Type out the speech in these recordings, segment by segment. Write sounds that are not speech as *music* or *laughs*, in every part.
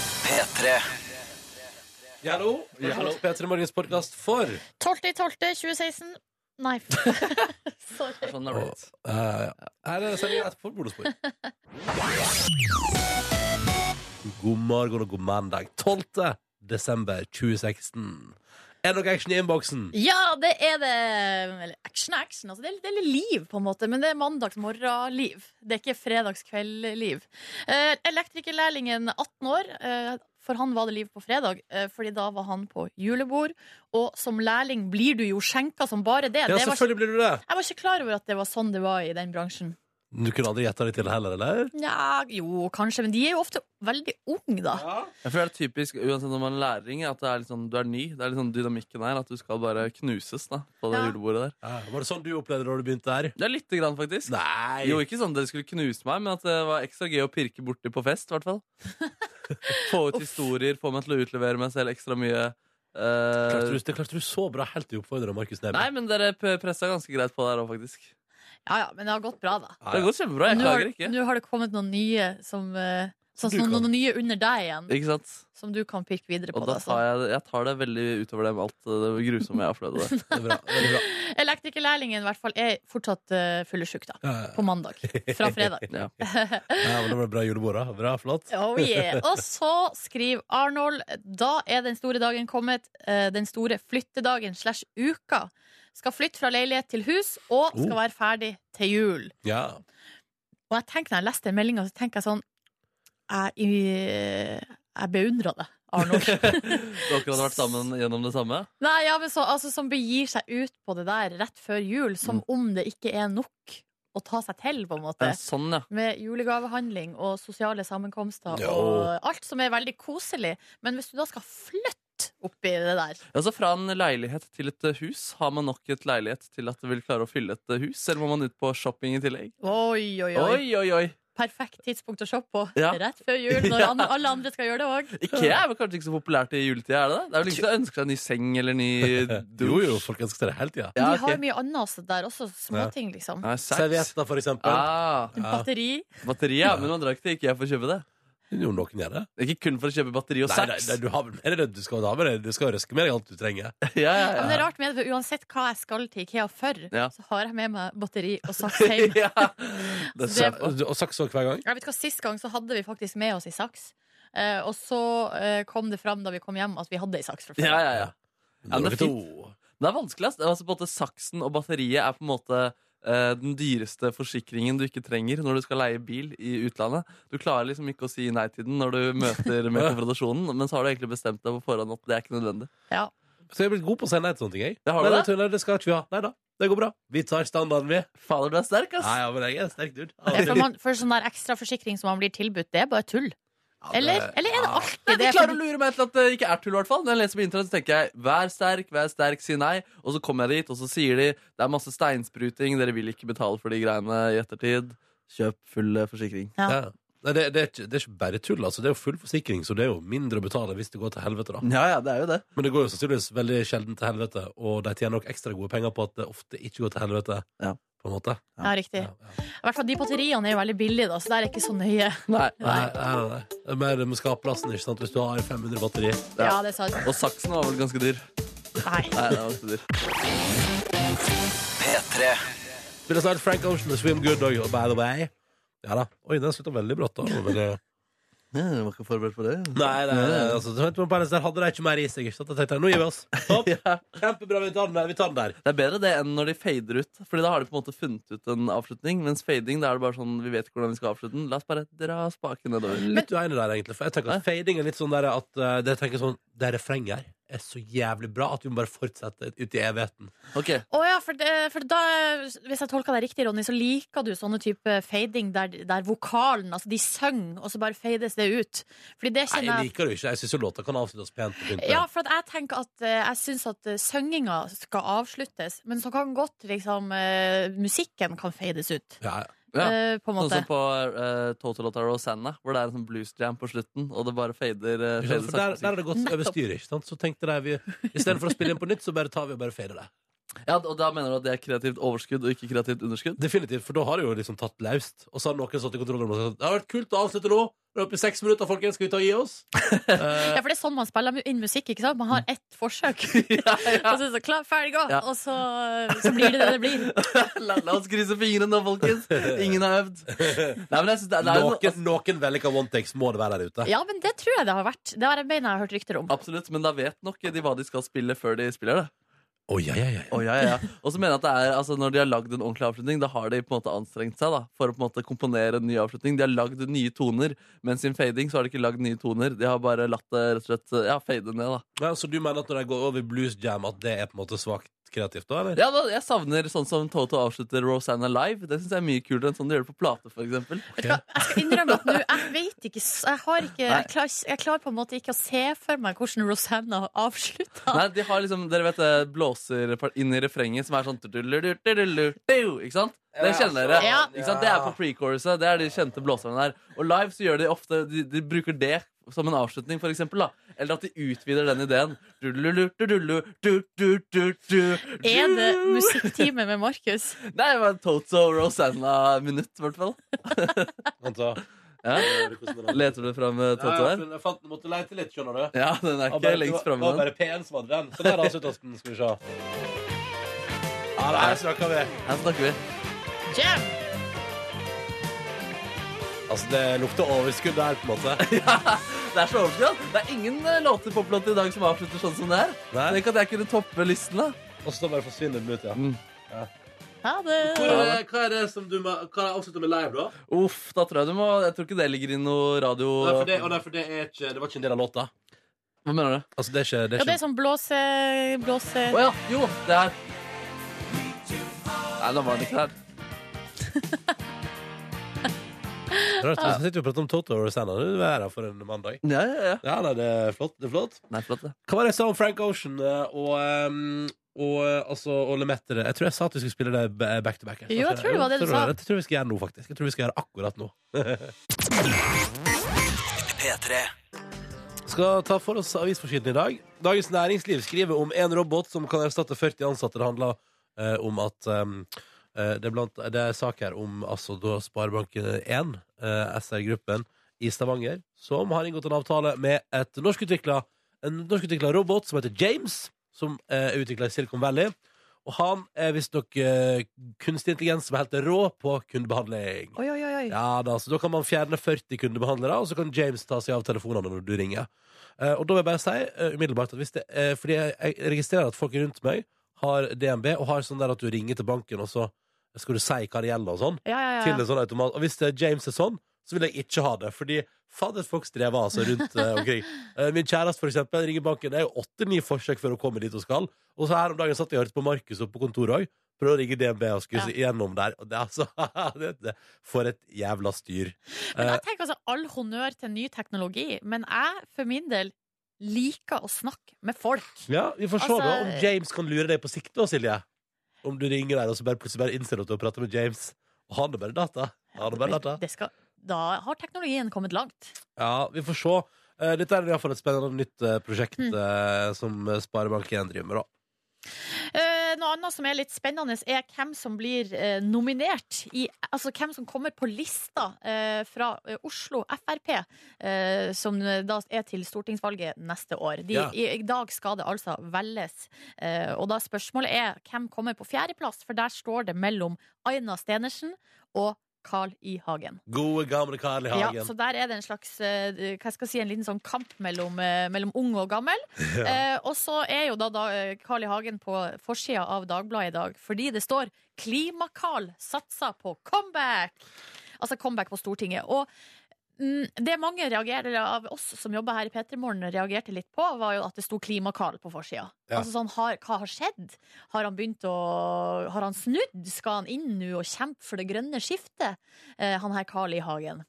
P3. Ja, hallo. Ja, hallo. P3 Morgens podkast for 12.12.2016. Nei. Sorry. Sånn er det blitt. Eh, Her er sendinga etterpå bonusbord. *laughs* God morgen og god mandag. 12. desember 2016. Er det noe action i innboksen? *laughs* Ja, det er det. Eller action, action. Altså, det, er, litt- det er litt liv, på en måte. Men det er mandagsmorgen-liv. Det er ikke fredagskveld-liv. Eh, Elektrikerlærlingen 18 år. eh, for han var det liv på fredag, eh, Fordi da var han på julebord. Og som lærling blir du jo skjenka som bare det. Ja, det var, ikke- selvfølgelig blir du det. jeg var ikke klar over at det var sånn det var i den bransjen. Du kunne aldri gjetta det til heller, eller? Nja, jo, kanskje. Men de er jo ofte veldig unge, da. Jeg føler det er typisk uansett om man er lærling, at det er litt sånn, du er ny. Det er litt sånn dynamikken her, at du skal bare knuses da, på det Ja. julebordet der. Ja, var det sånn du opplevde det da du begynte her? Ja, lite grann, faktisk. Nei! Jo, ikke sånn at dere skulle knuse meg, men at det var ekstra gøy å pirke borti på fest, i hvert *laughs* fall. Få ut historier, få meg til å utlevere meg selv ekstra mye. Eh, klarte du, det klarte du så bra helt til oppfordra Markus Neby. nei, men dere p- pressa ganske greit på der òg, faktisk. Ja, ja, men det har gått bra, da. Ja, Det har ja. gått kjempebra. Jeg Nå har, klager ikke. nå har det kommet noen nye som eh, Som Sånn du som kan. noen nye under deg igjen, Ikke sant? som du kan pirke videre på. Og da da, så. tar jeg, jeg tar det veldig utover det med alt det grusomme jeg opplevde der. Det er bra. Det er bra. Elektrikerlærlingen i hvert fall er fortsatt uh, fyllesyk, da. Ja, ja. På mandag. *laughs* Fra fredag. *laughs* Ja. Eh, Ja, men det ble bra julebord, da. Bra, flott. Oh yeah. Og så skriver Arnold Da er den store dagen kommet. eh, Den store flyttedagen slash uka. Skal flytte fra leilighet til hus, og skal Oh. være ferdig til jul. Ja. Og jeg tenker når jeg leste den meldinga, så tenker jeg sånn Jeg, jeg beundrer deg, *laughs* Arnold. Dere hadde vært sammen gjennom det samme? Nei, ja, men så, altså, som begir seg ut på det der rett før jul, som om det ikke er nok å ta seg til, på en måte. Mm. Ja, sånn, ja. Med julegavehandling og sosiale sammenkomster Jo. og alt som er veldig koselig. Men hvis du da skal flytte oppi det der Altså Fra en leilighet til et eh, hus. Har man nok et leilighet til at det vil klare å fylle et eh, hus? Eller må man ut på shopping i tillegg? Oi, oi, oi. Oi, oi, oi! Perfekt tidspunkt å shoppe på. Ja. Rett før jul, når *laughs* Ja. an- alle andre skal gjøre det òg. Ikea er vel kanskje ikke så populært i juletida? Er det det? Det er vel ingen som ønsker seg en ny seng eller en ny *laughs* Eh, Jo, dusj? jo, folk ønsker seg det hele tida. De Ja, har ok. mye annet også der også. Småting, liksom. Nei, saks. Servietter, for eksempel. Ah, Ja. Batteri. batteri, ja. Men man drar ikke til Ikea for å kjøpe det. Jo, noen gjør det. Det er Ikke kun for å kjøpe batteri og Nei, nei, saks. *laughs* nei, du, har, vel mer enn det du skal ha med deg. Du skal røske med deg alt du trenger. Ja, Ja, ja, men det er rart med det, for uansett hva jeg skal til Ikea for, Ja. så har jeg med meg batteri *laughs* og saks hjem. ja. Det er Det- sant. Og, og saks også hver gang. Jeg vet hva, Sist gang så hadde vi faktisk med oss i saks. Eh, og så eh, kom det fram da vi kom hjem, at vi hadde ei saks fra før. ja, ja, ja. Ja, men Nummer det er to. Det er vanskelig. ass. Altså, både saksen og batteriet er på en måte eh, den dyreste forsikringen du ikke trenger når du skal leie bil i utlandet. Du klarer liksom ikke å si nei til den når du møter *laughs* med konfrontasjonen, men så har du egentlig bestemt deg på forhånd at det er ikke nødvendig. Ja. Så jeg er blitt god på å si nei til sånne ting. Jeg. Det har nei, du nei, det? tuller, det skal ikke vi ha. Nei da. Det går bra. Vi tar standarden, vi. Fader, du er sterk, ass! Nei, ja, men jeg er en sterk dude. Ja, For, man, for sånn der ekstra forsikring som man blir tilbudt, det er bare tull. Ja, det- Eller, eller er det Nei, alltid de det? klarer å lure meg til at det ikke er tull, i hvert fall. Når jeg leser på internett, så tenker jeg 'vær sterk, vær sterk, si nei', og så kommer jeg dit, og så sier de 'det er masse steinspruting, dere vil ikke betale for de greiene i ettertid', kjøp full eh, forsikring. Ja. Ja. Nei, det, det, er ikke, det er ikke bare tull, altså. Det er jo full forsikring, så det er jo mindre å betale hvis det går til helvete, da. Ja, ja, det er jo det. Men det går jo sannsynligvis veldig sjelden til helvete, og de tjener nok ekstra gode penger på at det ofte ikke går til helvete, Ja. på en måte. Ja, riktig. Ja, ja. I hvert fall de batteriene er jo veldig billige, da, så der er ikke så nøye. Nei. Nei, nei, nei. Det er mer med skapplassen, ikke sant. Hvis du har 500 batteri. Ja. Ja, det er sant. Og saksen var vel ganske dyr. Nei. Nei, det var ganske dyr. P3. Spiller snart Frank Ocean og Swim Good Dog, og by the way. Ja da. Oi, den slutta veldig brått, *laughs* da. Men, eh, Ja, jeg var ikke forberedt på det. Nei, nei, nei, altså, så venter man på hennes, der hadde de ikke mer i seg. Ikke? sant? Da tenkte jeg, nå *laughs* gir vi oss. Topp. Ja. Kjempebra, vi tar den der. Vi tar den der. Det er bedre det enn når de fader ut. Fordi da har de på en måte funnet ut en avslutning. Mens fading, da er det bare sånn vi vet ikke hvordan vi skal avslutte den. La oss bare dra spaken nedover. Litt uenig der, egentlig. For jeg tenker at fading er litt sånn der at eh, det, jeg tenker sånn, det refrenget her er så jævlig bra at vi må bare fortsette ut i evigheten. Ok, Å ja, for, det- for da, hvis jeg tolker deg riktig, Ronny, så liker du sånne type fading der, der vokalen, altså de synger, og så bare fades det ut. Fordi det Nei, kjenner jeg jeg liker det jo ikke. Jeg syns jo låta kan avsluttes pent. og pyntelig. ja, for at jeg tenker at eh, jeg syns at eh, synginga skal avsluttes, men så kan godt liksom eh, musikken kan fades ut. Ja, ja. eh, på en Sånn måte. som på uh, Total Lotta Rosanna, hvor det er en sånn blues jam på slutten, og det bare fader. eh, Ikke sant? fader For der, sakte. der har det gått over styret. ikke sant? Så tenkte de vi, istedenfor å spille inn på nytt, så bare tar vi og bare fader det. Ja, og da mener du at det er kreativt overskudd og ikke kreativt underskudd? *laughs* Definitivt, for da har det jo liksom tatt løst. Og så har noen satt i kontroll og sagt det har vært kult å avslutte nå. Det er oppe i seks minutter, folkens. Skal vi ta og gi oss? Eh, Ja, for det er sånn man spiller mu- inn musikk, ikke sant? Man har ett forsøk. Mm. *laughs* ja, Og så, er det så klar, ferdig, gå! Ja. Og så, så blir det det det blir. *laughs* La, la oss krysse fingrene nå, folkens. Ingen har øvd. Nei, men jeg synes det, det er jo noe, noen noen vellykka one takes må det være der ute. Ja, men det tror jeg det har vært. Det har jeg mener jeg har hørt rykter om. Absolutt, men da vet nok de hva de skal spille før de spiller det. Å, ja, ja, ja. Å, ja, ja, ja. *laughs* Og så mener jeg at det er, altså, Når de har lagd en ordentlig avslutning, da har de på en måte anstrengt seg da, for å på en måte komponere en ny avslutning. De har lagd nye toner, mens i en fading så har de ikke lagd nye toner. De har bare latt det rett og slett ja, fade ned. da. Ja, så du mener at når de går over i blues jam, at det er på en måte svakt kreativt, da? eller? Ja, da, Jeg savner sånn som Toto avslutter Rosanna live. Det syns jeg er mye kulere enn sånn de gjør det på plate, f.eks. Vet du hva, Jeg skal innrømme at nå Jeg vet ikke s- Jeg, har ikke, jeg, klarer, ikke- jeg klarer på en måte ikke å se for meg hvordan Rosanna avslutta. Nei, de har liksom, dere vet det blåser inn i refrenget som er sånn tuduludutuduludu, Ikke sant? Det kjenner dere. Ja. Ikke sant? Det er på pre-choruset. Det er de kjente blåserne der. Og live så gjør de ofte De, de bruker det som en avslutning, for eksempel. Da. Eller at de utvider den ideen. Er Er det musikktime med Markus? Nei, det var Toto Rosanna-minutt, i hvert fall. Vent da. Ja. Hører du hvordan den er? Leter du fram eh, Ja, Toto ja, der? for jeg fant, måtte leite litt, skjønner du. Ja, Det den er var ikke bare- lengst det var- framme. Det var bare P1 som hadde den. Så der avslutta oss den. Skal vi se. Ja, der snakka vi. Her snakker vi. Jam! Altså, det lukter overskudd der, på en måte. Det er så overskudd. Det er ingen eh, låter poplåter i dag som avslutter sånn som det her. *laughs* Nei, Tenk at jeg kunne toppe listen, da. Og så bare forsvinner den ut, ja. Mm. Ha det! Hva er, hva er det som du må Hva er avslutta med live, da? Uff, da tror jeg du må Jeg tror ikke det ligger i noe radio... Nei, for det, og nei, for det, er ikke, det var ikke en del av låta. Hva mener du? Altså, det er ikke, det er Ja, det ikke er sånn blåse... blåse. Å ja, jo, det er Nei, da var den ikke der. Rart, vi sitter jo og prater om Toto og Rosanna. Du er her for en mandag. Ja, ja, ja. Ja, nei, det er flott. Det er flott. Nei, flott, det. Hva var det jeg sa om Frank Ocean eh, og, ehm, og, eh, altså, og Lemaitre? Jeg tror jeg sa at vi skulle spille det b- back to back. Jo, jeg tror det var det du tror sa. Jeg tror vi skal gjøre nå, faktisk. Jeg tror vi skal gjøre akkurat nå. Skal ta for oss avisforsiden i dag. Dagens Næringsliv skriver om en robot som kan erstatte 40 ansatte. Det handler eh, om at ehm, eh, det, er blant, det er sak her om altså, da Sparebanken1, eh, SR-gruppen i Stavanger, som har inngått en avtale med et norskutvikla en norskutvikla robot som heter James, som eh, er utvikla i Silicon Valley. Og han er visstnok eh, kunstig intelligens som er helt rå på kundebehandling. Oi, oi, oi. oi. Ja da, så da kan man fjerne 40 kundebehandlere, og så kan James ta seg av telefonene når du ringer. Eh, og da vil jeg bare si eh, umiddelbart at hvis det eh, Fordi jeg, jeg registrerer at folk rundt meg har DNB, og har sånn der at du ringer til banken, og så skal du si hva det gjelder, og sånn. Ja, ja, ja. Til en sånn automat. Og hvis det er James er sånn, så vil jeg ikke ha det. Fordi fader, folk strever altså rundt eh, *laughs* omkring. Eh, min kjæreste, for eksempel, ringer banken. Det er jo åtte-ni forsøk før hun kommer dit hun skal. Og så her om dagen satt jeg og hørte på Markus oppe på kontoret òg. Prøv å ringe DNB og skulle gjennom der. Og det er altså *laughs* det, det, For et jævla styr. Men jeg tenker altså all honnør til ny teknologi, men jeg for min del liker å snakke med folk. Ja, Vi får se Altså- da om James kan lure deg på sikt da, Silje. Om du ringer der og så bare plutselig bare innser du at du har pratet med James. Og han er bare data. Han er bare data. Det skal, da har teknologien kommet langt. Ja, vi får se. Eh, Dette er i hvert fall et spennende nytt eh, prosjekt Mm. eh, som Sparebank1 driver med. da Eh, noe annet som er litt spennende, er hvem som blir eh, nominert. I, altså hvem som kommer på lista eh, fra eh, Oslo Frp, eh, som eh, da er til stortingsvalget neste år. De, Ja. i, I dag skal det altså velges. Eh, og da spørsmålet er hvem kommer på fjerdeplass, for der står det mellom Aina Stenersen og Carl I. Hagen. Gode, gamle Karl i Ja, hagen. så der er det en slags eh, hva skal jeg si, en liten sånn kamp mellom, eh, mellom ung og gammel. Eh, og så er jo da, da eh, Carl I. Hagen på forsida av Dagbladet i dag fordi det står 'Klima-Carl satser på comeback'. Altså comeback på Stortinget. Og mm, det mange reagerer, eller av oss som jobber her i P3 Morgen, reagerte litt på, var jo at det sto 'Klima-Carl' på forsida. Ja. Altså sånn, har, hva har skjedd? Har han begynt å Har han snudd? Skal han inn nå og kjempe for det grønne skiftet, eh, han her Carl I. Hagen?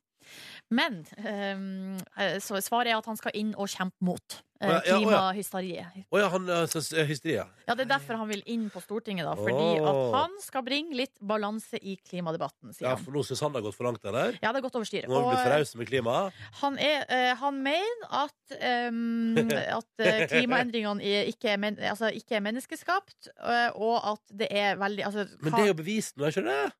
Men eh, så svaret er at han skal inn og kjempe mot Å eh, ja, ja, å ja. klimahysteriet. Å ja, han eh, syns eh, hysteri, ja. Ja, Det er derfor han vil inn på Stortinget, da. Fordi at Å. han skal bringe litt balanse i klimadebatten, sier ja. han. For nå syns han det har gått for langt, eller? Ja, det har gått over styret. Nå har vi blitt Og, eh, for rause med klimaet. Han, er, eh, han mener at, *laughs* em, at eh, klimaendringene er- ikke er, men, altså, ikke er menneskeskapt, eh, og at det er veldig altså, Men hva- det er jo bevist nå, er ikke det?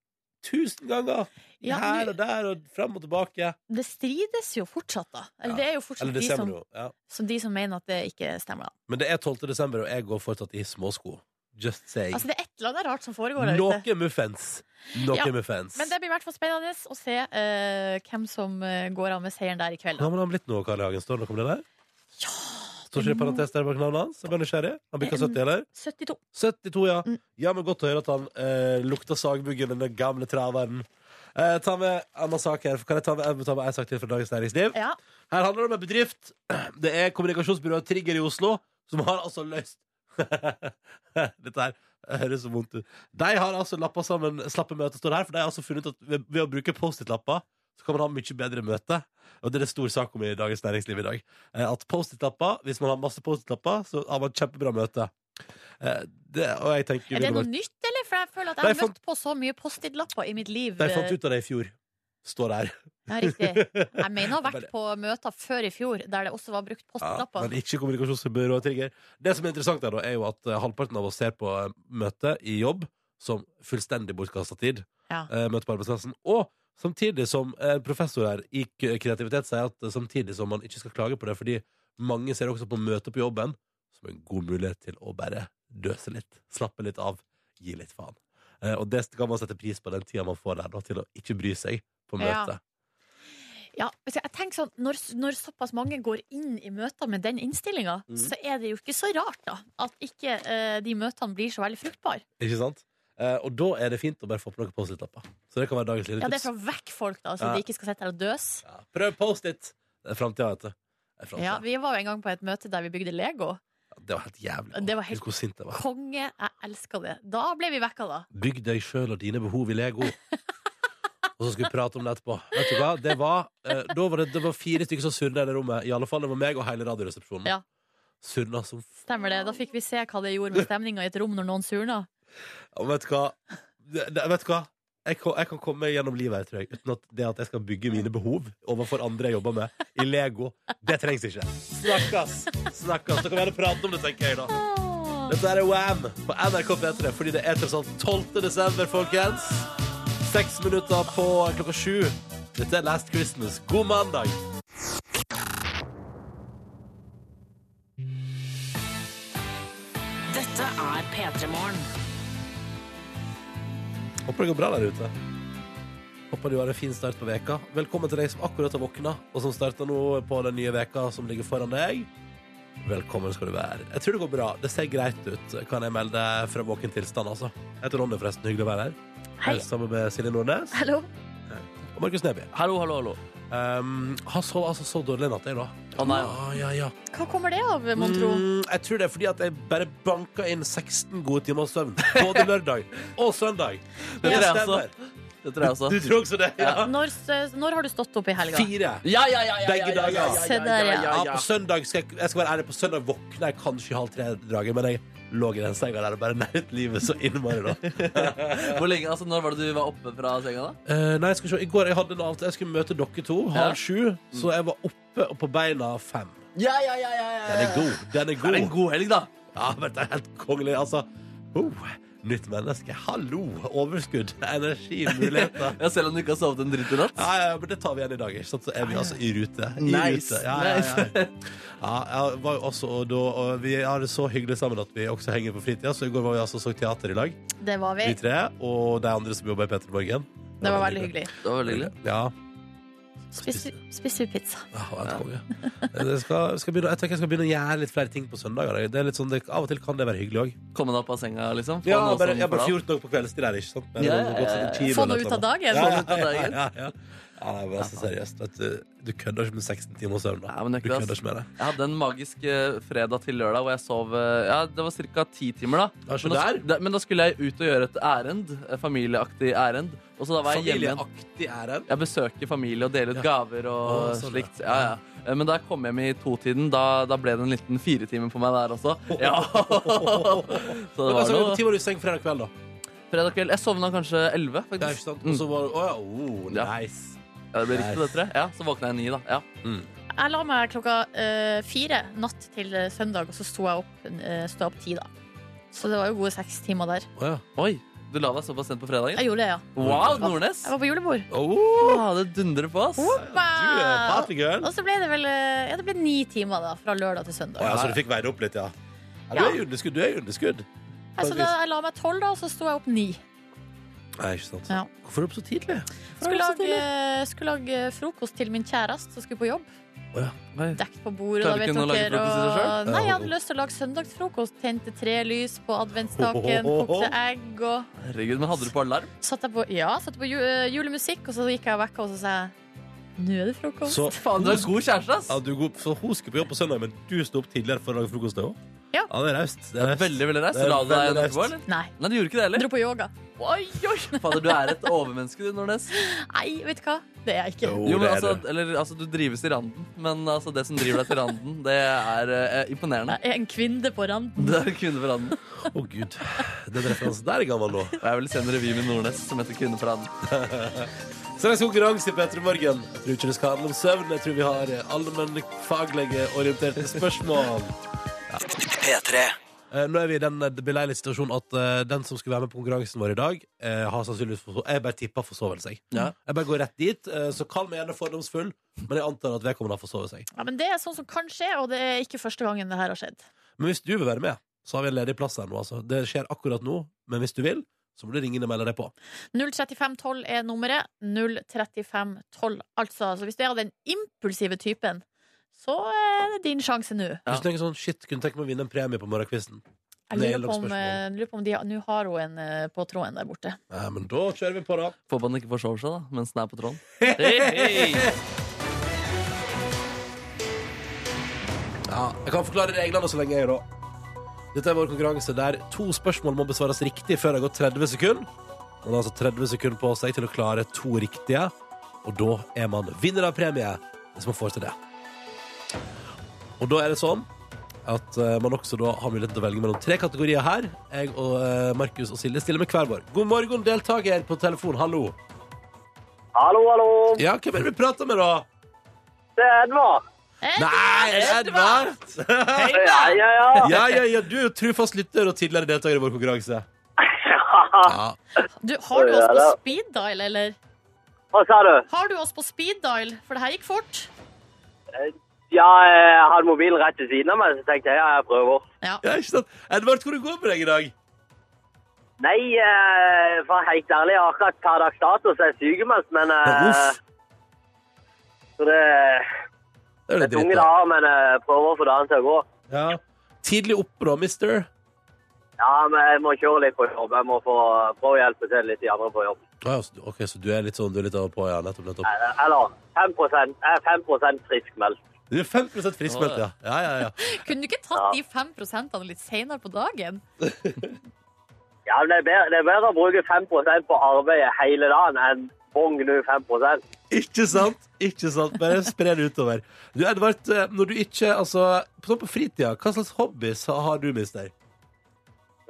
Tusen ganger! Ja, her nå- og der og fram og tilbake. det strides jo fortsatt, da. Eller Ja. det er sånn- jo fortsatt Eller de det ser som, man jo. Ja. som de som mener at det ikke stemmer. Da. Men det er 12. desember, og jeg går fortsatt i småsko. Just saying. Altså, det er et eller annet rart som foregår der ute. Noe muffens. Noe Ja, muffens. Men det blir i hvert fall spennende å se eh, hvem som eh, går av med seieren der i kveld. Nå Da. har han blitt noe, Karl I. Hagen. Står det noe om det der? Står ikke det parentes der bak navnet hans? Jeg ble nysgjerrig. Han bikka Mm. 70, eller? 72. 72, ja. Mm. Ja, men godt å høre at han eh, lukter sagbuggen, den gamle traveren. Eh, ta med anna sak her. Kan jeg ta med, jeg må ta med en sak til fra Dagens Næringsliv? Ja. Her handler det om en bedrift. Det er kommunikasjonsbyrået Trigger i Oslo som har altså løst *laughs* Dette her høres så vondt ut. De har altså lappa sammen slappe møter, står det her, for de har altså funnet ut at ved, ved å bruke Post-It-lapper så kan man ha mye bedre møte. Og det er det stor sak om i Dagens Næringsliv i dag. Eh, At Post-It-lapper, hvis man har masse Post-It-lapper, så har man kjempebra møte. Eh, Det, og jeg tenker Er det noe nytt, eller? For jeg føler at jeg Nei, har jeg fant- møtt på så mye Post-It-lapper i mitt liv. eh, De fant ut av det i fjor. Står der. Ja, riktig. *laughs* Jeg mener å ha vært på møter før i fjor der det også var brukt Ja, postlapper. men ikke kommunikasjonsbyrå og trigger. Det som er interessant her, da, er jo at eh, halvparten av oss ser på eh, møte i jobb som fullstendig bortkasta tid. Ja. Eh, Møte på arbeidsplassen. Og samtidig som eh, professor her i k- kreativitet sier at eh, samtidig som man ikke skal klage på det, fordi mange ser også på møte på jobben som en god mulighet til å bare døse litt, slappe litt av, gi litt faen. Eh, Og det skal man sette pris på den tida man får der, da, til å ikke bry seg på Ja. møtet. Ja, altså, jeg tenker sånn, når, når såpass mange går inn i møter med den innstillinga, Mhm. så er det jo ikke så rart da at ikke eh, de møtene blir så veldig fruktbare. Ikke sant? Eh, Og da er det fint å bare få på noen Post-It-lapper. Så det kan være dagens lille Ja, Det tips. er for å vekke folk, da, så Ja. de ikke skal sitte her og døse. Ja, prøv Post-It. Det er framtida, vet du. Det, er fremtiden. Ja, vi var jo en gang på et møte der vi bygde Lego. det var helt jævlig. Det var helt- Husk hvor sint jeg var. Konge, jeg elsker det. Da ble vi vekka, da. Bygg deg sjøl og dine behov i *laughs* Lego. og så skulle vi prate om det etterpå. Vet du hva? Det var, eh, da var det, det var fire stykker som surna i det rommet. I alle fall det var meg og hele Radioresepsjonen. Ja. Surna som f... Stemmer det. Da fikk vi se hva det gjorde med stemninga i et rom når noen surna. Og vet du hva? Det, det, vet du hva? Jeg kan, jeg kan komme meg gjennom livet her, tror jeg, uten at det at jeg skal bygge mine behov overfor andre jeg jobber med, i Lego. Det trengs ikke. Snakkes! Snakkes. Da kan vi heller prate om det, tenker jeg, da. Åh. Dette er Wham på NRK P3, fordi det er tross alt 12. desember, folkens. Seks minutter på klokka sju. Dette er Last Christmas. God mandag. Dette er P3 Morgen. Håper det går bra der ute. Håper du har en fin start på veka. Velkommen til deg som akkurat har våkna, og som starter nå på den nye veka som ligger foran deg. Velkommen skal du være. Jeg tror det går bra. Det ser greit ut, kan jeg melde fra våken tilstand, altså. Jeg heter Ronny, forresten. Hyggelig å være her. Hei. Jeg er Sammen med Silje Nordnes Hallo. og Markus Neby. Hallo, hallo, hallo. Um, han sov altså så dårlig i natt, jeg, da. Å, nei. Ah, ja, ja. Hva kommer det av, mon tro? Mm, jeg tror det er fordi at jeg bare banka inn 16 gode timer søvn. Både lørdag og søndag. Det tror jeg stemmer. også. Det tror jeg Du også. tror også det? Ja. Når, s- når har du stått opp i helga? Fire. Ja, ja, ja, ja, ja, Begge ja, ja, dager. Se der, ja. Ja, på søndag skal jeg, jeg skal være ærlig, på søndag våkner jeg kanskje i halv tre-draget, men jeg lå i den senga der og bare nøt livet så innmari, da. Hvor lenge, altså, Når var det du var oppe fra senga, da? Eh, nei, jeg skal se. I går jeg hadde en avtale. Jeg skulle møte dere to halv Ja. sju, så jeg var oppe og på beina fem. Ja, ja, ja, ja, ja. Den er god. Den er Det god. er en god helg, da. Ja, men det er helt kongelig, altså. Oh, nytt menneske. Hallo. Overskudd. Energi. Muligheter. Ja, Selv om du ikke har sovet en dritt i natt. Ja, ja, men det tar vi igjen i dag. ikke sant? Så er vi altså i rute. I Nice. rute. Ja, ja, ja. ja, jeg var jo også, og, da, og Vi har det så hyggelig sammen at vi også henger på fritida. Så i går var vi altså og så teater i lag, Det var vi. vi tre og de andre som jobber i P3 Morgen. Eh. Det var veldig hyggelig. Det var veldig hyggelig. Ja, Spiser spiser vi pizza? Ja, han er et konge. Jeg, skal, skal begynne, jeg tenker jeg skal begynne å gjøre litt flere ting på søndager. Det er litt sånn, det, av og til kan det være hyggelig òg. Komme deg opp av senga, liksom. Få Ja, noe bare, som jeg bare får deg opp. fjort nok på kveldstid der, ikke sant? Men Ja, det har ja, gått ja, sånn ja. en time Få eller noe ut av noe. dagen? Ja, Få noe ut av ja, ja, ja, ja. Ja, nei, men altså, seriøst, vet du, du kødder ikke med 16 timer søvn. da. Nei, men det er Du ikke det, kødder ass. ikke med det. Jeg hadde en magisk eh, fredag til lørdag hvor jeg sov eh, Ja, det var ca. ti timer, da. Ja, så men, da der. da. men da skulle jeg ut og gjøre et ærend. eh, Familieaktig ærend. Og så da var jeg hjemme igjen. Familieaktig er den. Jeg besøker familie og deler ut gaver og Å, sånn, ja. slikt. Ja, ja. Eh, Men da jeg kom hjem i totiden, da, da ble det en liten firetime på meg der også. Ja. *laughs* Så det Men var altså, noe Når var du i seng fredag kveld, da? fredag kveld. Jeg sovna kanskje elleve, Det er ikke faktisk. sant? Mm. Og så var det Å ja, oh, Ja. nice. Ja, det ble riktig, det, tror jeg. Ja, så våkna jeg ni, da. Ja. Mm. Jeg la meg klokka eh, fire natt til eh, søndag, og så sto jeg opp, eh, sto jeg opp ti, da. Så det var jo gode seks timer der. Å ja. Oi, du la deg såpass sent på fredagen? Jeg gjorde det, ja. Wow, Nordnes! Jeg var på julebord. Å, Ah, det dundrer på oss. du er partygirl. Og så ble det vel eh, ja, det ble ni timer, da, fra lørdag til søndag. Å ja, så du fikk veid opp litt, ja. ja du Ja. er i underskudd. Du er i underskudd. Så da jeg la meg tolv, da, og så sto jeg opp ni. Nei, ikke sant. Ja. Hvorfor er du opp så tidlig? Skulle lage, skulle lage eh, frokost til min kjæreste som skulle på jobb. Oi. Dekt på bordet. Klarer da vet ikke hun å lage dere, frokost til seg og... selv? Nei, Jeg hadde lyst til å lage søndagsfrokost. Tente tre lys på adventstaken, kokte egg og Herregud, men hadde du på alarm? Satte jeg på, ja, satte på ju eh, julemusikk, og så gikk jeg og vekka og så sa jeg Nå er det frokost. Så Faen, du er god kjæreste, Ja, ass! du går, så hun skal på jobb på søndag, men du står opp tidligere for å lage frokost? da også? Ja. ja, det er raust. Det er raust. Veldig, veldig raust. Det er La du deg veldig etterpå, raust. eller? Nei. Nei, du gjorde ikke det Jeg heller. dro på yoga. Oi, oi. Fader, du er et overmenneske, du, Nordnes. Nei, vet du hva? Det er jeg ikke. Jo, Jo, men det er altså, du. eller, altså, du drives til randen, men altså, det som driver deg til randen, det er eh, imponerende. Jeg er en kvinne på randen. Det er Kvinne på randen. Å, gud. Den referansen der er gammel nå. Og jeg vil se en revy med Nordnes som heter Kvinne på randen. Straks konkurranse i P3 Morgen. Jeg tror ikke det skal handle om søvn. Jeg tror vi har eh, allmennfaglige orienterte spørsmål. Eh, Nå er vi i den eh, beleilige situasjonen at eh, den som skulle være med på konkurransen vår i dag, eh, har sannsynligvis forso- Jeg bare tipper forsovelse, jeg. Ja. Jeg bare går rett dit. eh, Så kall meg gjerne fordomsfull, men jeg antar at vedkommende har forsovet seg. Ja, men det er sånn som kan skje, og det er ikke første gangen det her har skjedd. Men hvis du vil være med, så har vi en ledig plass her nå. Altså. Det skjer akkurat nå, men hvis du vil, så må du ringe inn og melde deg på. 03512 er nummeret. 03512. Altså, så hvis du er av den impulsive typen, så er det din sjanse nå. Ja. Hvis du tenker sånn, shit, kunne tenke meg å vinne en premie på morgenkvisten. Jeg Det er lurer på om, langt spørsmål. eh, lurer på om de har- Nå har hun en eh, på tråden der borte. Nei, men da kjører vi på, da. Håper han ikke forsover seg, da, mens den er på *laughs* tråden. Hei, hei. Ja, jeg kan forklare reglene så lenge jeg er da. Dette er vår konkurranse der to spørsmål må besvares riktig før det har gått 30 sekunder. Man har altså 30 sekunder på seg til å klare to riktige, og da er man vinner av premie hvis man får til det. Og da er det sånn at eh, man også da har muligheten til å velge mellom tre kategorier her. Jeg og eh, Markus og Silje stiller med hver vår. God morgen, deltaker på telefon. Hallo. Hallo, hallo. Ja, hvem er det vi prater med, da? Det er Edvard. Eh, Nei, Edvard! Ja, ja, ja. Ja, ja, ja, du er jo trufast lytter og tidligere deltaker i vår konkurranse. *laughs* Ja. Du, har du Ja, oss på da. speed dial, eller? *laughs* Hva sa du? Har du oss på speed dial? For det her gikk fort. Ja, jeg hadde mobilen rett til siden av meg, så tenkte jeg ja, jeg prøver. Ja. Ja, ikke sant? Edvard, hvor det går med deg i dag? Nei, eh, for helt ærlig, jeg har akkurat per dags dato så er jeg sykemeldt, men eh, Uff. Så det Det er jo det er litt tunge dritt, da. dager, men eh, prøver å få dagen til å gå. Ja. Tidlig oppe, da, mister. Ja, men jeg må kjøre litt på jobb. Jeg må få prøve å hjelpe til litt de andre på jobb. Ah, ja, så du- ok, så du er litt sånn, du er litt av og på, ja, nettopp, nettopp. Eh, Eller 5 jeg er 5 friskmeldt. Du er 5 friskmeldt, ja. Ja, ja, ja. Kunne du ikke Ja. tatt de fem prosentene litt senere på dagen? Ja, men det er, bedre, det er bedre å bruke 5 på arbeidet hele dagen enn bong nå 5 *laughs* Ikke sant? Ikke sant? Bare spre det utover. Du, Edvard, eh, når du ikke, altså, sånn på fritida, hva slags hobbies har har du, mister?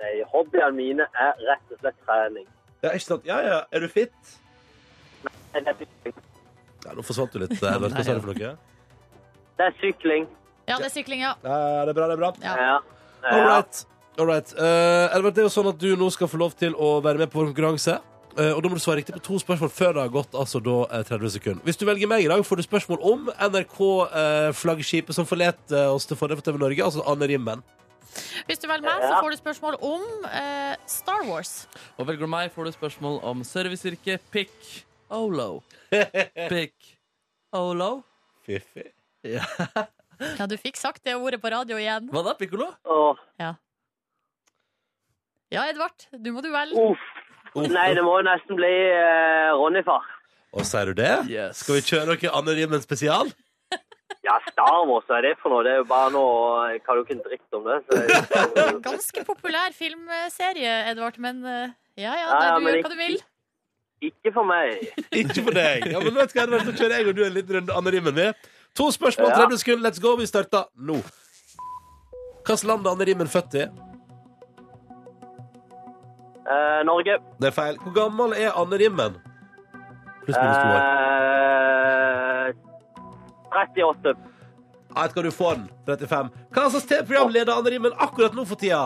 Nei, hobbyene mine er rett og slett trening. Ja, ikke sant? Ja, ja, er du fit? Det er sykling. Ja, nå forsvant du litt, Edvard. Hva sa du for noe? Det er sykling. Ja, det er sykling, ja. Ja, det er bra, det er bra. ja. Ja. All right. All right. Eh, Edvard, det er jo sånn at du nå skal få lov til å være med på vår konkurranse. Eh, og da må du svare riktig på to spørsmål før det har gått altså da eh, 30 sekunder. Hvis du velger meg i dag, får du spørsmål om NRK-flaggskipet som forlet eh, oss til fordel for TV Norge, altså Anne Rimmen. Hvis du velger meg, så får du spørsmål om eh, Star Wars. Og velger du meg, får du spørsmål om serviceyrket pikk olo. *laughs* Pikk olo? Fiffi. Ja. Ja, du fikk sagt det ordet på radio igjen. Hva da, pikkolo? Åh, Ja, Edvard, du må du velge. uff. Nei, det må jo nesten bli eh, Ronny-far. Og sier du det? Yes. Skal vi kjøre noe Anne Rimmen spesial? Ja, Starmos, hva er det for noe? Det er jo bare noe Jeg kan jo ikke en dritt om det. Så jeg, *laughs* Ganske populær filmserie, Edvard, men eh, ja ja, Ja, ja, du men gjør ikke- hva du vil. ikke for meg. Ikke for deg. Ja, men vet du hva, Edvard, Så kjører jeg og du en liten runde Anne Rimmen med. To spørsmål, Ja. 30 sekunder, let's go. Vi starter nå. Hvilket land er Anne Rimmen født i? Eh, Norge. Det er feil. Hvor gammel er Anne Rimmen? Pluss minus to år. Eh, 38. Jeg vet hva du får den. 35. Hva slags TV-program leder Anne Rimmen akkurat nå for tida?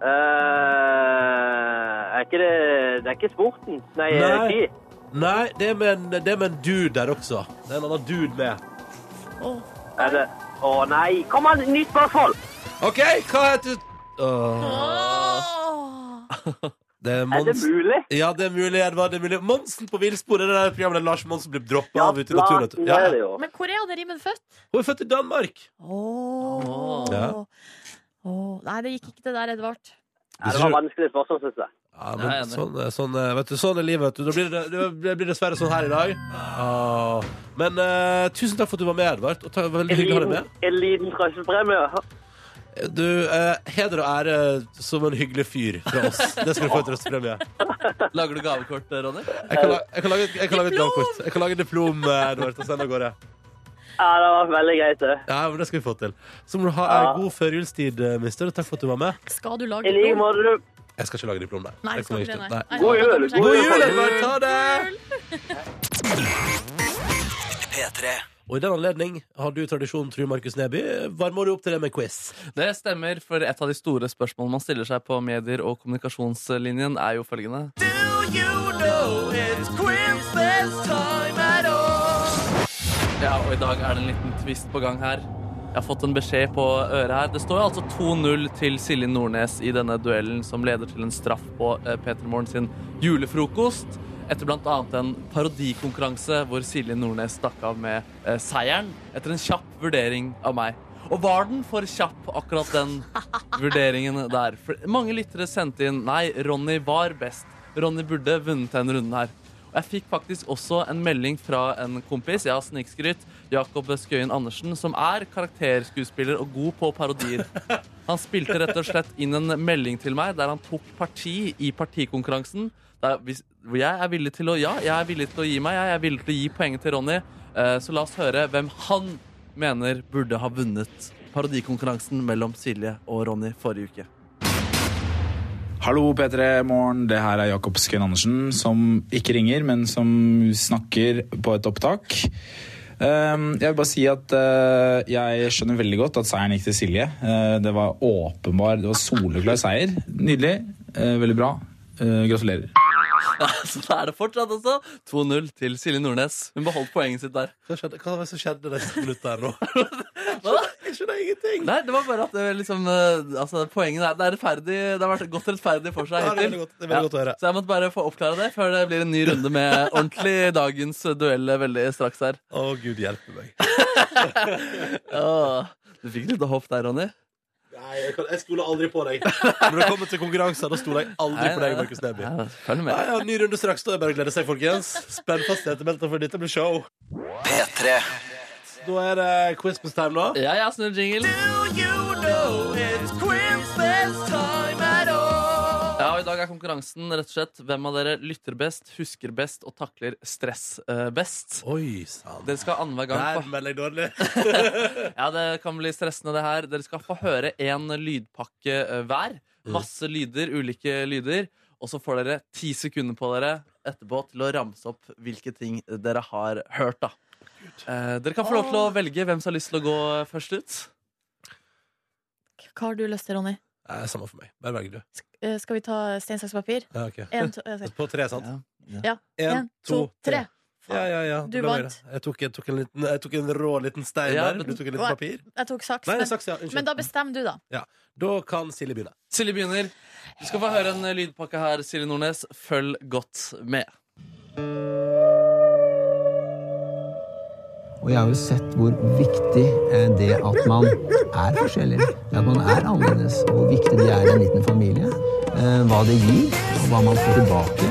Eh, er ikke det Det er ikke sporten. Nei, eh, Nei. Nei. Nei, det er med en, det er med en dude der også. Det er en annen dude med. Er det Å nei! Kom an, nytt spørsmål! OK, hva heter Åh, Åh. Det er Er det Monsen. mulig? Ja, det er mulig. Edvard, det er mulig. Monsen på villspor. Det er det der programmet der Lars Monsen blir droppa av ute i naturen. vet du. platen Ja, er det ja. jo. Men hvor er Anne Rimmen født? Hun er født i Danmark. Åh. Ja. Åh. Nei, det gikk ikke det der, Edvard. Ja, det var vanskelig spørsmål, syns jeg. Ja, Jeg er men enig. sånn, er- sånn, er- vet du, sånn er livet. Vet du. Da blir det, det blir dessverre sånn her i dag. Åh. Men eh, tusen takk for at du var med, Edvard. Og ta, veldig En hyggelig å ha deg med. liten, en liten trøsselpremie. Du, eh, heder og ære som en hyggelig fyr fra oss. Det skal du få i trøstepremie. Lager du gavekort, Ronny? Jeg kan, la- jeg kan lage, et- jeg kan lage et gavekort. Jeg kan lage en diplom, eh, Edvard, og sende av gårde. Ja, det var veldig greit, det. Ja, men det skal vi få til. Så må du ha Ja. en god førjulstid, eh, mister. og Takk for at du var med. Skal du lage I like måte, du. Jeg skal ikke lage diplom, nei. Nei, Det skal kommer ikke jeg det, ikke til. nei. Nei. Nei, God da jul, kommer god God jeg- jul, Edvard! Ta det! Og i den anledning har du tradisjonen, tror Markus Neby. Varmer du opp til det med quiz? Det stemmer, for et av de store spørsmålene man stiller seg på medier og kommunikasjonslinjen, er jo følgende. Ja, og i dag er det en liten twist på gang her. Jeg har fått en beskjed på øret her. Det står jo altså 2-0 til Silje Nordnes i denne duellen som leder til en straff på eh, Peter Morn sin julefrokost. Etter bl.a. en parodikonkurranse hvor Silje Nordnes stakk av med eh, seieren etter en kjapp vurdering av meg. Og var den for kjapp, akkurat den vurderingen der? For mange lyttere sendte inn nei, Ronny var best. Ronny burde vunnet denne runden her. Og jeg fikk faktisk også en melding fra en kompis, jeg har snikskryt, Jakob Skøyen Andersen, som er karakterskuespiller og god på parodier. Han spilte rett og slett inn en melding til meg der han tok parti i partikonkurransen. Der, hvis, hvor jeg er villig til å Ja, jeg er villig til å gi meg. Jeg er villig til å gi poenget til Ronny. Eh, så la oss høre hvem han mener burde ha vunnet parodikonkurransen mellom Silje og Ronny forrige uke. *laughs* Hallo P3 Morgen, det her er Jakob Skøyen Andersen, som ikke ringer, men som snakker på et opptak. Ehm, Jeg vil bare si at eh, jeg skjønner veldig godt at seieren gikk til Silje. Eh, Det var åpenbar, det var soleklar seier. Nydelig, eh, veldig bra. Eh, Gratulerer. Så da er det fortsatt, altså. 2-0 til Silje Nordnes. Hun beholdt poenget sitt der. Hva, skjedde, hva var det som skjedde det siste minuttet her nå? Hva da? *laughs* Jeg skjønner ingenting. Nei, det var bare at det liksom eh, Altså, poenget er, det er rettferdig. Det har vært godt rettferdig for seg Ja, det er hittil. veldig godt, det er veldig godt å høre. Så jeg måtte bare få oppklare det før det blir en ny runde med *laughs* ordentlig dagens eh, duell veldig straks her. Å, gud hjelpe meg. Åh, du fikk litt hopp der, Ronny. Nei, jeg, kan, jeg stoler aldri på deg. *laughs* Når det kommer til konkurranser, da stoler jeg aldri Nei, på deg, nei, Markus Neby. nei, Følg Nei, med. ja, Ny runde straks. Da er det bare å glede seg, folkens. Spenn fast setebeltet, for dette blir show. Da er det Christmas time, da. Ja, jeg snur jingle. Ja, og I dag er konkurransen rett og slett hvem av dere lytter best, husker best og takler stress eh, best. Oi sann. Dere skal annenhver gang Der få melder jeg dårlig. Ja, det kan bli stressende det her. Dere skal få høre én lydpakke eh, hver. Masse lyder, ulike lyder. Og så får dere ti sekunder på dere etterpå til å ramse opp hvilke ting dere har hørt. da. Eh, dere kan få lov til å velge hvem som har lyst til å gå eh, først ut. Hva har du lyst til, Ronny? Nei, samme for meg. Bare velg, du. Eh, Skal vi ta stein, saks, papir? Ja, ok. En, to, eh, *laughs* På tre, sant? Ja. En, to, tre. Ja, ja, ja. Du Det ble vant. mer. Jeg tok, jeg, tok en liten, jeg tok en rå liten stein Ja, der. men- Du tok en Nei. liten papir. Jeg tok saks. Nei, men- saks, ja. Unnskyld. men da bestemmer du, da. Da kan Silje begynne. Silje begynner. Du skal få høre en eh, lydpakke her, Silje Nordnes. Følg godt med. Og jeg har jo sett hvor viktig eh, det at man er forskjellig, det at man er annerledes, og hvor viktig det er i en liten familie. eh, Hva det gir, og hva man får tilbake.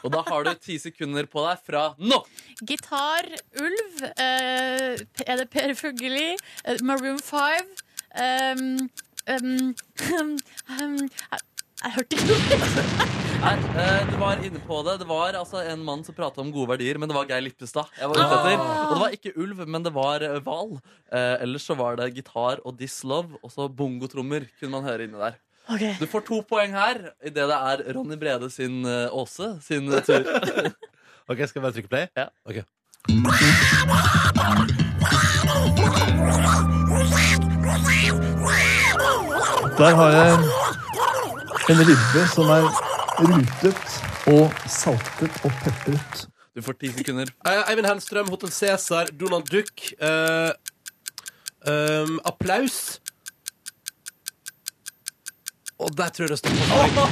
Og da har du ti sekunder på deg fra nå! Gitar, ulv, eh, er det Per Fugelli, eh, Maroon 5 ehm, *laughs* ehm, ehm, jeg, jeg hørte ikke noe. Nei, eh, du var inne på det. Det var altså en mann som prata om gode verdier, men det var Geir Lippestad. Jeg var ute Ah. etter. Og det var ikke ulv, men det var eh, hval. Eh, ellers så var det gitar og This Love, og så bongotrommer kunne man høre inni der. Ok. Du får to poeng her idet det er Ronny Brede sin eh, Åse sin tur. Ok, Skal jeg bare trykke play? Ja. Ok. Der har jeg en ribbe som er rutet og saltet og pepret. Du får ti *laughs* sekunder. Eh, Eivind Hellstrøm, Hotel Cæsar, Donald Duck. eh, ehm, applaus. Og der tror jeg det står på.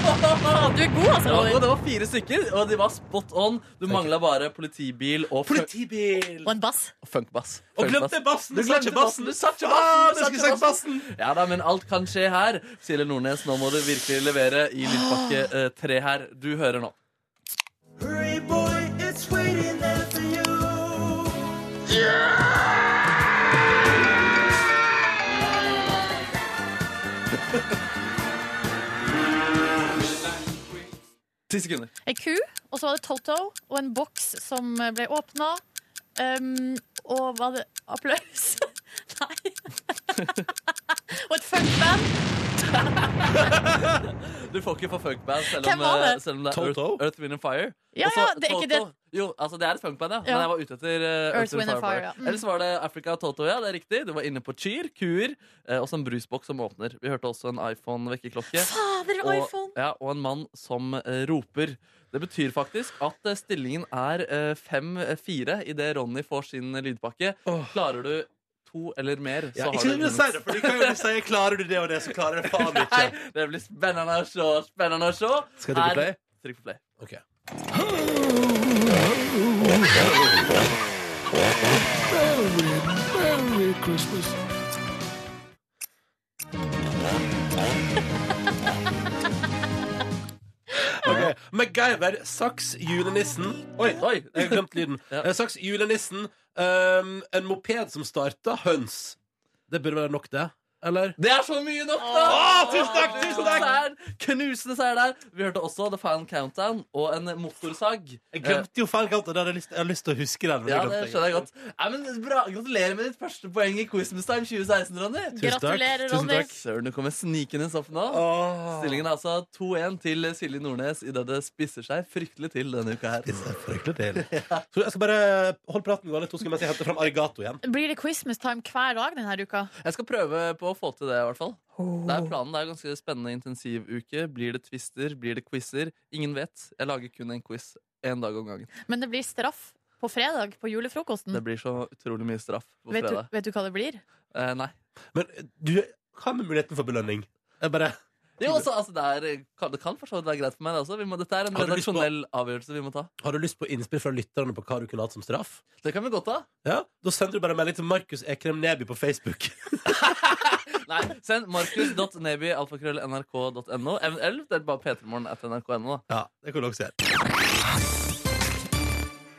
Du er god, altså. Ja, og Ronny. det var fire stykker, og de var spot on. Du mangla bare politibil og fun- Politibil! Og en bass. og funkbass. Og glemte Funkbass. bassen! Du Du glemte glemte bassen! bassen, du sa ikke Ah, bassen, du jeg sa skulle ikke sagt bassen! Ja da, men alt kan skje her. Silje Nordnes, nå må du virkelig levere i lydpakke eh, tre her. Du hører nå. Ti sekunder. Ei ku, og så var det Toto, og en boks som ble åpna. Ehm, og var det applaus? *laughs* Nei. og et funkband. Du får ikke få funkband selv, om, Hvem var det? eh, selv om det er Toto? Earth, Earth, Wind and Fire. Ja, Og så ja, det er ikke det. Toto. Jo, altså det er et funkband, ja. Ja. Men jeg var ute etter eh, Earth, Wind and Fire. ja. Mm. Ellers var det Africa og Toto, ja. Det er riktig. Du var inne på Cheer, kuer eh, og så en brusboks som åpner. Vi hørte også en iPhone-vekkerklokke. Fader, Og, iPhone. ja, og en mann som eh, roper. Det betyr faktisk at eh, stillingen er eh, 5-4 idet Ronny får sin lydpakke. Åh. Klarer du to eller mer, så Ja, har ikke du si det, vunnet. for de kan jo si 'klarer du det og det', så klarer jeg faen Nei, ikke. det blir spennende å se. Spennende å se. Skal jeg trykke Her- play? Trykk på play. Ok. *laughs* Ok, MacGyver, saks, julenissen Oi, Oi! jeg har glemt lyden. Ja. Eh, Saks, julenissen, ehm, en moped som starta, høns. Det burde være nok, det? Eller? Det er så mye nok, da! Åh, tusen takk, tusen takk! Seier. Knusende seier der. Vi hørte også The Final Countdown og en motorsag. Jeg glemte jo faen ikke alt det der. Jeg har lyst- jeg har lyst til å huske den. men Eh, ja, glemte det skjønner jeg godt. Nei, men bra. Gratulerer med ditt første poeng i Quizmas Time 2016, Ronny. Tusen takk. Gratulerer, Tusen Ronny. takk. Søren, du kommer snikende opp nå. Åh. Stillingen er altså 2-1 til Silje Nordnes idet det spisser seg fryktelig til denne uka her. Det er fryktelig *laughs* deilig. Så jeg skal bare holde praten gående to sekunder mens jeg henter fram Arigato igjen. Blir det Christmas time hver dag denne uka? Jeg skal prøve på å få til det, i hvert fall. Det er planen. Det er en ganske spennende intensivuke. Blir det twister? Blir det quizer? Ingen vet. Jeg lager kun en quiz én dag om gangen. Men det blir straff på fredag på julefrokosten. Det blir så utrolig mye straff på Mm. Vet du, fredag. vet du hva det blir? Eh, nei. Men du, hva med muligheten for belønning? Jeg bare Jo, altså, altså, det, er, kan, det kan for så vidt være greit for meg, det også. Vi må, dette er en Har du lyst på- redaksjonell avgjørelse vi må ta. Har du lyst på innspill fra lytterne på hva du kunne hatt som straff? Det kan vi godt ta. Ja, Da sender du bare en melding til Markus Ekrem Neby på Facebook. Nei, send markus.neby.nrk.no. Eventuelt det er bare p3morgen.nrk.no. Ja, det kan du også gjøre.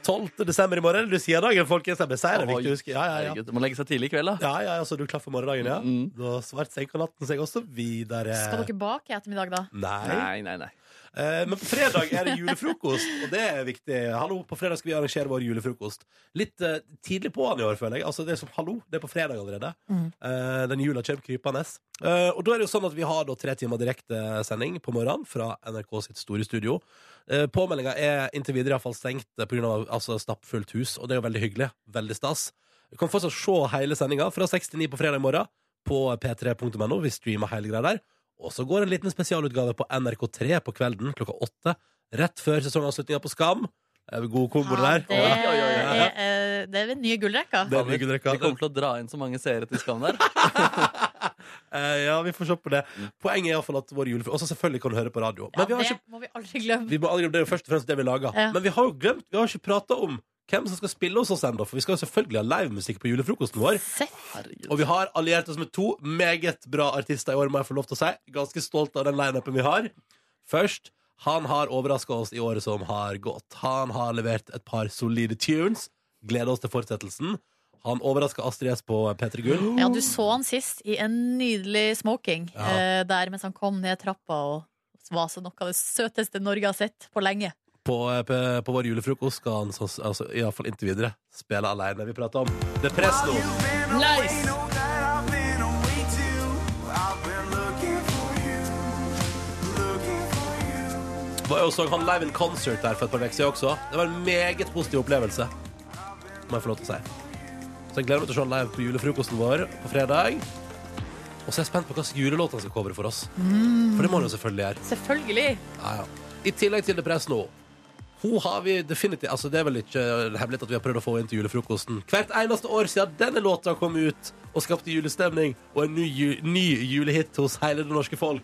12. desember i morgen. Lucia-dagen, folkens. Jeg ble seier, det er viktig å huske. Ja, ja, ja. Herregud, du må legge seg tidlig i kveld, da. Ja, ja, altså, du er klar for morgendagen, ja? Mm. Da svart senker natten seg også videre. Skal dere bake i ettermiddag, da? Nei. Nei, nei, nei. Eh, men på fredag er det julefrokost, og det er viktig. Hallo, På fredag skal vi arrangere vår julefrokost. Litt eh, tidlig på'n i år, føler jeg. Altså, Det er som hallo, det er på fredag allerede. Mm. Eh, den jula kommer krypende. Eh, og da er det jo sånn at vi har da tre timer direktesending på morgenen fra NRK sitt store studio. Uh, Påmeldinga er inntil videre iallfall stengt pga. Altså, stappfullt hus, og det er jo veldig hyggelig. Veldig stas. Du kan fortsatt se hele sendinga fra 6 til 9 på fredag morgen på p3.no. Vi streamer hele greia der. Og så går en liten spesialutgave på NRK3 på kvelden klokka åtte. Rett før sesongavslutninga på Skam. Eh, God kombo Ja, der. det, Ja. Oi, oi, oi. er, eh, det er den nye gullrekka. Det er mye Vi drikka. kommer til å dra inn så mange seere til Skam der. Eh, ja, vi får se på det. Poenget er iallfall at vår julefrokost Og så selvfølgelig kan du høre på radio. Ja, Men vi har det ikke, må vi aldri glemme. vi må aldri, det er jo først og fremst det vi lager. Ja. Men vi har jo glemt, vi har ikke prata om hvem som skal spille hos oss ennå. For vi skal jo selvfølgelig ha livemusikk på julefrokosten vår. Seff. Herregud. Og vi har alliert oss med to meget bra artister i år, må jeg få lov til å si. Ganske stolt av den lineupen vi har. Først Han har overraska oss i året som har gått. Han har levert et par solide tunes. Gleder oss til fortsettelsen. Han overraska Astrid S på P3 Gull. Ja, du så han sist i en nydelig smoking Mm. Ja. eh, der mens han kom ned trappa og var så noe av det søteste Norge har sett på lenge. På, eh, på, på vår julefrokost skal han sånn, altså, iallfall inntil videre spille aleine. Vi prater om The Presto. Nice! Var jo så han live in concert der for et par uker siden også. Det var en meget positiv opplevelse, må jeg få lov til å si. Så jeg gleder meg til å se han live på julefrokosten vår på fredag. Og så er jeg spent på hva slags julelåt han skal covre for oss. For det må han jo selvfølgelig gjøre. Selvfølgelig. Ja, ja. I tillegg til Depress nå. Hun har vi definitivt Altså Det er vel ikke hemmelig at vi har prøvd å få henne til julefrokosten hvert eneste år siden denne låta kom ut og skapte julestemning og en ny, ju- ny julehit hos hele det norske folk.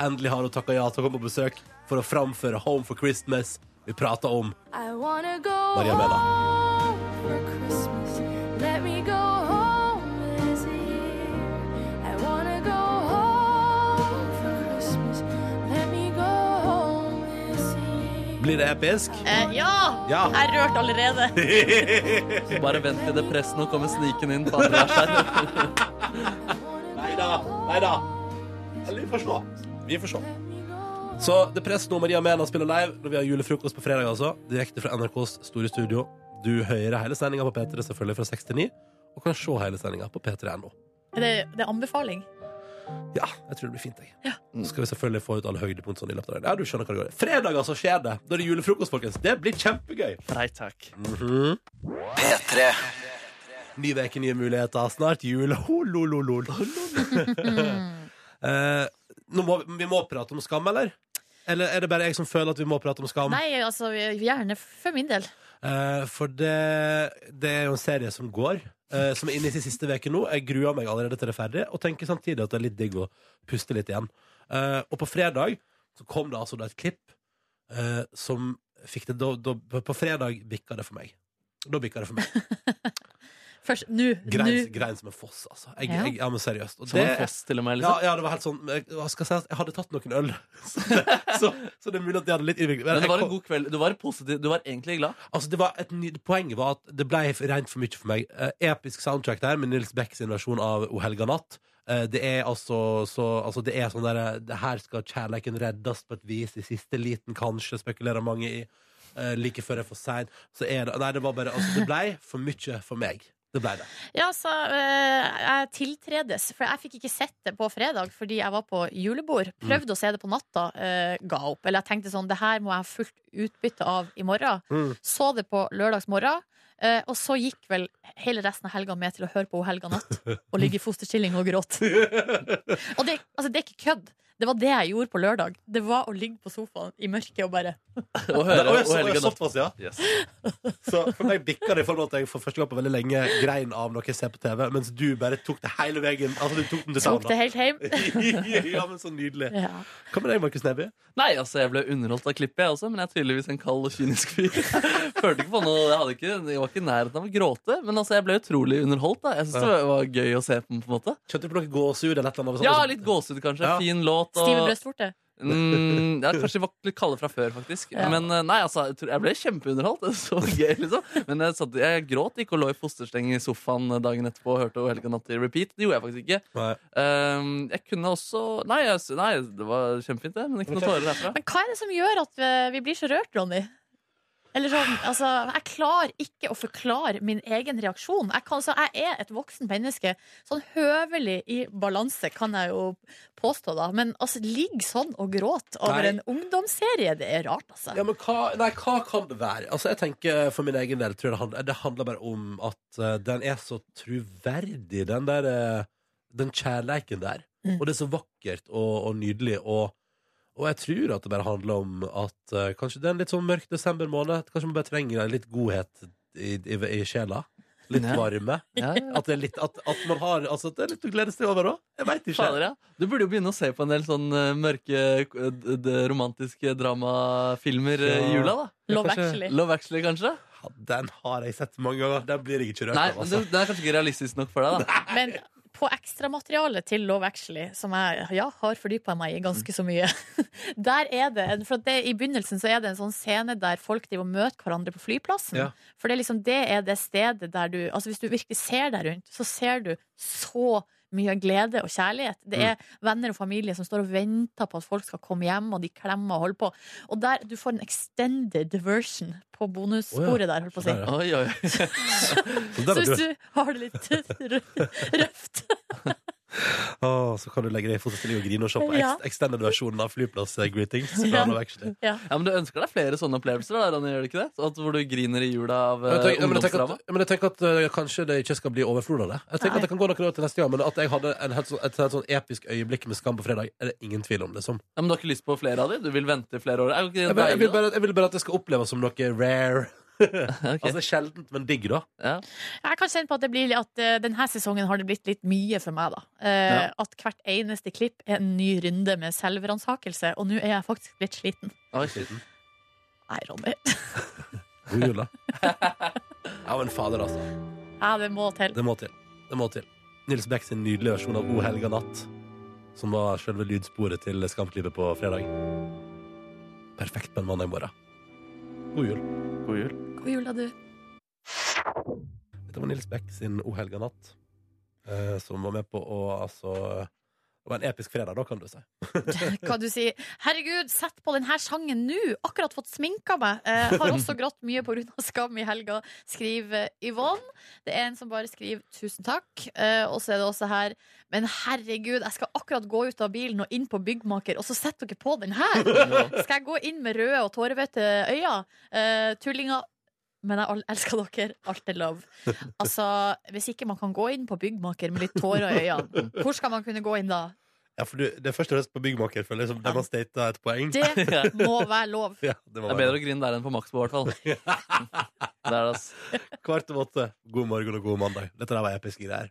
Endelig har hun takka ja til å komme på besøk for å framføre Home for Christmas. Vi prater om Maria Mena. Blir det episk? Eh, ja! Ja. Jeg er rørt allerede. Bare vent til det pressen og kommer sniken inn på andre vers her. Nei da. Nei da. Eller vi får se. Vi får se. Så det press nå Maria Mena spiller live når vi har julefrokost på fredag. altså Direkte fra NRKs store studio. Du hører hele sendinga på P3 selvfølgelig fra 6 til 9. Og kan se hele sendinga på p3.no. Det, det er anbefaling. Ja, jeg tror det blir fint. jeg Så skal vi selvfølgelig få ut alle høydepunktene i løpet av dagen. Ja, du skjønner hva det går i. Fredag, altså, skjer det. Da er det julefrokost, folkens. Det blir kjempegøy. Mhm. Nei takk. Ny veke, nye muligheter. Snart jul. Holololol. Eh, nå må vi, vi må prate om skam, eller? Eller er det bare jeg som føler at vi må prate om skam? Nei, altså, gjerne for min del. Eh, for det, det er jo en serie som går, eh, som er inne i sin siste uke nå. Jeg gruer meg allerede til det er ferdig, og tenker samtidig at det er litt digg å puste litt igjen. Eh, og på fredag så kom det altså da et klipp eh, som fikk det da, da, På fredag bikka det for meg. Da bikka det for meg. Først nå. Grein, nå. grein som en foss, altså. Jeg, Ja. jeg, ja, men seriøst. Og Som en det- foss til og ja, med, liksom. ja, det var helt sånn Jeg, hva skal jeg, si, jeg hadde tatt noen øl, *laughs* så, så, så det er mulig at det hadde litt innvirkning. Men Men det jeg var en kom- god kveld. Du var positiv. Du var egentlig glad. Altså, det var et ny, poenget var at det ble rent for mye for meg. Eh, episk soundtrack der med Nils Becks versjon av O helga natt. Eh, det er altså så altså, Det er sånn derre Det her skal kjærleiken reddes på et vis i siste liten, kanskje, spekulerer mange i. Eh, like før det er for sein. Så er det Nei, det var bare Altså, det blei for mye for meg. Det blei det. Ja, altså, eh, jeg tiltredes. For jeg fikk ikke sett det på fredag fordi jeg var på julebord. Prøvde å se det på natta, eh, ga opp. Eller jeg tenkte sånn, det her må jeg ha fullt utbytte av i morgen. Mm. Så det på lørdags morgen. eh, og så gikk vel hele resten av helga med til å høre på O helga natt og ligge i fosterstilling og gråte. Og det, altså, det er ikke kødd. Det var det jeg gjorde på lørdag. Det var å ligge på sofaen i mørket og bare Og Nei, høre å, jeg, og så, jeg, helge Eh, natt. såpass, ja. Yes. Så for meg bikka det i forhold til at jeg for første gang på veldig lenge grein av noe jeg ser på TV, mens du bare tok det hele veien. Altså, du tok den til tok det sauna. helt *laughs* hjem. ja, men så nydelig. Ja. Hva med deg, Markus Neby? Nei, altså, jeg ble underholdt av klippet, jeg også, men jeg er tydeligvis en kald og kynisk fyr. *laughs* Følte ikke på noe, jeg, hadde ikke, jeg var ikke i nærheten av å gråte, men altså, jeg ble utrolig underholdt. da. Jeg synes det var gøy å se på, på en måte. Kjente du på noe gåsehud eller et eller annet? Ja, litt gåsehud, kanskje. Sånn liksom- Ja. Fin låt. og- Stive brystvorter. Mm, ja, kanskje vi var litt kalde fra før, faktisk. Ja. Men eh, nei, altså, jeg, tror, jeg ble kjempeunderholdt. *laughs* Det var Så gøy, liksom. Men jeg, satt, jeg gråt ikke og lå i fostersteng i sofaen dagen etterpå og hørte O helga natt i repeat. Det gjorde jeg faktisk ikke. Nei. Ehm, jeg kunne også nei, jeg, nei, det var kjempefint, det, men ikke noen tårer *laughs* derfra. Men hva er det som gjør at eh, vi blir så rørt, Ronny? Eller sånn, altså, Jeg klarer ikke å forklare min egen reaksjon. Jeg, kan, så jeg er et voksen menneske. Sånn høvelig i balanse, kan jeg jo påstå, da. Men altså, ligg sånn og gråt over Nei. en ungdomsserie, det er rart, altså. Ja, men hva, nei, hva kan det være? Altså, jeg tenker For min egen del tror jeg det handler, det handler bare om at eh, den er så troverdig, den der eh, Den kjærleiken der. Mm. Og det er så vakkert og, og nydelig. Og, og jeg tror at det bare handler om at eh, kanskje det er en litt sånn mørk desember måned. Kanskje man bare trenger litt godhet i, i, i sjela. Litt Ja. varme. Ja, ja. At det er litt at, at man har Altså at det er litt å glede seg over òg. Jeg veit ikke. Fader, ja. Du burde jo begynne å se på en del sånn eh, mørke, eh, d- d- romantiske dramafilmer eh, i Ja. jula, da. Love kanskje- Actually. Love Actually, kanskje? Ja, Den har jeg sett mange ganger. Den blir jeg ikke rørt Nei, av. men Altså. det, det er kanskje ikke realistisk nok for deg, da. Men på ekstramaterialet til Love Actually, som jeg ja, har fordypa meg i ganske så mye. *laughs* Der er det, for at det, I begynnelsen så er det en sånn scene der folk driver og møter hverandre på flyplassen. Ja. For det er liksom det er det stedet der du Altså Hvis du virkelig ser deg rundt, så ser du så mye glede og kjærlighet. Det er Mm. venner og familie som står og venter på at folk skal komme hjem, og de klemmer og holder på. Og der du får en extended version på bonussporet der, holdt på å si. Der, ja. Oi, oi. Så, Så der, hvis vet du. du har det litt *laughs* rø- røft Å, så kan du legge deg i fotostilling og grine og se på Ja. ekst- extended-versjonen av eh, Flyplass-greetings. *laughs* Ja. fra Love Actually. ja. Ja, men Du ønsker deg flere sånne opplevelser, da, Ronny, gjør du ikke det? Sånn At, hvor du griner i jula av Men jeg eh, tenker, men jeg tenker ungdomsdrama? at, men jeg tenker at eh, kanskje det ikke skal bli overflod av det. Jeg tenker Nei. at det kan gå noen år til neste gang, men at jeg hadde en helt sånn, et helt sånn episk øyeblikk med Skam på fredag, er det ingen tvil om. liksom. Ja, men Du har ikke lyst på flere av dem? Du vil vente i flere år? Er jo ikke Jeg, det bare, jeg, deilig, vil bare, jeg vil bare at det skal oppleves som noe rare. *laughs* da? *laughs* Ok. Altså sjeldent, men digg, da. ja. Jeg kan kjenne på at, det blir, at eh, denne sesongen har det blitt litt mye for meg. da. Eh, Ja. At hvert eneste klipp er en ny runde med selvransakelse. Og nå er jeg faktisk litt sliten. Oi, shit. Nei, Ronny. *laughs* God *laughs* jul, da. Ja, men fader, altså. Ja, det må til. Det må til. Det må til. Nils Beck sin nydelige versjon av O helga natt, som var selve lydsporet til Skamklippet på fredag. Perfekt på en mandag morgen. God jul. God jul. God jul, da, du. Dette var Nils Beck sin O helga natt, eh, som var med på å altså Det var en episk fredag, da, kan du si. *laughs* Hva du sier. Herregud, sett på denne sangen nå! Akkurat fått sminka meg. Eh, har også grått mye pga. skam i helga, skriver Yvonne. Det er en som bare skriver 'tusen takk'. Eh, og så er det også her 'men herregud, jeg skal akkurat gå ut av bilen og inn på byggmaker', og så setter dere på den her! Skal jeg gå inn med røde og tårevete øyne? Eh, tullinger. Men jeg al- elsker dere. Alt er love. Altså, Hvis ikke man kan gå inn på byggmaker med litt tårer i øynene, hvor skal man kunne gå inn da? Ja, for du, Det er først og fremst på Byggmaker, føler jeg, som der man stata et poeng. Det må være lov. *laughs* Ja, det Det var er bedre å grine der enn på Maxbo, *laughs* i hvert fall. Det er det, ass. Kvart over åtte. God morgen og god mandag. Dette der var episke greier.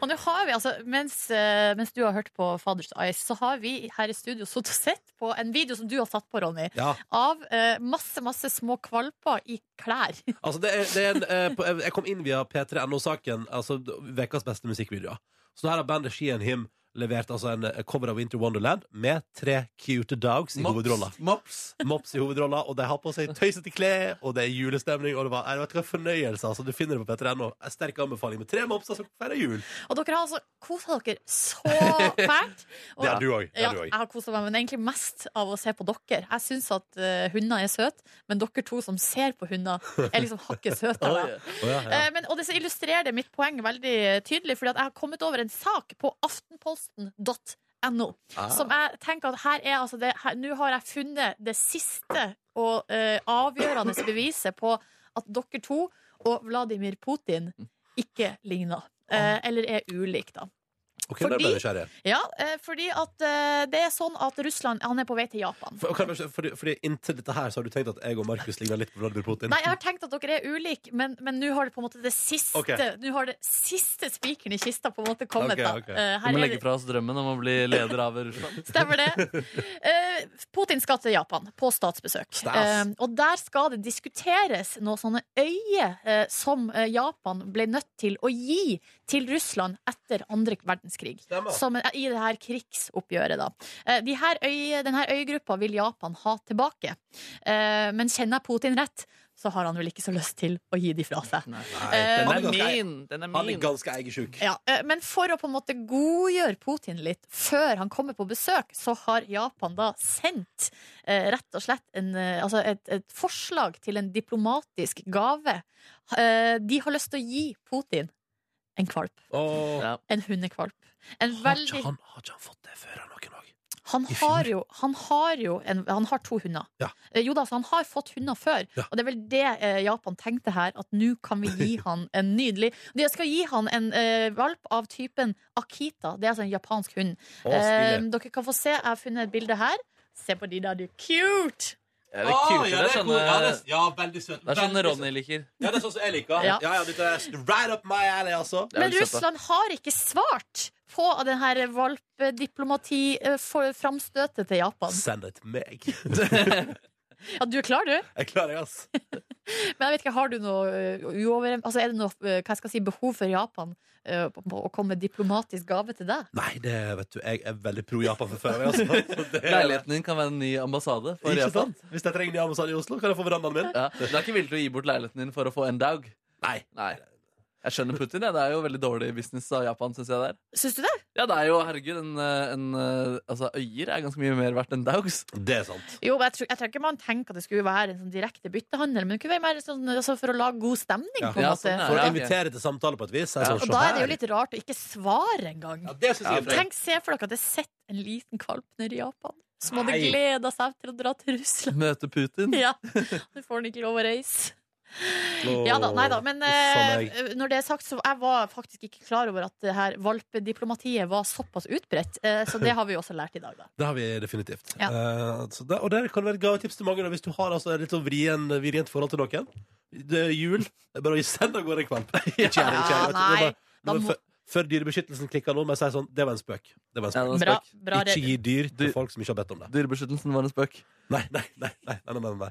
Og nå har vi, altså, mens, eh, mens du har hørt på Fathers Eyes, så har vi her i studio sittet og sett på en video som du har satt på, Ronny, Ja, av eh, masse, masse små kvalper i klær. *laughs* Altså, det er, det er en, eh, på, jeg kom inn via P3NO-saken, altså ukas beste musikkvideoer. Så her har bandet She and Him levert altså en eh, cover av Winter Wonderland med tre cute dogs i hovedrolla. Mops. Mops. Mops i hovedrolla, og de har på seg tøysete klær, og det er julestemning, og det var, jeg vet ikke, hva, fornøyelse, altså. Du finner det på P3NO. En Sterk anbefaling med tre altså, mopser som feirer jul. Og dere har altså kosa dere så fælt. *laughs* Og- Det er du òg. Ja, jeg har kosa meg, men egentlig mest av å se på dere. Jeg syns at eh, hunder er søte, men dere to som ser på hunder, er liksom hakket søtere. Eh, Men, og det så illustrerer det mitt poeng veldig tydelig, fordi at jeg har kommet over en sak på aftenposten.no. Som jeg tenker at her er altså det her- Nå har jeg funnet det siste og eh, avgjørende beviset på at dere to og Vladimir Putin ikke ligner. Eh, eller er ulike, da. Ok, da ble jeg nysgjerrig. Ja, eh, fordi at eh, det er sånn at Russland han er på vei til Japan. For, kan jeg bare- fordi, fordi inntil dette her så har du tenkt at jeg og Markus ligner litt på Vladimir Putin? Nei, jeg har tenkt at dere er ulike, men, men nå har det på en måte det siste Ok. Nå har det siste spikeren i kista på en måte kommet. Ok, da. ok. Eh, Vi her må er legge det, fra oss drømmen om å bli leder av Russland. stemmer det. Eh, Putin skal til Japan på statsbesøk. Stas. Eh, og der skal det diskuteres noe sånne øyer eh, som eh, Japan ble nødt til å gi til Russland etter andre verdenskrig. Stemmer. Som, en- I det her krigsoppgjøret, da. Eh, de her øy, denne øygruppa vil Japan ha tilbake. Eh, men kjenner jeg Putin rett, så har han vel ikke så lyst til å gi de fra seg. han Den Eh, er er ganske- min! Den er han er min. ganske eiersjuk. Ja, eh, men for å på en måte godgjøre Putin litt før han kommer på besøk, så har Japan da sendt eh, rett og slett en, eh, altså et, et forslag til en diplomatisk gave. Eh, de har lyst til å gi Putin en kvalp. Og Ja. En hundekvalp. En har, ikke veldig han, har ikke han fått det før, han noen gang? Han I har fjor? jo, han har jo en, Han har to hunder. Ja. Eh, Jo da, så han har fått hunder før. Ja. Og det er vel det eh, Japan tenkte her, at nå kan vi *laughs* gi han en nydelig De skal gi han en eh, valp av typen Akita. Det er altså en japansk hund. Å, Eh, stilig. dere kan få se. Jeg har funnet et bilde her. Se på de der, du. Cute! Ah, Ja, det er kult. Sånn, Det er eh, sånne, veldig søt. det er sånn Ronny liker. Ja, det er sånn som jeg liker. Ja. ja, dette er right up my alley, altså. Det er Men veldig søtt, da. Russland har ikke svart på denne valpediplomati-framstøtet eh, til Japan. *laughs* Send det til meg. Ja, du er klar, du? Jeg klarer det, ass. Men jeg vet ikke, har du noe eh, uover... Altså, er det noe eh, hva skal jeg si, behov for Japan eh, på- på å komme med diplomatisk gave til deg? Nei, det vet du, jeg er veldig pro Japan fra før. Altså. Så *laughs* det- Leiligheten din kan være en ny ambassade. For Ikke Japan. sant? Hvis jeg trenger ny ambassade i Oslo, kan jeg få verandaen min? Ja. Du er ikke villig til å gi bort leiligheten din for å få en daug? Nei. Nei. Jeg skjønner Putin. Ja. Det er jo veldig dårlig business av Japan, syns jeg det er. Syns du det? Ja, det er jo, herregud, en, eh, en, eh, altså, øyer er ganske mye mer verdt enn daugs. Det er sant. Jo, men jeg tror, jeg tror ikke man tenker at det skulle være en sånn direkte byttehandel, men det kunne være mer sånn, altså, for å lage god stemning, Ja. på en Ja, måte. sånn er For å Ja, ok. invitere til samtale på et vis. Er Ja. sånn, Og «Se da er det jo her». litt rart å ikke svare engang. ja, Det syns jeg er frekt. Tenk, se for dere at det sitter en liten kalp nede i Japan som hadde Nei. gleda seg til å dra til Russland. *laughs* *laughs* Møte Putin. Ja, Nå får han ikke lov å reise. Åh. Ja da, nei da. Sånn Men Uff a meg. eh, når det er sagt, så jeg var faktisk ikke klar over at det her valpediplomatiet var såpass utbredt. eh, så det har vi jo også lært i dag, da. Det har vi definitivt. Ja. Eh, så der, og der kan det være et gavetips til mange da, hvis du har altså, et litt sånn vrien, vrient forhold til noen. Det er jul. Det er bare å sende av gårde en *laughs* kvalp. Ikke gjør det, ikke gjør det, vet du. Det er nei. bare- Da det må- var før- Før Dyrebeskyttelsen klikka nå, men jeg sier sånn Det var en spøk. Det var en Ja, spøk. det var en Bra, spøk. bra Ikke red- gi dyr til Du- folk som ikke har bedt om det. Dyrebeskyttelsen var en spøk. Nei, nei, nei, nei, nei, nei, nei.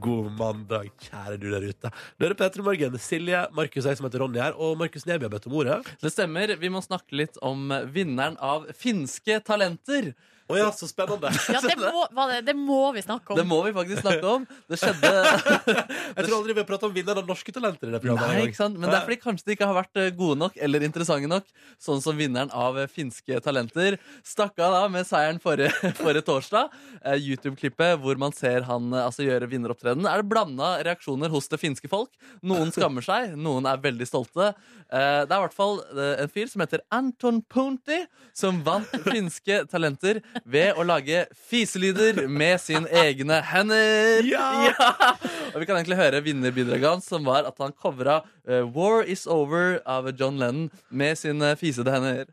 God mandag, kjære du der ute. Nå er det Petter i Morgen. Silje, Markus og jeg som heter Ronny her, og Markus Neby har bedt om ordet. Det stemmer. Vi må snakke litt om eh, vinneren av Finske talenter. Å ja, så spennende! Ja, det må, hva det, det må vi snakke Det om. må vi faktisk snakke om. Det skjedde Jeg tror aldri vi har pratet om vinneren av norske talenter i det programmet. Nei, her i dag. ikke sant? Men det er fordi kanskje de ikke har vært eh, gode nok eller interessante nok. Sånn som vinneren av eh, Finske talenter stakk av da med seieren forrige, *laughs* forrige torsdag. Eh, YouTube-klippet hvor man ser han eh, altså, gjøre vinneropptreden. Er det blanda reaksjoner hos det finske folk? Noen skammer seg, noen er veldig stolte. Eh, Det er i hvert fall eh, en fyr som heter Anton Punti, som vant Finske talenter ved å lage fiselyder med sine egne hender. Ja! Og vi kan egentlig høre vinnerbidraget hans, som var at han covra eh, War Is Over av John Lennon med sine fisete hender.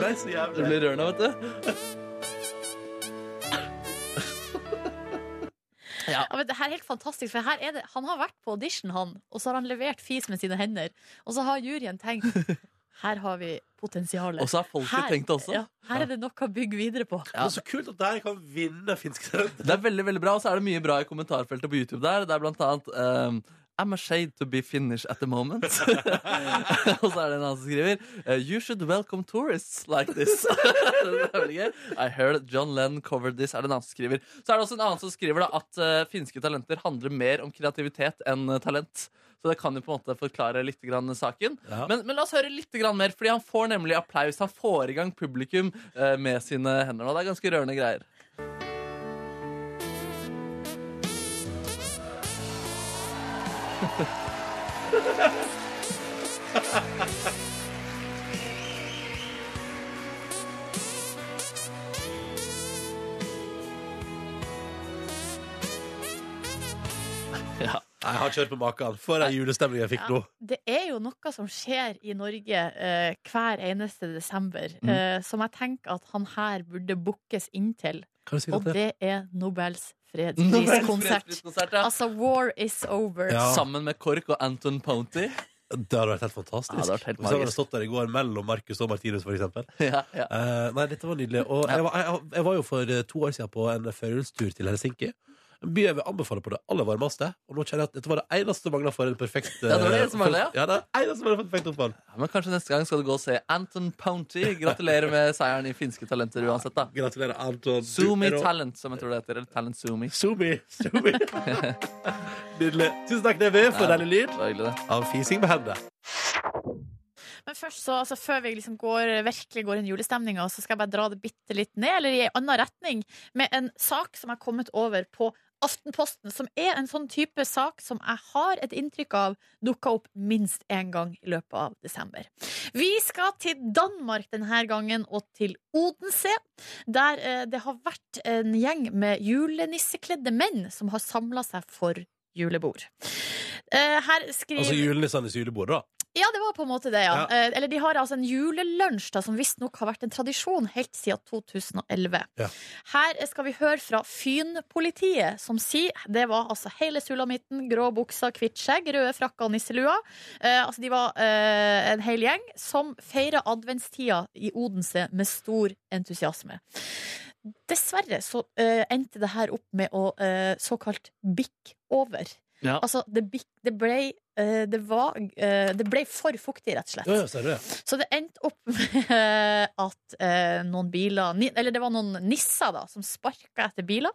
Nei, så Det jævlig. blir rørende, vet du. Ja, men det her er helt fantastisk, for her er det, han har vært på audition, han, og så har han levert fis med sine hender. Og så har juryen tenkt *laughs* her har vi potensialet. Og så har folket tenkt det også. ja, her er det nok å bygge videre på. Det er så kult at dere kan vinne finske talenter. Det er veldig, veldig bra, og så er det mye bra i kommentarfeltet på YouTube der. Det er blant annet ehm, I'm ashamed to be Finnish at the moment. *laughs* og så er det en annen som skriver eh, You should welcome tourists like this. *laughs* det er veldig gøy. I heard John Lennon covered this. Er det en annen som skriver Så er det også en annen som skriver da, at eh, finske talenter handler mer om kreativitet enn eh, talent. Så det kan jo på en måte forklare litt grann saken. Ja. Men, men la oss høre litt grann mer, fordi han får nemlig applaus. Han får i gang publikum eh, med sine hender nå. Det er ganske rørende greier. Nei, jeg har kjørt på maken. For ei julestemning jeg fikk nå. Det er jo noe som skjer i Norge eh, hver eneste desember, eh, som jeg tenker at han her burde bookes inn til. Kan du si Og det? det er Nobels Nobels fredspriskonsert. fredspriskonsert, ja. Altså, war is over. Ja. Sammen med KORK og Anton Ponty. Det hadde vært helt fantastisk. Ja, det hadde vært helt Hvis jeg hadde magisk. stått der i går mellom Markus og Martinus, for eksempel. *laughs* Ja, ja. Eh, nei, dette var nydelig. Og jeg, var, jeg, jeg var jo for eh, to år siden på en førjulstur til Helsinki. En by jeg vil anbefale på det aller varmeste. Og nå kjenner jeg at dette var det eneste som mangla for en perfekt eh, Ja, det var det eneste som manglet, ja. ja, det er det eneste som manglet for et perfekt opphold. Men kanskje neste gang skal du gå og se Anton Ponty. Gratulerer med seieren i Finske Talenter uansett, da. Gratulerer, Anton. Du Zoomy er rå. Talent, som jeg tror det heter. Eller Talent Zoomy. Zoomy. *laughs* Zoomy. nydelig. Tusen takk, Neby, for Ja. denne lyd Det var hyggelig, det. av fising med hendene. Men først så, altså før vi liksom går, virkelig går inn i julestemninga, så skal jeg bare dra det bitte litt ned, eller i en annen retning, med en sak som jeg har kommet over på Aftenposten, som er en sånn type sak som jeg har et inntrykk av dukka opp minst én gang i løpet av desember. Vi skal til Danmark denne gangen, og til Odense, der eh, det har vært en gjeng med julenissekledde menn som har samla seg for julebord. Eh, her skriver Altså julenissenes julebord, da. Ja, det var på en måte det, ja. Ja. Eh, Eller de har altså en julelunsj da, som visstnok har vært en tradisjon helt siden 2011. Ja. Her skal vi høre fra Fynpolitiet, som sier det var altså hele sulamitten, grå bukser, hvitt skjegg, røde frakker og nisselua. Eh, altså, de var eh, en hel gjeng som feira adventstida i Odense med stor entusiasme. Dessverre så eh, endte det her opp med å eh, såkalt bikke over. Ja. Altså, det, bikk, det ble eh, det, var, eh, det ble for fuktig, rett og slett. Ja, ja, ser du det? Så det endte opp *laughs* med at eh, noen biler ni- Eller det var noen nisser da som sparka etter biler.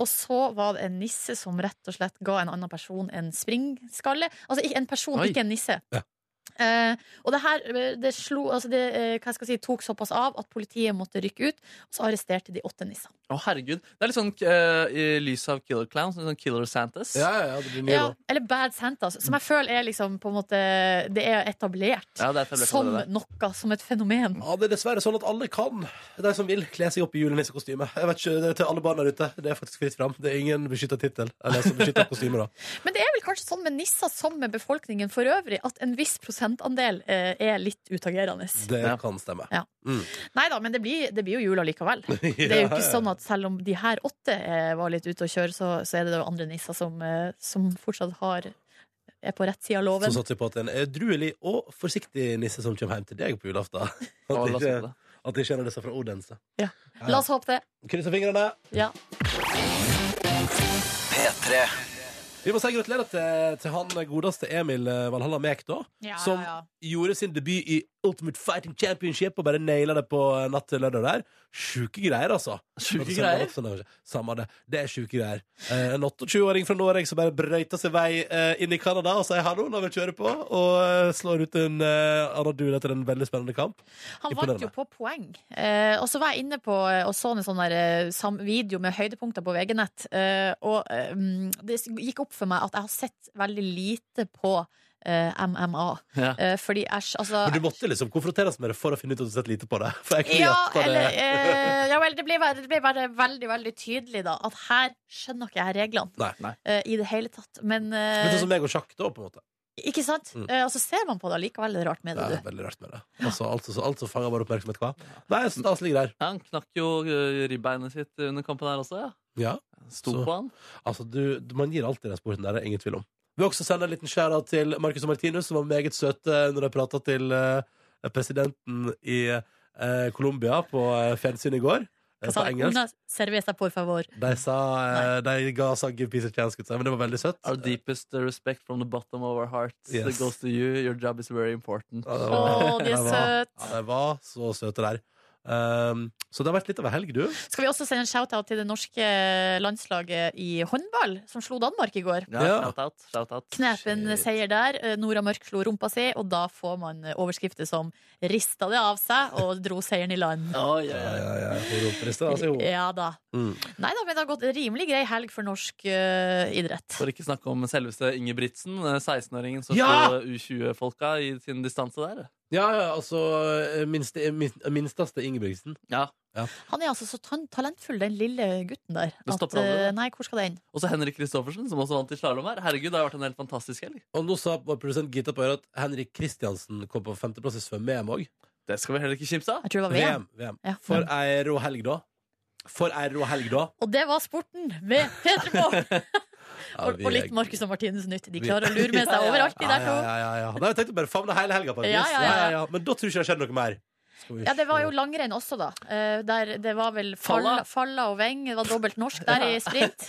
Og så var det en nisse som rett og slett ga en annen person en springskalle. Altså ikke- en person, Oi. ikke en nisse. Ja. Eh, og det her eh, det slo, altså det, eh, hva skal jeg si, tok såpass av at politiet måtte rykke ut, og så arresterte de åtte nissene. Å, herregud. Det er litt sånn eh, i lys av Killer Clowns, litt sånn Killer Santas. Ja, ja, ja, det blir mye Ja, nå. eller Bad Santas, som jeg føler er liksom på en måte Det er etablert Ja, det er derfor jeg ble som forvirret. noe, som et fenomen. Ja, det er dessverre sånn at alle kan, de som vil, kle seg opp i julenissekostyme. Jeg vet ikke, det er til alle barna der ute. Det er faktisk fritt fram. Det er ingen beskytta tittel. Eller som beskytta kostyme, da. Men det er vel kanskje sånn med nisser som med befolkningen for øvrig, at en viss prosentandel eh, er litt utagerende. Det Ja. kan stemme. Nei da, men det blir, det blir jo *laughs* jul allikevel. Det er jo ikke sånn at selv om de her åtte eh, var litt ute å kjøre, så, så er det jo andre nisser som, eh, som fortsatt har er på rett side Så av loven. satser vi på at det er en edruelig og forsiktig nisse som kommer hjem til deg på julaften. Å, At la oss ikke, se på det. at ikke en av disse fra Odense. ja. La oss håpe det. Krysser fingrene. Ja. Vi må si gratulerer til, til han godeste Emil eh, Valhalla Mek, da. som gjorde sin debut i Ultimate Fighting Championship og bare naila det på eh, natt til lørdag der. Sjuke greier, altså. Sjuke Altså, greier. Samme, det, samme det. Det er sjuke greier. Eh, En 28-åring fra Norge som bare brøyter seg vei eh, inn i Canada og sier hallo når vi kjører på, og eh, slår ut en eh, annen dude etter en veldig spennende kamp. Han Imponerende. vant jo på poeng. Eh, og så var jeg inne på eh, og så en sånn der, eh, sam video med høydepunkter på VG-nett. Eh, og eh, mm, det gikk opp for meg at jeg har sett veldig lite på eh, MMA. Ja. Eh, fordi æsj, altså Men du måtte liksom konfronteres med det for å finne ut at du har sett lite på det. For jeg ja, kletta det. eller, eh, ja vel, det ble, bare, det ble bare veldig veldig tydelig da at her skjønner ikke jeg reglene Nei. eh, i det hele tatt. Men eh, Men sånn som meg og sjakk, da, på en måte. ikke sant? Mm. Eh, og så ser man på det allikevel. Det er rart med Det det, er du. veldig rart med det. Altså, alt, som- alt som fanger bare oppmerksomhet, hva? Nei, staselige greier. Ja, han knakk jo eh, ribbeinet sitt under kampen her også. Ja. Ja. Sto Så- på han. Altså, du, du- man gir alltid den sporten der, det er ingen tvil om. Vi vil også sende en liten skjæra til Marcus og Martinus, som var meget søte når de prata til eh, presidenten i eh, Colombia på eh, fjernsyn i går. eh, Hva sa på du? engelsk. Una cerveza, por favor. De, sa, eh, de ga sang Give Peace a Chance, skulle jeg si, men det var veldig søtt. Our deepest uh, respect from the bottom of our hearts Eh, Yes. goes to you. Your job is very important. Ja, det Å, var- de det er var- søte! Ja, de var så søte der. Um, så det har vært litt av ei helg, du. Skal vi også sende en shout-out til det norske eh, landslaget i håndball, som slo Danmark i går. Ja, Ja. Shout out. Shout out. Knepen seier der. Eh, Nora Mørk slo rumpa si, og da får man eh, overskrifter som 'rista det av seg' og 'dro seieren i *laughs* land'. Oi, oi, oi. altså, Ja da. Mm. Nei da, men det har gått en rimelig grei helg for norsk eh, idrett. For ikke snakke om selveste Ingebrigtsen, eh, 16-åringen som Ja! slo U20-folka i sin distanse der. Ja, ja, altså eh, minste, min- minsteste Ingebrigtsen. Ja. Han er altså så tan- talentfull, den lille gutten der. Det At, stopper aldri, eh, det. nei, hvor skal det inn? Og så Henrik Kristoffersen, som også vant i slalåm her. Herregud, det har vært en helt fantastisk helg. Og nå sa vår produsent Gita på øret at Henrik Kristiansen kom på femteplass i svømme-EM òg. Det skal vi heller ikke kimse av. Jeg tror det var VM. VM. VM. Ja. For ei rå helg, da. For ei rå helg, da. Og det var sporten med Peter Moe! *laughs* Ja, og, vi og litt er- Markus og Martinus Nytt. De Vi- klarer å lure med seg overalt, de *laughs* Ja, der to. ja, ja, ja, ja. Nei, jeg tenkte bare favne hele helga, på et Ja, vis. ja, ja. Men da tror jeg ikke det har skjedd noe mer. Skal vi Ja, det var jo se. langrenn også, da. Eh, Der det var vel Falla, Falla. falla og Weng. Det var dobbelt norsk der i sprint.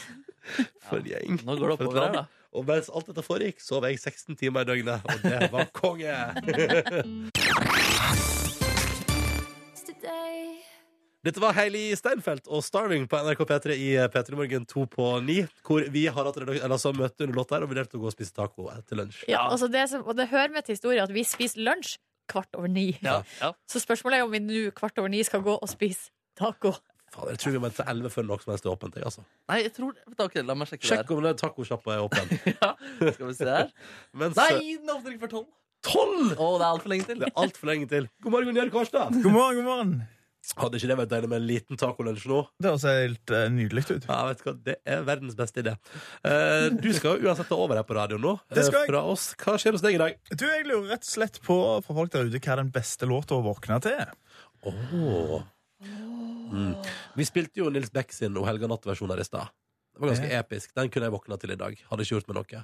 For en gjeng. Nå går det For et oppover her, land. da. Og mens alt dette foregikk, sov jeg 16 timer i døgnet, og det var konge! Dette var Hailey Steinfeld og Starving på NRK P3 i P3 Morgen 2 på 9, hvor vi har hatt redak- eller altså, møte under låt der og vurdert å gå og spise taco etter lunsj. Ja, altså det som, og det hører med til historien at vi spiser lunsj kvart over ni. Ja, ja. Så spørsmålet er om vi nå kvart over ni skal gå og spise taco. Fader, jeg tror vi må til 11 før noe som helst er åpent. jeg, Altså. Nei, jeg tror Vent, da, ok, La meg sjekke Sjekk om den tacosjappa er åpen. det her. Ja. Skal vi *laughs* se her. Mens Nei, den åpner ikke før tolv! 12! Å, det er altfor lenge til. Det er altfor lenge til. God morgen, Jørg Kårstad. God morgen, god morgen. Hadde ikke det vært deilig med en liten tacolunsj nå? Det høres helt eh, nydelig ut. Ja, vet du hva, Det er verdens beste idé. Eh, du skal jo uansett ta over her på radioen nå. Det eh, skal jeg. Fra oss. Hva skjer hos deg i dag? Du, Jeg lurer rett og slett på fra folk der ute, hva er den beste låta å våkne til? Åh. Mm. Vi spilte jo Nils Beck sin Og helga natt-versjon her i stad. Det var ganske episk. Den kunne jeg våkna til i dag. Hadde ikke gjort meg noe.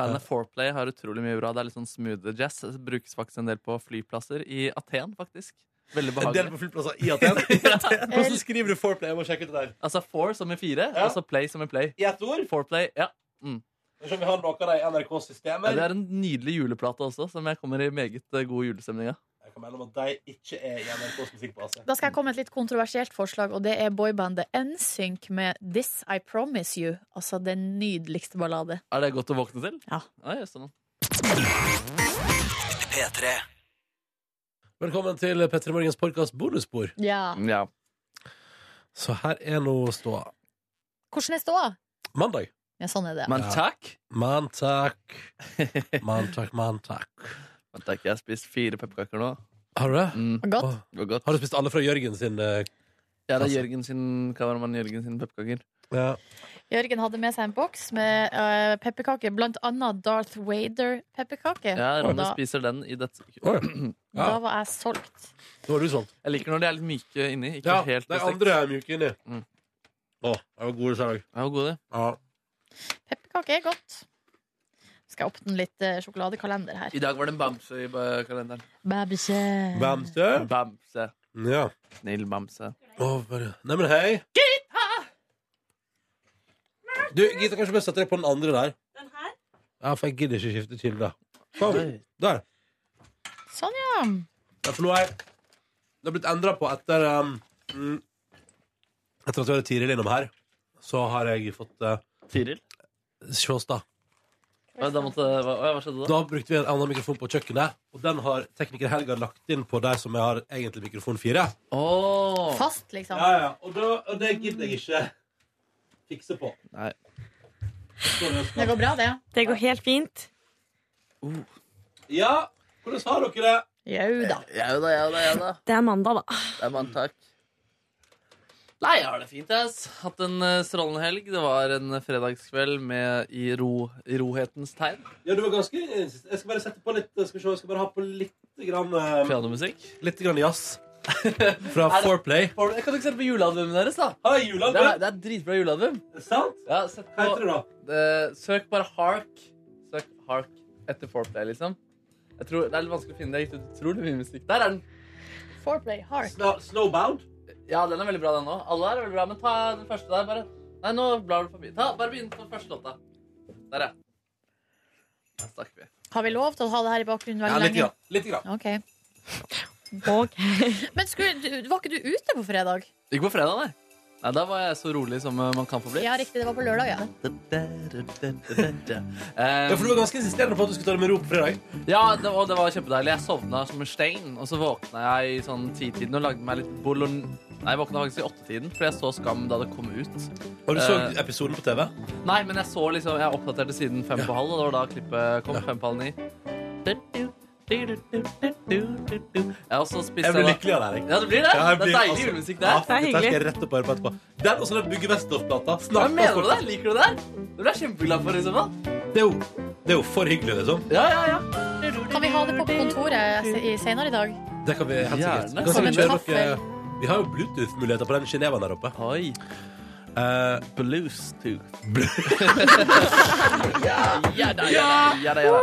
Bandet Foreplay har utrolig mye bra. Det er litt sånn smooth jazz. Det brukes faktisk en del på flyplasser. I Aten, faktisk. Veldig En del behagelig. på flyplasser i Aten. *laughs* Hvordan skriver du Foreplay? Jeg må sjekke ut det der. Altså four som i fire, Ja. og så play som i play. I ett ord? Foreplay, ja. Skal vi ha noe av det i ja. NRK-systemet? Det er en nydelig juleplate også, som jeg kommer i meget eh, god julestemning av. Jeg kan melde om at de ikke er i NRKs musikkbase. Da skal jeg komme med et litt kontroversielt forslag, og det er boybandet NSYNC med This I Promise You. Altså den nydeligste ballade. Er det godt å våkne til? Ja. Ja, jøss, sånn. Velkommen til Petter Morgens podkast bonusspor. Ja. ja. Så her er nå ståa. Hvordan er ståa? Mandag. Ja, sånn er det. Men Ja. takk! Mantak. Mantak, mantak. Men takk, Jeg har spist fire pepperkaker nå. Har du det? Mm, Godt. Åh, det var godt. Har du spist alle fra Jørgen sin eh, Ja, det er Altså. Jørgen sin, kameramannen Jørgen sin pepperkaker. ja. Jørgen hadde med seg en boks med uh, pepperkaker, blant annet Darth Vader-pepperkake. Ja, og Ronny da, spiser den i dette sekund. Oi, ja. da var jeg solgt. Nå har du sånn. solgt. Jeg liker når de er litt myke inni. Ikke Ja, helt de stekt. andre er mjuke inni. Mm. Å, de var gode i dag. Ja, hvor gode de. Ja. Pepperkake er godt. Skal jeg åpne litt eh, sjokoladekalender her. I dag var det en bamse i eh, kalenderen. Babysje. Bamse? Bamse. Ja. Snill bamse. Å, bare- Nei, men hei. Gita! Du, Gita, kanskje bare sette deg på den andre der. Den her? Ja, for jeg gidder ikke skifte kilde. Kom, der. Sånn, ja. Ja, for nå er Det har blitt endra på etter um, mm, Etter at vi hadde Tiril innom her, så har jeg fått uh, Tiril? Sjås, da. Å, Da måtte, hva, å, ja, hva skjedde da? Da brukte vi en annen mikrofon på kjøkkenet, og den har tekniker Helga lagt inn på der som jeg har egentlig mikrofon fire. Åh Fast, liksom. Ja, ja. Og, da, og det gidder jeg ikke fikse på. Nei. Det går bra, det. Det går helt fint. Ja, hvordan har dere det? Jau da. Jau da, jau da, jau da. Det er mandag, da. Det er bare takk. Nei, jeg har det fint. Jeg har hatt en eh, strålende helg. Det var en fredagskveld med i, ro, i rohetens tegn. Ja, du var ganske Jeg skal bare sette på litt Skal vi se, jeg skal bare ha på litt grann, eh, Pianomusikk. litt grann jazz. Fra Foreplay. Får du- Jeg kan ikke se på julealbumet deres, da. Ha Det er, julealbum! det er et dritbra julealbum. Er det sant? Ja, sett Hva heter på, det, da? eh, søk bare Hark. Søk Hark etter Foreplay, liksom. Jeg tror, det er litt vanskelig å finne det. Jeg gikk ut utrolig mye musikk. Der er den. Foreplay hard. Snow, snowbound? Ja, den er veldig bra, den òg. Alle er veldig bra, men ta den første der, bare. Nei, nå blar du forbi. Ta, bare begynn på den første låta. Der, ja. Der stakk vi. Har vi lov til å ha det her i bakgrunnen Ja, veldig litt lenge? grann. Litt grann. Ok. Og Men skulle, du, var ikke du ute på fredag? Ikke på fredag, nei. Nei, Da var jeg så rolig som eh, man kan få bli. Ja, riktig. Det var på lørdag, ja. Ja, for du var ganske insisterende på at du skulle ta det med ro på fredag. Ehm, Ja, det, og det var kjempedeilig. Jeg sovna som en stein, og så våkna jeg i sånn titiden og lagde meg litt bologn... Nei, jeg våkna faktisk i åttetiden, for jeg så Skam da det kom ut. Og du så Eh. episoden på TV. Nei, men jeg så liksom Jeg oppdaterte siden fem på halv, og det var da klippet kom. Fem på halv ni. Jeg også spiste Jeg ble lykkelig av det. Erik. Ja, det blir det. Ja, jeg blir- det er deilig altså, Ja, julemusikk der. Det er dette skal jeg hyggelig. rett opp og høre på etterpå. Den og så den Bugge Westhoff-plata. Hva Snakkes mener for- du det? Liker du det? Det ble jeg kjempeglad for, liksom. da. Det er, jo, det er jo for hyggelig, liksom. Ja, ja, ja. Kan vi ha det på kontoret se- i- senere i dag? Det kan vi helt sikkert. Gjerne. Kan Som sikkert kjøre en kaffe. noe Vi har jo Bluetooth-muligheter på den Genevaen der oppe. Oi. Eh, Blues tooth. *laughs* ja, da, ja, da, ja, da, ja, da.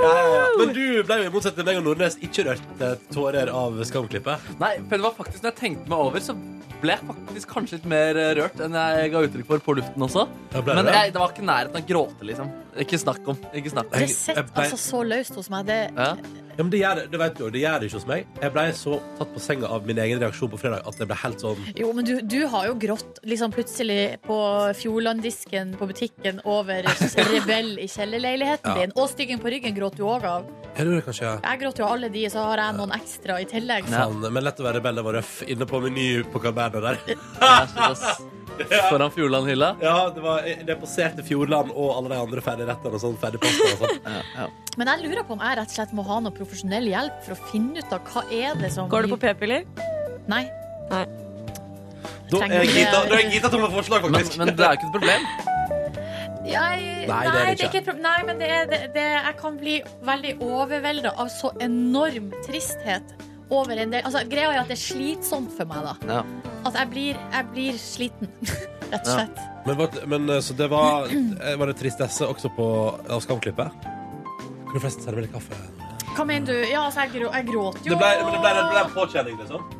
men du ble jo i motsetning til meg og Nordnes ikke rørt eh, tårer av Skamklippet. Nei, for det var faktisk når jeg tenkte meg over, så ble jeg faktisk kanskje litt mer eh, rørt enn jeg ga uttrykk for på luften også. Ja, ble du Men det? jeg, det var ikke nærheten av å gråte, liksom. Ikke snakk om. Ikke snakk om. Det sitter altså så løst hos meg. Det, Ja. *laughs* Ja, men det gjør det, det vet du, det gjør det ikke hos meg. Jeg ble så tatt på senga av min egen reaksjon på fredag at jeg ble helt sånn jo, men du, du har jo grått liksom plutselig på Fjordlanddisken på butikken *laughs* over Rebell i kjellerleiligheten Ja. din. Og Styggen på ryggen gråt du òg av. Er du det, kanskje? Jeg gråter jo av alle de, så har jeg noen ekstra i tillegg. Ja. Faen, men lett å være rebell og røff inne på Meny på Cabernet der. Jeg sitter ass Foran Fjordlandhylla. Ja, det var eh, det passerte Fjordland og alle de andre ferdigrettene og sånn. Ferdigposter og sånn. Ja, ja. Men jeg lurer på om jeg rett og slett må ha noe profesjonell hjelp for å finne ut av hva er det som går det på p-piller? Nei. Nei. Da Trenger er ikke- Gita, da er Gita tom for forslag, Men, faktisk. men det er jo ikke et problem. Jeg, Nei, det er det ikke. et problem. Nei, men det er, det, det, jeg kan bli veldig overvelda av så enorm tristhet over en del altså, Greia er at det er slitsomt for meg, da. Ja. At jeg blir, jeg blir sliten, *laughs* rett Ja. og slett. Men, var- men eh, så det var, eh, var det tristesse også på ja, Skamklippet? Hvor de fleste serverer kaffe? Hva mener du? Ja, altså, jeg, grå, jeg gråter jo. Det ble, men det ble, det ble en påkjenning, liksom?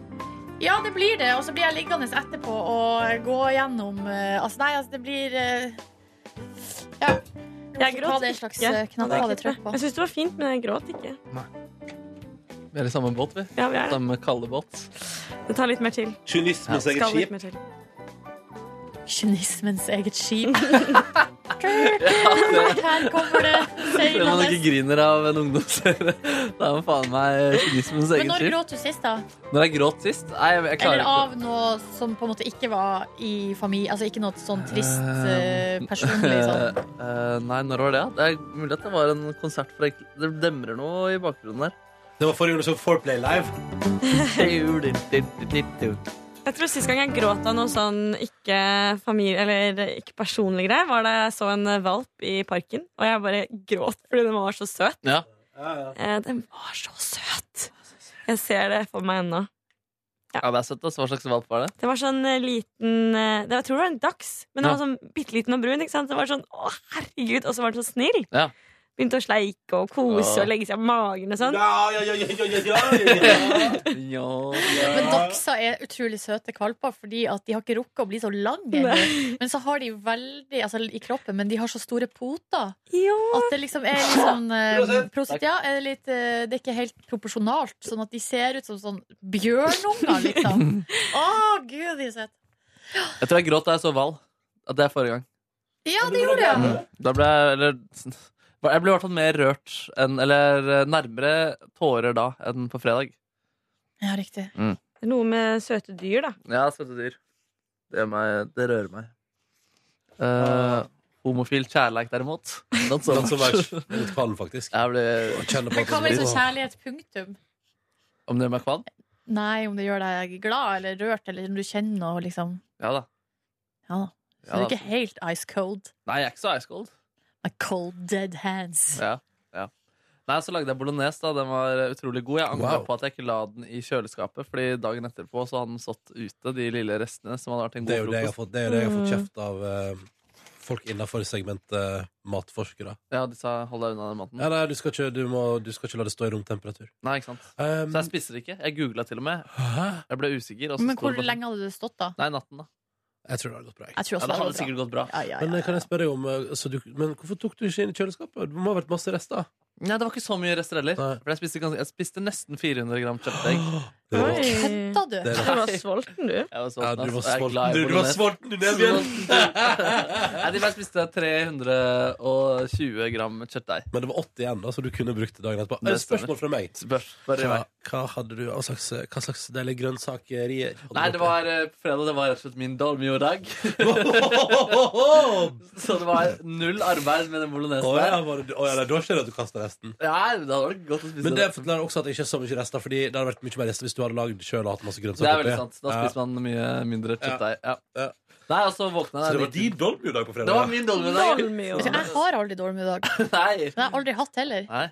Ja, det blir det. Og så blir jeg liggende etterpå og gå gjennom eh, Altså, nei, altså, det blir eh, Ja. Jeg Få ta gråt det ikke. slags, eh, knapper Nei, og det ikke. trykk på. Jeg syns det var fint, men jeg gråt ikke. Vi er i samme båt, vi. Ja, vi er det. Samme kalde båt. Det tar litt mer til. Kynismens Det eget skal litt skip? mer til. Kynismens eget skip. det- Her kommer det Selv om man ikke seilende. griner av en ungdomsserie. Da er man faen meg kynismens Men eget når skip. gråt du sist, da? Når jeg gråt sist? Nei, jeg, jeg klarer Eller ikke. av noe som på en måte ikke var i familie Altså ikke noe sånn trist eh, Eh, personlig sånn. eh, eh, nei, når var det? Det er mulig at det var en konsert for Det demrer noe i bakgrunnen der. *laughs* Det var forrige gang du så Foreplay live. Jeg tror sist gang jeg gråt av noe sånn ikke familie Eller ikke personlig greie, var da jeg så en eh, valp i parken. Og jeg bare gråt fordi den var så søt. Ja. Eh, Den var så søt! Jeg ser det for meg ennå. ja, det er søtt. ass. Hva slags valp var det? Det var sånn eh, liten eh, det var, Jeg tror det var en dachs, men den Ja. var sånn bitte liten og brun. Ikke sant? Det var sånn, å herregud, Og så var den så snill. Ja. Begynte å sleike og kose Ja. og legge seg på magen og sånn. Ja, ja, ja, ja, ja, ja, ja. *laughs* Ja, Men dachser er utrolig søte kvalper, fordi at de har ikke rukket å bli så lange. ennå. Men så har de veldig Altså i kroppen, men de har så store poter Ja. at det liksom er litt sånn eh, Prosit. prosit, ja, er litt, eh, Det er ikke helt proporsjonalt, sånn at de ser ut som sånn bjørnunger, liksom. Å, gud, de er søte. Jeg tror jeg gråt da jeg så Val. At det er forrige gang. Ja, det gjorde jeg. Da ble jeg eller, *laughs* Jeg ble i hvert fall mer rørt enn Eller nærmere tårer da enn på fredag. Ja, riktig. Det er Noe med søte dyr, da. Ja, søte dyr. Det, gjør meg, det rører meg. Eh, homofil kjærleik, derimot *laughs* Not so Not so much. much. Litt kvalm, faktisk. Jeg ble, Kjenner på Men at hva med det sånn liksom blir- kjærlighet punktum? om det gjør meg kvalm? Nei, om det gjør deg glad eller rørt, eller om du kjenner noe, liksom. Ja da. Ja. Så Ja, du da. er ikke helt ice cold. Nei, jeg er ikke så ice cold. A cold dead hands. Ja, ja. Nei, så lagde jeg bolognese. da Den var utrolig god. Jeg angra Wow. på at jeg ikke la den i kjøleskapet, Fordi dagen etterpå så hadde den stått ute, de lille restene som hadde vært en Det er jo god det jeg har frokost. fått, det er jo det jeg har fått kjeft av eh, folk innafor segmentet eh, matforskere. Ja, de sa hold deg unna den maten. Ja, nei, du skal, ikke, du, må, du skal ikke la det stå i romtemperatur. Nei, ikke sant. Um, Så jeg spiser ikke. Jeg googla til og med. hæ? Jeg ble usikker. Og så Men sto hvor det bare- lenge hadde du stått da? Nei, natten, da. Jeg tror det hadde gått bra. jeg. Jeg tror Ja, også det hadde det var bra. sikkert gått bra. Ja, ja, Men ja, eh, kan ja. jeg spørre om eh, så du, Men hvorfor tok du ikke inn i kjøleskapet? Det må ha vært masse rester. Nei, det var ikke så mye rester heller. Nei. For jeg spiste, ganske, jeg spiste nesten 400 gram kjøttdeig. Det var- Kødda Kødda du? det Du var- var sulten, du. Jeg var sulten, Ja, du var ass, og jeg er sulten. glad i Du, du var bolognese. sulten, du, Nebjørn. *laughs* Nei, de bare spiste 320 gram kjøttdeig. Men det var 80 igjen, da, så du kunne brukt det dagen etterpå. Det Et spørsmål fra meg. Spørs. Bare Hva, meg. hva hadde du av slags, hva slags deilige grønnsakerier? hadde Nei, det dere? *laughs* var eh, fredag. Det var rett og slett min dolmiodag. *laughs* Så det var null arbeid med den bolognesen. Å ja, der. var det, å, ja, nei, da skjer det at du kaster resten. Ja, det hadde vært godt å spise Men det forklarer også at det ikke er så mye rester, Fordi det hadde vært mye mer rester hvis du hadde lagd sjøl og hatt masse grønnsaker. Det er oppi. veldig sant. Da spiser man mye mindre kjøttdeig. Ja. Ja. Nei, og så våkna Så jeg det var litt- din dolmiodag på fredag? Det var min dolmiodag. Dolmio. Altså, Jeg har aldri dårlig middag. *laughs* Nei. Den har jeg aldri hatt heller. Nei.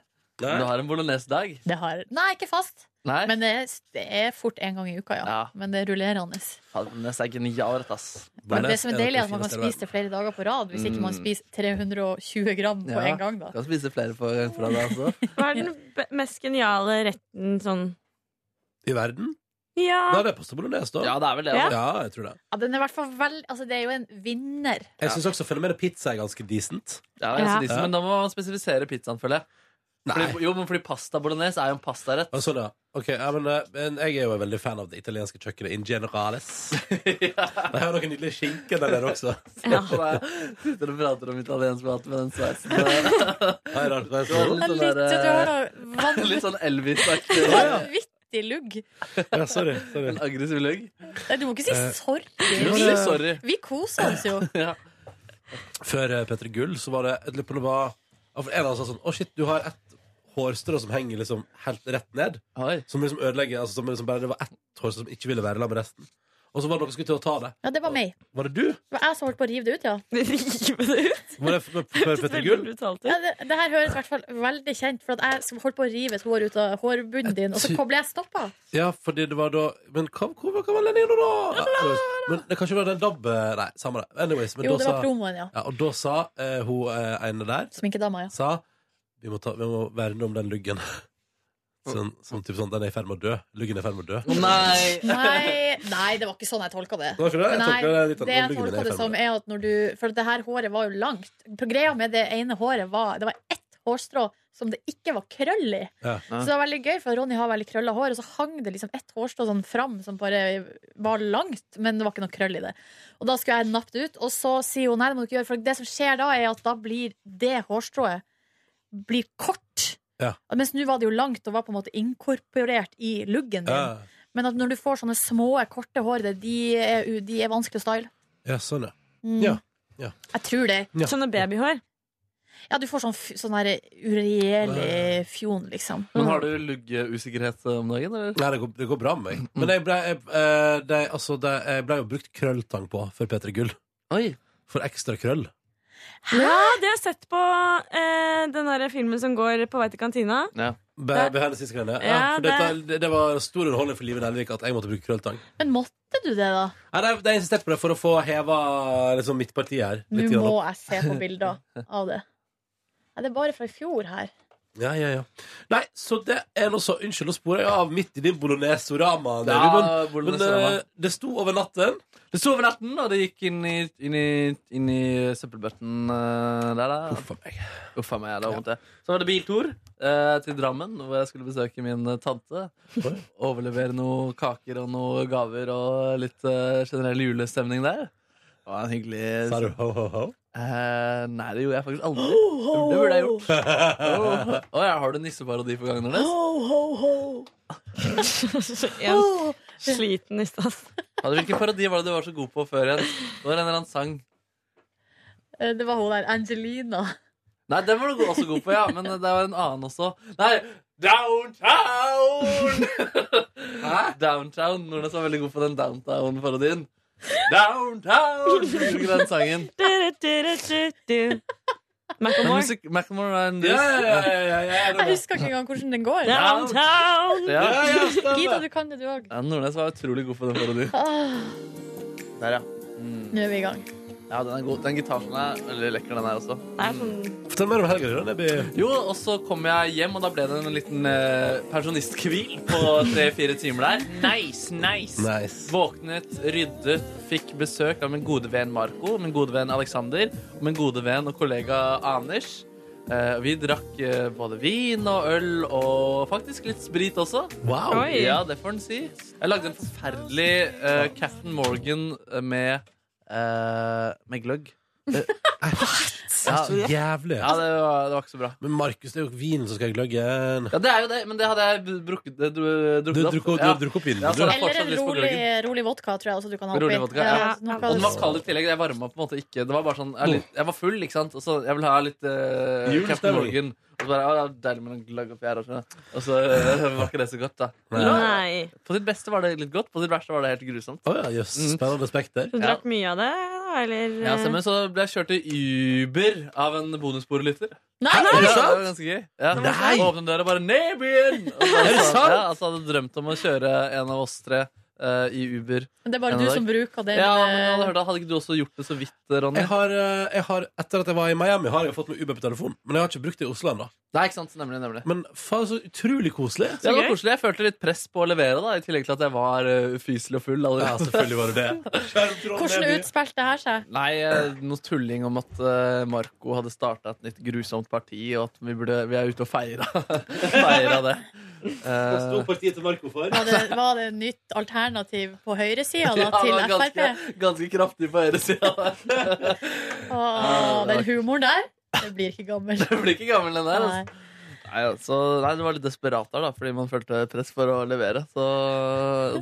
Nei. Du har en bolognesdag. Det har... Nei, ikke fast. Nei. *laughs* Men det er, det er fort en gang i uka, ja. Ja. Men det er rullerende. Faen, Bolognes er genialt, ass. Men det som en er av de deilig, er at man fineste kan i verden. spise det flere dager på rad, hvis ikke man Mm. spiser 320 gram på Ja. en gang, da. Kan spise flere på gang fra deg, altså. Hva er den be- mest geniale retten sånn I verden? Da Ja. er det pasta bolognese, da. Ja, det er vel det. Ja. Altså. Ja, jeg tror det. Ja, den er i hvert fall vel... Altså, det er jo en vinner. Jeg syns også fenomenet pizza er ganske decent. Ja, det er Ja. ganske decent, Men da må man spesifisere pizzaen, føler jeg. Fordi, jo, men fordi pasta bolognese er jo en pastarett. Og sånn, ja. Ok, ja, men, eh, men jeg er jo veldig fan av det italienske kjøkkenet in generales. De har noen nydelige skinker der nede også. ja. *laughs* Så jeg Sitter og prater om italiensk mat med den sveisen. Det er rart, det er Det sånn. var Litt, Litt du sånn der, har da Litt *laughs* vanvittig sånn Elvis-aktig. *laughs* vanvittig lugg. Ja, sorry. sorry. En aggressiv løgn. Nei, Du må ikke si Eh, sorry. Jo, Vi, det- Sorry. vi koser oss jo. Før eh, Petter Gull så var det jeg lurer på om det var, ja, for En av oss sa sånn Å, shit, du har ett hårstrå som henger liksom helt rett ned. Oi. Som liksom ødelegger altså, som liksom bare, Det var ett hårstrå som ikke ville være sammen med resten. Og så var det noen som skulle til å ta det. Ja, det var meg. Var det du? Det var jeg som holdt på å rive det ut, ja. Rive det ut? Var det f- med p- Petter Gull? Ja, det, det her høres i hvert fall veldig kjent For at jeg som holdt på å rive et hår ut av hårbunnen din Og så ble jeg stoppet Ja, fordi det var da Men hva, hvor var- hva var Lenny nå, da? Ja, men det kan ikke være den DAB eh, Nei, samme det. Anyways, men Jo, da det var sa- promoen, ja. Og da sa eh, hun eh, ene der Sminkedama, ja Sa vi må, ta, vi må verne om den luggen. Sånn, sånn, typ sånn, den er i ferd med å dø. Luggen er i ferd med å dø. Nei. Nei, nei, det var ikke sånn jeg tolka det. Det var ikke det? Jeg Nei, tolka det litt at det jeg nå ligger det tolka i det fem som, er at når du For det her håret var jo langt. Greia med det ene håret var Det var ett hårstrå som det ikke var krøll i. Ja. Så det var veldig gøy, for Ronny har veldig krølla hår, og så hang det liksom ett hårstrå sånn fram som bare var langt, men det var ikke noe krøll i det. Og da skulle jeg nappe det ut, og så sier hun nei, det må du ikke gjøre, for det som skjer da, er at da blir det hårstrået blir kort. Ja. Mens nå var det jo langt og var på en måte inkorporert i luggen din. Ja. Men at når du får sånne små, korte hår, det- de er, u- de er vanskelig å style. Ja, sånn, ja. Mm. Ja, ja. Jeg tror det. Ja. Sånne babyhår. Ja, du får sånn, f- sånn her uregjerlig fjon, liksom. Men har du luggeusikkerhet om dagen, eller? Nei, det går, det går bra med meg. Men jeg ble, jeg, eh, det, altså, det, jeg ble jo brukt krølltang på for Peter Gull. Oi. For ekstra krøll. Ja, det har jeg sett på eh, den der filmen som går på vei til kantina. Be, Det- be hennes siste greiene. Ja, Ja, for dette, det, det var stor underholdning for Live Nelvik at jeg måtte bruke krølltang. Men måtte du det, da? Nei, det, det er insistert på det for å få heva liksom, mitt parti her. Nå Litt grann må opp. jeg se på bilder av det. Ja, det er bare fra i fjor her. Ja, ja, ja. Nei, så det er nå så Unnskyld, nå sporer jeg av midt i din bolognesorama. Ja, Neby, men, men bolognesorama. eh, det sto over natten. Det sto over natten, og det gikk inn i, inn i, inn i søppelbøtten eh, der, da. Uff a meg. Uff a meg, det var vondt, det. Så var det biltur eh, til Drammen, hvor jeg skulle besøke min eh, tante. Overlevere noen kaker og noen gaver og litt eh, generell julestemning der. Det var en Sa hyggelig du ho, ho, ho? Eh, Nei, det gjorde jeg faktisk aldri. Det burde jeg *laughs* gjort. Åh, åh, ja, har du nisseparodi for gangen deres? *laughs* En sliten nisse, ass. Hadde- Hvilken parodi var det du var så god på før igjen? Det var en eller annen sang. Eh, Det var hun der Angelina. Nei, den var du go- også god på, ja. Men det var en annen også. Nei, Downtown! Hæ? Downtown. Nordnes var veldig god på den Downtown-parodien. Downtown! Husker du Den sangen. Du, du, du, du, du. Macklemore. Macklemore er en Ja, ja, ja, ja, ja, det Jeg var- husker ikke engang hvordan den går. Downtown! Ja. ja, ja, Gita, stemmer. du kan det, du òg. Ja, Nordnes var utrolig god på den parodien. Ah, Der, ja. nå er vi i gang. ja den er god. Den gitaren er veldig lekker, den her også. Det er sånn Fortell mer om helga di, da, Neby. Jo, og så kom jeg hjem, og da ble det en liten eh, pensjonisthvil på tre-fire timer der. Nice, nice. Nice. Våknet, ryddet, fikk besøk av min gode venn Marco, min gode venn Alexander og min gode venn og kollega Anders. Eh, vi drakk eh, både vin og øl og faktisk litt sprit også. Wow. Oi. Ja, det får en si. Jeg lagde en forferdelig eh, Captain Morgan med, eh, med gløgg. Eh, ja, Så jævlig. ja det, var, det var ikke så bra. Men Markus, det er jo vinen som skal i gløggen. Ja, det er jo det, men det hadde jeg brukket, eh, dru- Du drukket opp. drukker ja. du drukker opp vinen. Ja, du. så det er Eller fortsatt en lyst på rolig, gløggen. rolig vodka, tror jeg også du kan ha oppi. altså, Rolig vodka, ja. noe Og den var sånt. kald i tillegg. Jeg varma på en måte ikke. Det var bare sånn, jeg, er litt, jeg var full, ikke sant. Og så jeg vil ha litt eh, Julestemning. Captain Morgan. Og så bare, ja, det er deilig med noen gløgg oppi her. Og så, og så *laughs* eh, var ikke det så godt, da. Nei. På sitt beste var det litt godt, på sitt verste var det helt grusomt. Å ja, jøss. Mm. Spennende spekter. Du Ja. drakk mye av det, da, eller? eh, Ja, stemmer. Så ble jeg kjørt til Uber av en bonussporelytter. Nei, Ja, det var ganske gøy. Ja. Nei! Og åpnet døra og bare Nabyen! Og så, det sant? ja, altså, hadde drømt om å kjøre en av oss tre eh, i Uber. Men det er bare En du dag. som bruker det. Ja, men, men jeg hadde eh, hørt det. Hadde ikke du også gjort det så vidt, Ronny? Jeg har, eh, jeg har, etter at jeg var i Miami, har jeg fått meg Uber på telefon. Men jeg har ikke brukt det i Oslo ennå. Nei, ikke sant? Nemlig, nemlig. Men faen, så utrolig koselig. Ja, det var gøy. koselig. Jeg følte litt press på å levere, da, i tillegg til at jeg var eh, ufyselig og full. Ja, allerede. selvfølgelig var det det. Hvordan utspilte det her seg? Nei, eh, noe tulling om at eh, Marco hadde starta et nytt grusomt parti, og at vi, burde, vi er ute og *laughs* feira, feira det. Hva sto Eh, partiet til Marco for? Var det, var det et nytt alternativ på høyresida da, Eh, *laughs* ja, det til var Frp? ganske, ganske kraftig på høyresida der. Ah, Åh, den humoren der, det blir ikke gammel. *laughs* *laughs* Jeg blir ikke gammel, den der. Nei. Altså. Nei, altså, nei, det var litt desperat der, da, fordi man følte press for å levere. Så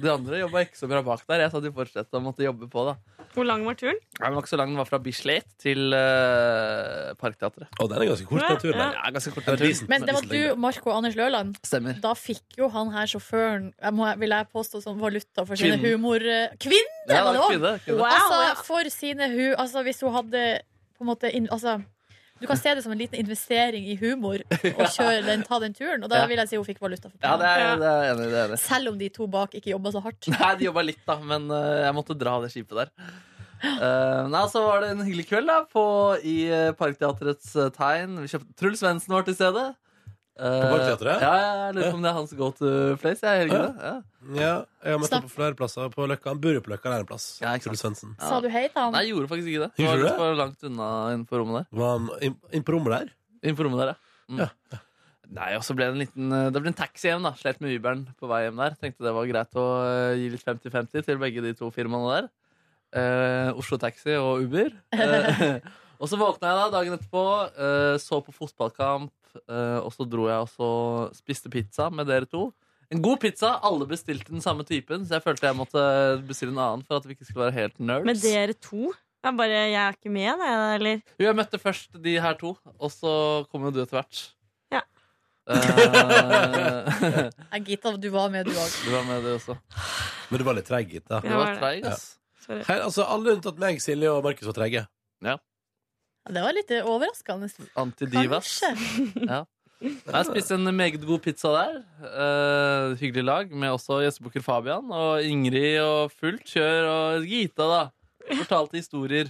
de andre jobba ikke så bra bak der. Jeg sa de fortsatte og måtte jobbe på, da. Hvor lang var turen? Nei, Den var ikke så lang. Den var fra Bislett til uh, Parkteatret. Og den er ganske kort, den turen der. Ja, ganske kort den turen. Men det var du, Marco og Anders Løland. Stemmer. Da fikk jo han her sjåføren, jeg må, vil jeg påstå, som valuta for sine Kvinne. humor... Kvinne! Ja, var det også? kvinne, kvinne. Wow, ja. altså, for sine hu... Altså, hvis hun hadde på en måte inn- Altså, du kan se det som en liten investering i *laughs* humor å kjøre den, ta den turen. Og da Ja. vil jeg si hun fikk valuta for Ja, det pengene. er, det er jeg enig. i, Det er jeg enig. i. Selv om de to bak ikke jobba så hardt. *laughs* Nei, de jobba litt, da, men eh, jeg måtte dra det skipet der. Eh, nei, Så var det en hyggelig kveld da på, i eh, Parkteatrets eh, tegn. Vi kjøpte, Truls Svendsen var til stede. Eh, På Parkteatret? Ja, ja, jeg lurer på om det er hans go to place. Jeg, i helgene. ja. Ja, jeg har møtt ham på flere plasser på Løkka. Han bor jo på Løkka, det er en plass. Ja, ikke sant. Truls Svendsen. Sa du hei til han? Nei, jeg gjorde faktisk ikke det. Det Gjorde var du litt det? for langt unna innenfor rommet der. Var han inn, inn på rommet der? Innenfor rommet der, ja. Mm. Ja, Nei, og så ble det en liten eh, Det ble en taxi hjem, da. Slet med Uberen på vei hjem der. Tenkte det var greit å eh, gi litt 50-50 til begge de to firmaene der. Eh, Oslo Taxi og Uber. Eh, *laughs* og så våkna jeg da dagen etterpå, eh, så på fotballkamp, eh, og så dro jeg og så spiste pizza med dere to. En god pizza. Alle bestilte den samme typen, så jeg følte jeg måtte bestille en annen for at vi ikke skulle være helt nerds. Med dere to? Jeg, bare, jeg er ikke med, da, jeg, eller? Jo, jeg møtte først de her to, og så kom jo du etter hvert. Ja. Eh, *laughs* Jeg Gita, du var med, du òg. du var med, du også. Men du var litt treig, gitt. da. Ja. Du var det. treig, ass. Sorry. Her, altså, alle unntatt meg, Silje og Markus var treige. Det var litt eh, overraskende. Antidivas. Kanskje. Nei, Jeg spiste en meget god pizza der. Eh, hyggelig lag, med også gjestebukker Fabian og Ingrid og fullt kjør. Og Gita, da. Fortalte historier.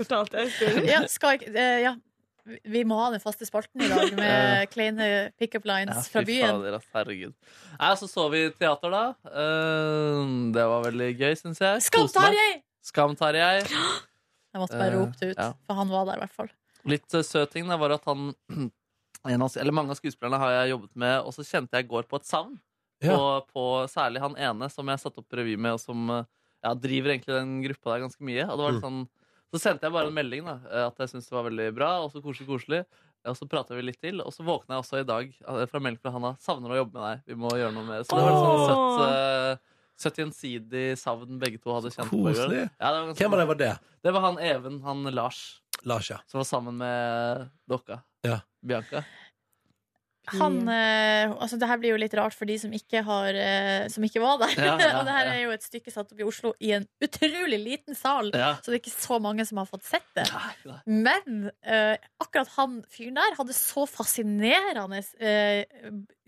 Fortalte jeg historien? Ja, skal ikke eh, ja. Vi må ha den faste spalten i dag *laughs* med kleine pick-up lines Ja, fra fy byen. fader, ass, herregud. Nei, så så vi teater, da. Eh, det var veldig gøy, syns jeg. Skam, Koste meg. Tarjei! Skam, Tarjei. Jeg måtte bare Eh, rope det ut, ja. for han var der i hvert fall. Litt eh, søt ting da, var at han *clears throat* en av, Eller mange av skuespillerne har jeg jobbet med, og så kjente jeg i går på et savn. Ja. På, på særlig han ene som jeg satte opp revy med, og som eh, ja, driver egentlig den gruppa der ganske mye. Og det var Mm. litt sånn, så sendte jeg bare en melding da, eh, at jeg syntes det var veldig bra, og så koselig, koselig. Og så prata vi litt til, og så våkna jeg også i dag eh, fra melding fra Hanna. 'Savner å jobbe med deg. Vi må gjøre noe med det.' Så det var litt sånn søtt, eh, søtt gjensidig savn begge to hadde kjent på. i går. Koselig. Ja, det, var ganske- Hvem av dem var det? det var han Even, han Lars. Lars, ja. Som var sammen med dokka. Ja. Bianca. Han, eh, altså det her blir jo litt rart for de som ikke, har, eh, som ikke var der. Ja, ja, *laughs* og det her ja. er jo et stykke satt opp i Oslo i en utrolig liten sal, Ja. så det er ikke så mange som har fått sett det. nei. Men eh, akkurat han fyren der hadde så fascinerende eh,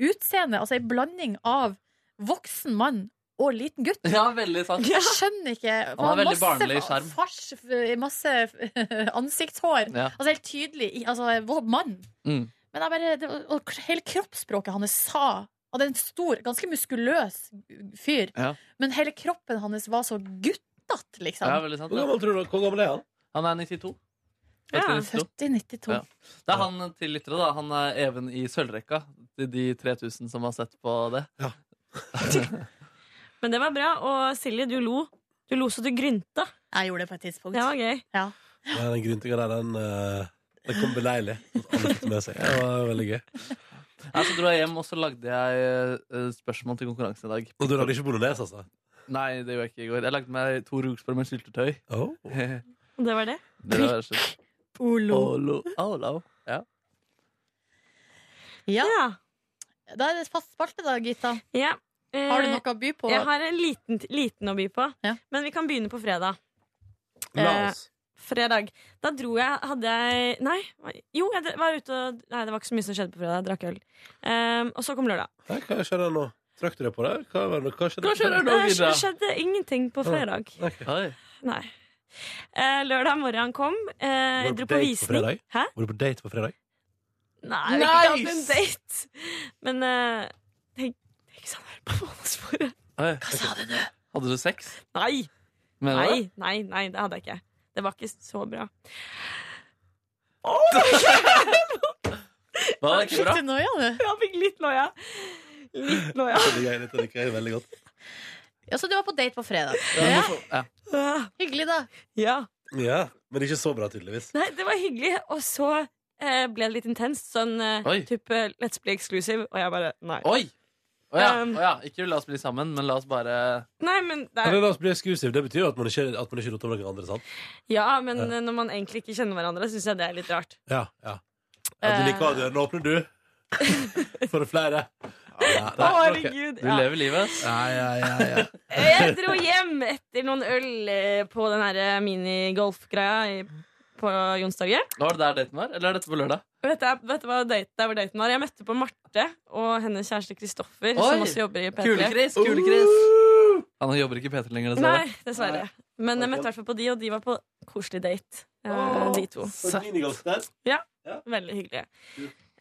utseende, altså en blanding av voksen mann og liten *laughs* gutt. Ja, veldig sant. Jeg skjønner ikke. Han har veldig masse barnlig skjerm. Fars, f- masse eh, *laughs* ansiktshår. Ja. Altså helt tydelig. i- Altså vår mann. Mm. Men jeg bare, det, var- og hele kroppsspråket hans sa Og det er en stor, ganske muskuløs fyr. Ja. Men hele kroppen hans var så guttete, liksom. Ja, veldig sant. Hvor gammel, tror du, hvor gammel er han? Han er 92. Ja. Født i 92. Født i 92. Ja. Det er han til lyttere, da. Han er Even i sølvrekka. De- De 3000 som har sett på det. Men det var bra. Og Silje, du lo. Du lo så du grynta. Jeg gjorde det på et tidspunkt. Det var gøy. Ja, den gryntinga der, den, eh, den kom beleilig. Alle fikk det med seg. Det var veldig gøy. Nei, så dro jeg hjem, og så lagde jeg eh, spørsmål til konkurransen i dag. Og du lagde ikke bolognese, altså? Nei, det gjorde jeg ikke i går. Jeg lagde meg to rugspør med syltetøy. Oh. *laughs* det Og det var det. var rett og slett Olo. Olo. Olo. Ja. Ja. Ja. Da er det fast spalte, da, Gita. ja. Eh, Har du noe å by på? Jeg har en liten, liten å by på. Ja. Men vi kan begynne på fredag. La Eh, oss. Fredag. Da dro jeg Hadde jeg Nei, jo, jeg dre- var ute og Nei, det var ikke så mye som skjedde på fredag. Jeg drakk øl. Eh, og så kom lørdag. Hæ, hva skjer der nå? Trakk du deg på det? Hva, var det- hva skjedde? Hva skjer der nå, Eh, Det Vidar? skjedde ingenting på fredag. Ok. Oi. Nei. Eh, lørdag morgen kom. Eh, Var jeg du dro på på date på visning. fredag? Hæ? Var du på date på fredag? Nei, vi har ikke hatt en date. Men eh, tenk, tenk sånn her på månedsbordet. Oi. Hva sa du nå? Hadde du sex? Nei, Mener du nei, det? nei, nei, det hadde jeg ikke. Det var ikke så bra. *laughs* Var det ikke Fikk bra? du noia nå? Jeg fikk litt noia. Litt noia. Det liker jeg, dette liker jeg veldig godt. Ja, så du var på date på fredag. Ja. Ja, Ja. Ah, hyggelig, da. *gasps* Ja. Ja, Men ikke så bra, tydeligvis. Nei, det var hyggelig. Og så eh, ble det litt intenst. Sånn eh, Oi. type Let's Play Exclusive. Og jeg bare nei. Oi! Å ja, Um, å ja. Ikke la oss bli sammen, men la oss bare Nei, men det Eller er, la oss bli eksklusiv. Det betyr jo at man ikke, at man ikke roter med noen andre, sant? ja, men Ja. eh, når man egentlig ikke kjenner hverandre, syns jeg det er litt rart. Ja, ja. ja du liker å ha døren åpne, *laughs* du. For flere. Ja, Å, nei, ok. herregud. Du ja. lever livet. Ja, ja, ja, ja. Jeg dro hjem etter noen øl eh, på den her minigolf-greia i- på Jonstorget. Var det der daten var, eller er dette på lørdag? Og Dette, er- dette var date, der hvor daten var. Jeg møtte på Marte og hennes kjæreste Kristoffer, Oi. som også jobber i P3. Kule-Chris! Kule-Chris! Han jobber ikke i P3 lenger, dessverre. Nei, dessverre. Men jeg møtte i hvert fall på de, og de var på koselig date. eh, De to. For et minigolf der. Veldig hyggelig.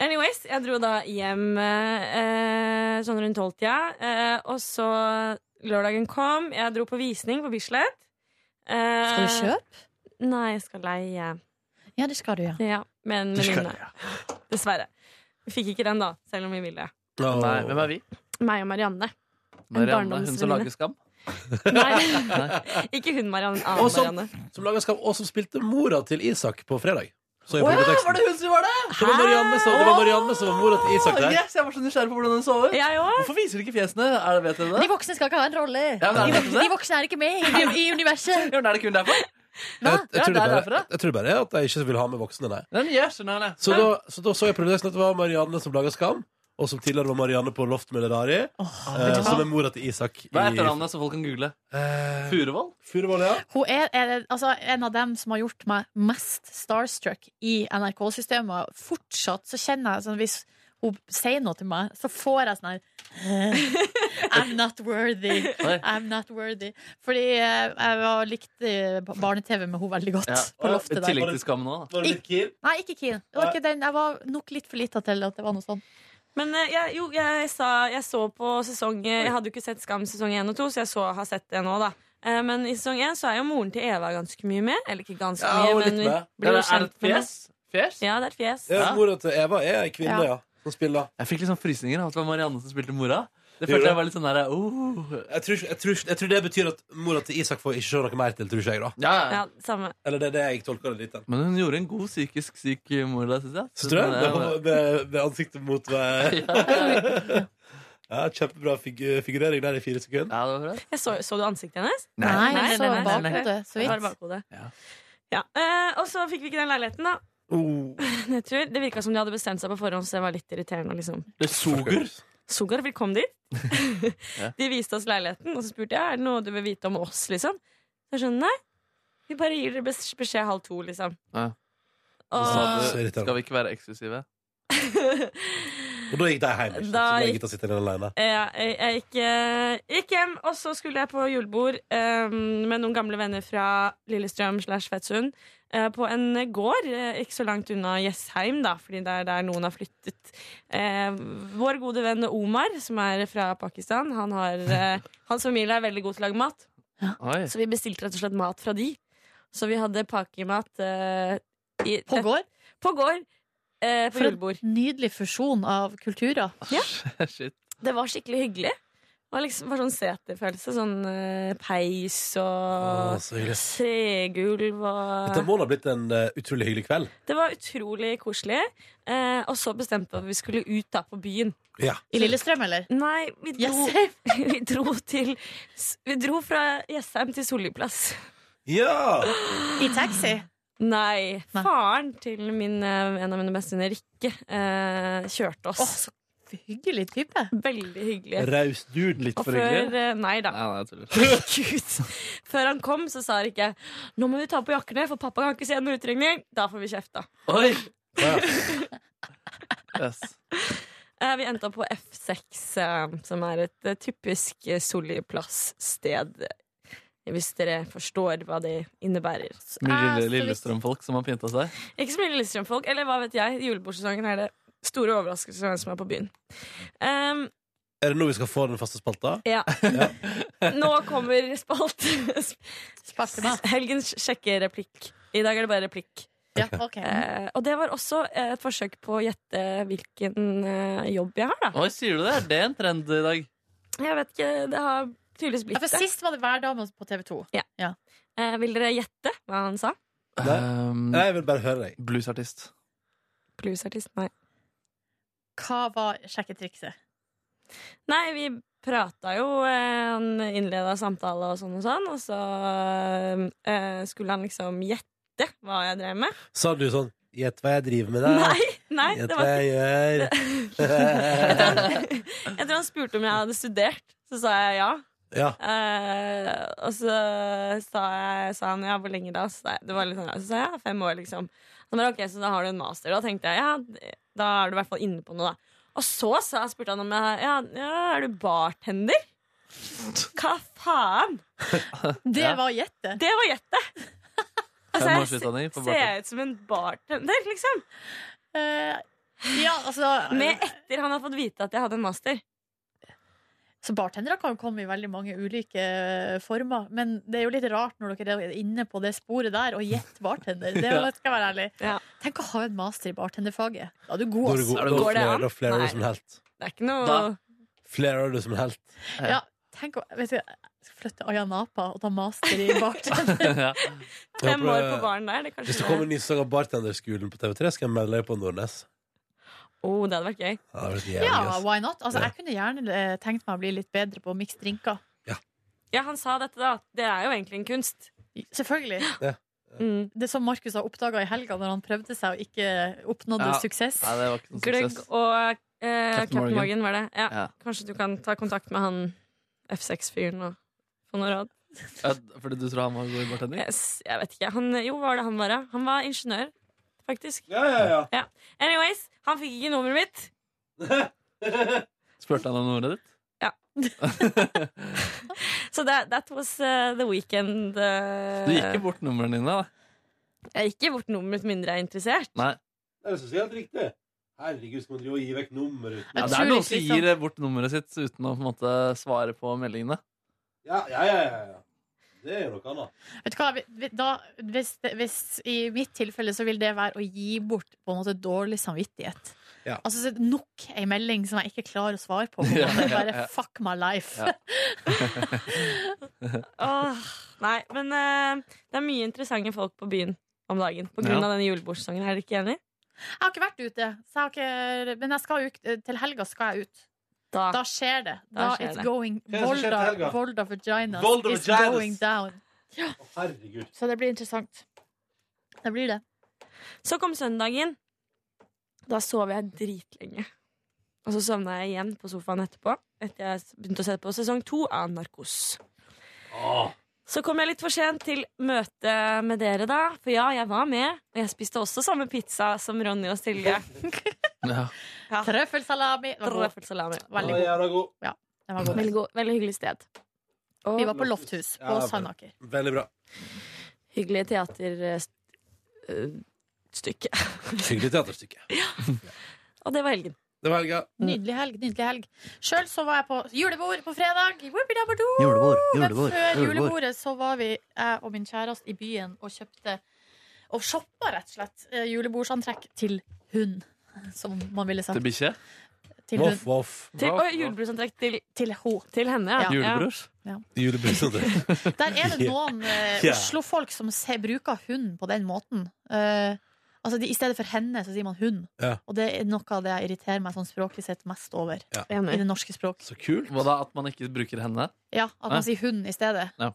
Anyways, jeg dro da hjem eh, eh, sånn rundt tolvtida. Eh, og så lørdagen kom. Jeg dro på visning på Bislett. Eh, Skal du kjøpe? Nei, jeg skal leie. Ja, det skal du, ja. Ja, med en Du skal venninne. Dessverre. Vi fikk ikke den, da, selv om vi ville. Nei, Hvem er vi? Meg og Marianne. Marianne, hun som barndomsvenninne. lager Skam? Nei, *laughs* ikke hun, Marianne. Annen Og så- Marianne. Som laget skap, og som spilte mora til Isak på fredag. Så jeg på Å ja, teksten. var det hun som var det? Det var Marianne som, det var, Marianne som var mora til Isak Å, der. yes, jeg var så nysgjerrig på hvordan hun så ut. Jeg òg. Hvorfor viser du ikke fjesene? Er det, vet dere De det? voksne skal ikke ha en rolle. Ja, men er det De, nettopp det? de voksne er ikke med i, i *laughs* universet. Jo, men er det kun derfor? Jeg, jeg, Ja, tror det det er bare, derfra. jeg tror bare at jeg ikke vil ha med voksne, nei. Nei, men jeg skjønner det. Så da så, da så jeg på teksten at det var Marianne som laga Skam, og som tidligere var Marianne på Loft med Lerari, Ah, eh, som er mora til Isak Hva er etternavnet, så folk kan google? eh, Furevold? Furuvoll, ja. Hun er, er altså, en av dem som har gjort meg mest starstruck i NRK-systemet. Fortsatt så kjenner jeg sånn hvis hun sier noe til meg, så får jeg sånn her "Eh, I'm not worthy. *laughs* Oi. I'm not worthy. Fordi eh, jeg var- likte eh, barne-TV med henne veldig godt Ja. på loftet I der. tillegg til Skam nå, da. Var det litt keen? Nei, ikke keen. Det var ikke den. Jeg var nok litt for lita til at det var noe sånn. Men eh, jeg, jo, jeg, sa, jeg så på sesong eh, Jeg hadde jo ikke sett Skam sesong 1 og 2, så jeg så, har sett det nå, da. Eh, Men i sesong 1 så er jo moren til Eva ganske mye med. Eller ikke ganske Ja, og mye, litt men vi med. blir Er det- er jo det kjent et med henne. fjes? Fjes? Ja, det er et fjes. Ja, Ja. Mora til Eva er ei kvinne, Ja. ja. Som spiller. Jeg fikk litt sånn frysninger av at det var Marianne som spilte mora. Gjorde Det følte det? jeg var litt sånn der, oh. Jeg tror, ikke- jeg, tror, ikke- jeg tror det betyr at mora til Isak får ikke se noe mer til, tror ikke jeg, da. ja, ja. Ja, samme. Eller det er det jeg tolker det litt til. Men hun gjorde en god psykisk syk mor da, synes jeg. Syns du det? Sånn, eh, *laughs* Med, med, med ansiktet mot eh, Ja, Kjempebra figu figurering der i fire sekunder. *laughs* Ja, det var bra. Jeg så, så du ansiktet hennes? Nei, nei, så nei, nei, nei. bakhodet. Så Det var vidt. bakhodet. Ja. Ja. eh, og så fikk vi ikke den leiligheten, da. Oh. Nedtur. Det virka som de hadde bestemt seg på forhånd, så det var litt irriterende. Liksom. Det er Soger? Sogar velkommen dit. *laughs* *laughs* Ja. De viste oss leiligheten, og så spurte jeg er det noe du vil vite om oss. liksom Så jeg skjønner, nei, vi bare gir dere bes- beskjed halv to, liksom. Ja. Så Og sa Så du, irriterende. skal vi ikke være eksklusive? Og da gikk de hjem. ikke sant? Da Så ble gikk- gutta sittende alene. ja, jeg, jeg gikk, eh, gikk hjem, og så skulle jeg på julebord eh, med noen gamle venner fra Lillestrøm slash Fettsund. eh, på en gård eh, ikke så langt unna Jessheim, da, fordi det er der noen har flyttet. Eh, vår gode venn Omar, som er fra Pakistan, han har, *laughs* eh, hans familie er veldig god til å lage mat. *laughs* Oi. Så vi bestilte rett og slett mat fra de. Så vi hadde pakemat eh, i, På gård. på gård. eh, på For en julebord. nydelig fusjon av kulturer. Shit. Det var skikkelig hyggelig. Det var liksom bare sånn seterfølelse. Sånn eh, peis Å, og så hyggelig. tregulv Dette og må da ha blitt en eh, utrolig hyggelig kveld. Det var utrolig koselig. Eh, og så bestemte vi at vi skulle ut da på byen. Ja. I Lillestrøm, eller? Nei, vi dro, Yes. *laughs* vi dro til Vi dro fra Jessheim til Solli plass. ja! I taxi? Nei. Nei. Faren til min, eh, en av mine beste venner, Rikke, eh, kjørte Å, oss. så hyggelig type. Veldig hyggelig. Raus dude. Litt Og for før hyggelig. eh, Nei da. Nei, nei, jeg tuller. Gud. Før han kom, så sa Rikke Nå må vi ta på jakkene, for pappa kan ikke se noen utringning. Da får vi kjeft, da. Oi! *laughs* Ja. Yes. Eh, Vi endte opp på F6, eh, som er et eh, typisk eh, Solli-plass-sted. eh, Hvis dere forstår hva det innebærer. Mye Eh, så lille, vidt. Lillestrøm-folk som har pynta seg. Ikke så mye Lillestrøm-folk, eller hva vet jeg. I julebordsesongen er det store overraskelser om hvem som er på byen. Um, Er det nå vi skal få den faste spalta? ja. Nå kommer spalt Sparte meg. *laughs* helgens sjekkereplikk. I dag er det bare replikk. Ja, ok. Eh, og det var også eh, et forsøk på å gjette hvilken eh, jobb jeg har, da. Oi, sier du det? Er det en trend i dag? Jeg vet ikke, det har tydeligvis Ja, blitt for det. sist var det hver dame på TV 2. Eh, vil dere gjette hva han sa? Nei. Um, Mm. Nei, jeg vil bare høre deg. *laughs* Bluesartist. bluesartist, nei. Hva var sjekketrikset? Nei, vi prata jo, eh, han innleda samtale og sånn og sånn, og så eh, skulle han liksom gjette hva jeg drev med. Sa du sånn 'Gjett hva jeg driver med', da. *laughs* Nei, nei, Gjett det hva var jeg gjør. Jeg tror han *laughs* spurte om jeg hadde studert, så sa jeg ja. *laughs* ja. Eh, og så sa, jeg, sa han ja, hvor lenge da? Så sa jeg, det var litt sånn, ja. så sa jeg ja, fem år, liksom. Han bare, ok, så da har du en master. Da tenkte jeg ja, d- da er du i hvert fall inne på noe, da. Og så sa, spurte han om jeg ja, ja, er du bartender. Hva faen? Det var gjettet. Det var gjettet! Altså, Fem jeg års utdanning på ser bartender. jeg ut som en bartender, liksom? Eh, ja, altså Med etter han har fått vite at jeg hadde en master. Så bartendere kan jo komme i veldig mange ulike eh, former, men det er jo litt rart når dere er inne på det sporet der og gjett bartender. *laughs* Det Ja. skal jeg være ærlig. Ja. Tenk å ha en master i bartenderfaget. Da er du Da god, er du ass. god. Da Går det fler- an? Da flerer du Nei. som en helt. Det er ikke noe Da- Flerer du som en helt. Ja, tenk å, vet du, jeg skal flytte til Ayanapa og ta master i bartender. ja. Jeg fem håper år det- på baren der. Det, Hvis er kanskje det kommer en ny sesong av Bartenderskolen på TV3, skal jeg melde deg på Nordnes. oh, det hadde vært gøy. *laughs* Ja, det blir jævlig Ja, gøy, ass. why not? Altså, Ja. jeg kunne gjerne eh, tenkt meg å bli litt bedre på å mikse drinker. Ja, han sa dette, da. at Det er jo egentlig en kunst. Selvfølgelig. Mm. Det som Markus har oppdaga i helga når han prøvde seg og ikke oppnådde Ja. suksess. Nei, det var ikke noen Gløgg suksess. og eh, Captain Captain Morgan. Morgan, var det. Ja. Ja. Kanskje du kan ta kontakt med han F6-fyren og få noe råd? Ja, fordi du tror han var god i bartending? Yes, jeg vet ikke. Han, jo, hva var det han var? da? Han var ingeniør, faktisk. Ja, ja, ja. Anyways, han fikk ikke nummeret mitt. Spurte han om nummeret ditt? Ja. Så that, that was eh, the weekend. eh, Du gikk ikke bort numrene dine, da? Jeg gikk ikke bort nummeret mitt mindre jeg er interessert. Nei. Det synes jeg er helt riktig. Herregud, skal man drive og gi vekk nummer uten Ja, Jeg det tror er noen ikke som liksom- gir eh, bort nummeret sitt uten å på en måte svare på meldingene. Ja, ja, ja, ja, ja. Det er jo noe annet. Vet du hva, vi- vi- da, hvis, det- hvis I mitt tilfelle så vil det være å gi bort på en måte dårlig samvittighet. Ja. Altså så Nok ei melding som jeg ikke klarer å *laughs* svare på. på en Ja, måte. ja, Bare ja. fuck my life. Ja. Åh, nei, men eh, det er mye interessante folk på byen om dagen på grunn Ja. av denne julebordsesongen. Er dere ikke enig? *laughs* Jeg har ikke vært ute, så jeg har ikke, men jeg skal ut, eh, til helga skal jeg ut. Da Da skjer det. Da Da, skjer it's det. going er det som skjer til helga? Volda, Volda vaginas Volda is vaginas. going down. Å, herregud. Så det blir interessant. Det blir det. Så kom søndagen. Da sov jeg dritlenge. Og så sovna jeg igjen på sofaen etterpå, etter jeg begynte å se på sesong to av Narkos. Åh. Så kom jeg litt for sent til møtet med dere, da. For ja, jeg var med. Og jeg spiste også samme pizza som Ronny *laughs* og Silje. Ja. Ja. Trøffelsalami. Den var god. Trøffelsalami. Veldig Å, god. jævla god. Den var god. Veldig, god, veldig hyggelig sted. Og Vi var på Lofthus Ja, på bra. Sandaker. Veldig bra. hyggelig eh, teaterstykke. eh, Hyggelig teaterstykke. Og det var helgen. Det var helga. Nydelig helg. nydelig helg Sjøl så var jeg på julebord på fredag. Whoopidabadoo! Julebord, Men julebord, før julebord. julebordet så var vi, jeg og min kjæreste, i byen og kjøpte Og shoppa rett og slett eh, julebordsantrekk til hund. Som man ville sagt. Til bikkje? Til Voff, hund. voff. Til, Bra. og julebordsantrekk til, Til ho. til henne. Ja. Julebrus? Julebrusene. Der er det noen eh, Ja. Oslo-folk som ser, bruker hund på den måten. Eh, altså de, I stedet for henne, så sier man hund. Ja. Og det er noe av det jeg irriterer meg sånn språklig sett mest over. I Enig. det norske språk. Så kult. Hva da, at man ikke bruker henne? Ja, At Ja. man sier hund i stedet. Ja.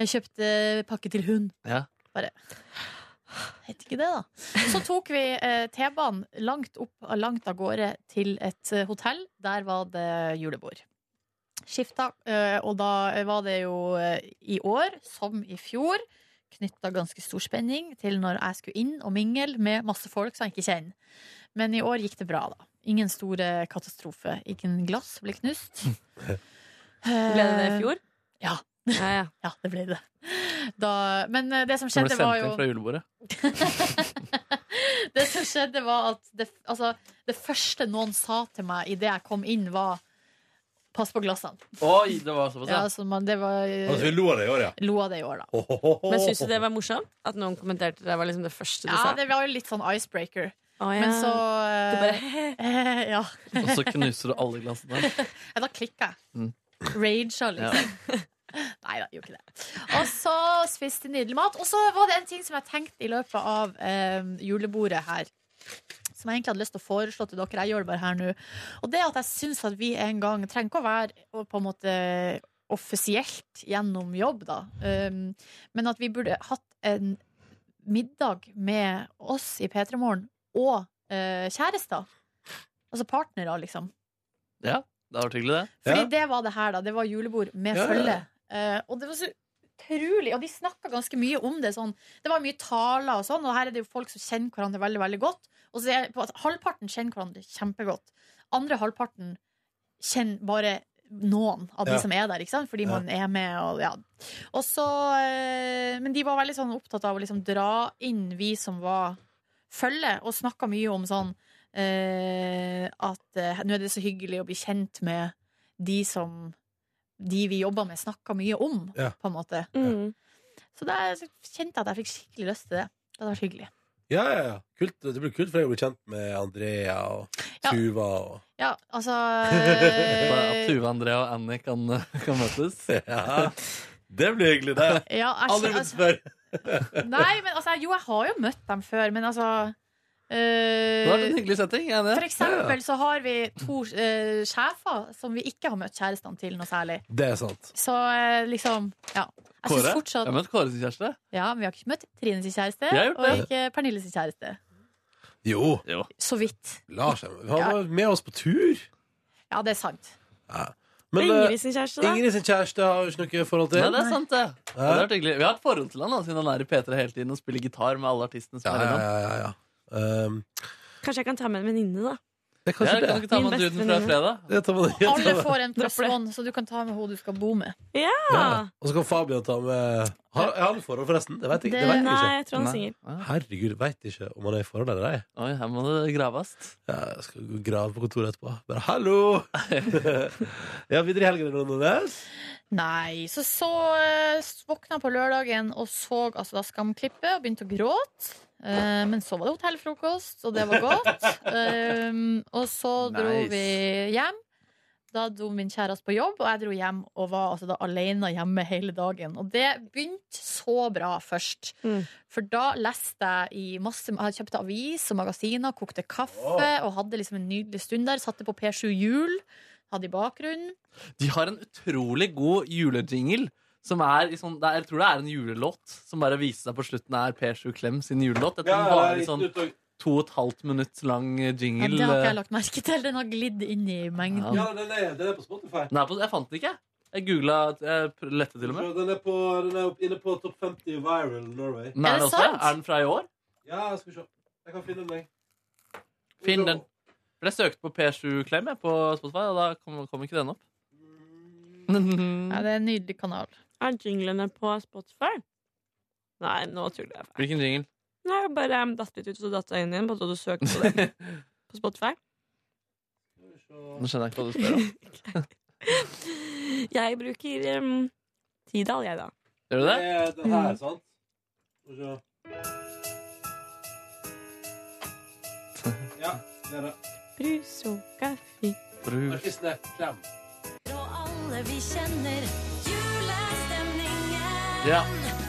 Jeg kjøpte pakke til hund. Ja. Bare Het ikke det, da. Så tok vi eh, T-banen langt opp langt av gårde til et eh, hotell. Der var det julebord. Skifta, eh, og da var det jo eh, i år, som i fjor, knytta ganske stor spenning til når jeg skulle inn og mingle med masse folk som jeg ikke kjenner. Men i år gikk det bra, da. Ingen store katastrofe. Ingen glass ble knust. Ble det det i fjor? Ja. Eh, Ja, ja. Ja, det ble det. Da, men eh, det som Som ble skjedde, sendt var inn jo fra julebordet? *laughs* Det som skjedde, var at det, altså, det første noen sa til meg idet jeg kom inn, var Pass på glassene. Oi, det var såpass, Ja, ja. altså, man, det var Altså, vi lo av det i år, ja. Lo av det i år, da. Men syns du det var morsomt? At noen kommenterte det var liksom det første du Ja, sa? det var jo litt sånn icebreaker. Å, ja. Men så Du eh, bare eh, *laughs* Ja. Og så knuser du alle glassene. *laughs* Ja, Da klikka jeg. Mm. Raga, Ja. liksom. Nei da, gjorde ikke det. Og så spiste jeg nydelig mat. Og så var det en ting som jeg tenkte i løpet av eh, julebordet her, som jeg egentlig hadde lyst til å foreslå til dere. Jeg gjør det bare her nå. Og det at jeg syns at vi en gang trenger ikke å være og på en måte offisielt gjennom jobb, da. Um, men at vi burde hatt en middag med oss i P3 Morgen og eh, kjærester. Altså partnere, liksom. Ja, det har vært hyggelig, det. Fordi det var det her, da. Det var julebord med Ja, ja, ja. følge. Eh, og det var så utrolig. Og de snakka ganske mye om det sånn. Det var mye taler og sånn, og her er det jo folk som kjenner hverandre veldig, veldig godt. Og så er på at halvparten kjenner hverandre kjempegodt. Andre halvparten kjenner bare noen av de Ja. som er der, ikke sant? fordi Ja. man er med. Og, ja. og så, eh, men de var veldig sånn opptatt av å liksom dra inn vi som var følge, og snakka mye om sånn eh, at eh, nå er det så hyggelig å bli kjent med de som de vi jobba med, snakka mye om, Ja. på en måte. mm. Så da kjente jeg at jeg fikk skikkelig lyst til det. Det hadde vært hyggelig. Ja, ja, ja. Kult. Det blir kult, for jeg blir kjent med Andrea og Tuva og Ja, altså *laughs* Bare At Tuve, André og Annie kan, *laughs* kan møtes. Det blir hyggelig, det. Ja, jeg- altså, Aldri blitt spør. Nei, men altså, jo, jeg har jo møtt dem før, men altså eh, Det har vært en hyggelig setting. jeg er enig. For eksempel så har vi to eh, sjefer som vi ikke har møtt kjærestene til noe særlig. Det er sant. Så eh, liksom, ja. Jeg synes Kåre? fortsatt Jeg har møtt Kåre sin kjæreste. Ja, men vi har ikke møtt Trine sin kjæreste, Jeg har gjort og det. ikke Pernille sin kjæreste. Jo. Så vidt. Lars han var med oss på tur. Ja, det er sant. Men, Og Ingrid eh, sin kjæreste, da? Ingrid sin kjæreste har jo ikke noe forhold til. Nei, det er sant, det. Ja, det har vært hyggelig. Vi har hatt forhold til han da, siden han er i P3 hele tiden og spiller gitar med alle artistene som Ja, er ja, innom. ja, ja, ja. Um, Kanskje jeg kan ta med en venninne, da. det er kanskje Ja, kan du ikke ta Min med han duden fra bestevenninne. fredag? det tar man, Alle får *laughs* en pluss one, så du kan ta med hun du skal bo med. Ja! Ja. Og så kan Fabian ta med Har har han forhold, forresten? Det vet jeg, det Det- vet jeg ikke. Nei, jeg tror han er singel. Herregud, veit ikke om han er i forhold eller ei. Oi, her må det graves. Ja, jeg skal gå og grave på kontoret etterpå. Bare hallo! *laughs* ja, videre i helgen er det noe annet? Nei, så så eh, våkna jeg på lørdagen og så altså da Skamklippet og begynte å gråte. Eh, men så var det hotellfrokost, og det var godt. Um, og så dro Nice. vi hjem. Da dro min kjæreste på jobb, og jeg dro hjem og var altså da alene hjemme hele dagen. Og det begynte så bra først. For da leste jeg i masse Jeg kjøpte avis og magasiner, kokte kaffe og hadde liksom en nydelig stund der. Satte på P7 Jul, hadde i bakgrunnen. De har en utrolig god julejingle. Som er i sånn, det er, jeg tror det er en julelåt som bare viser seg på slutten er Per7 Klem sin julelåt. Jeg Ja, tror den det varer er i sånn to og et halvt minutt lang eh, Ja, jingle. det har ikke jeg lagt merke til. Den har glidd inn i mengden. Ja, den er, på Spotify. Nei, på- jeg fant den ikke. Jeg googla Jeg pr- lette til og med. Den er, på, den er opp- inne på topp 50 viral Norway. Men er det også? Er den fra i år? Ja, skal vi se. Jeg kan finne den, jeg. Finn den. For jeg søkte på P7 Klem jeg, på Spotify, og da kom, kom ikke den opp. Ja, det er en nydelig kanal. Er jinglene på Spotify? Nei, nå tuller jeg. *laughs* Hvilken jingle? Nå har jeg bare um, datt litt ut, så datt jeg inn igjen på at du søkte på *laughs* det på Spotify. Nå skjønner jeg ikke hva du spør om. Jeg bruker um, Tidal, jeg, da. Gjør du det? er den her, sant? Skal vi se. Ja, det er det. Brus og kaffe. Artisten er Klem. Alle vi kjenner julestemningen Ja.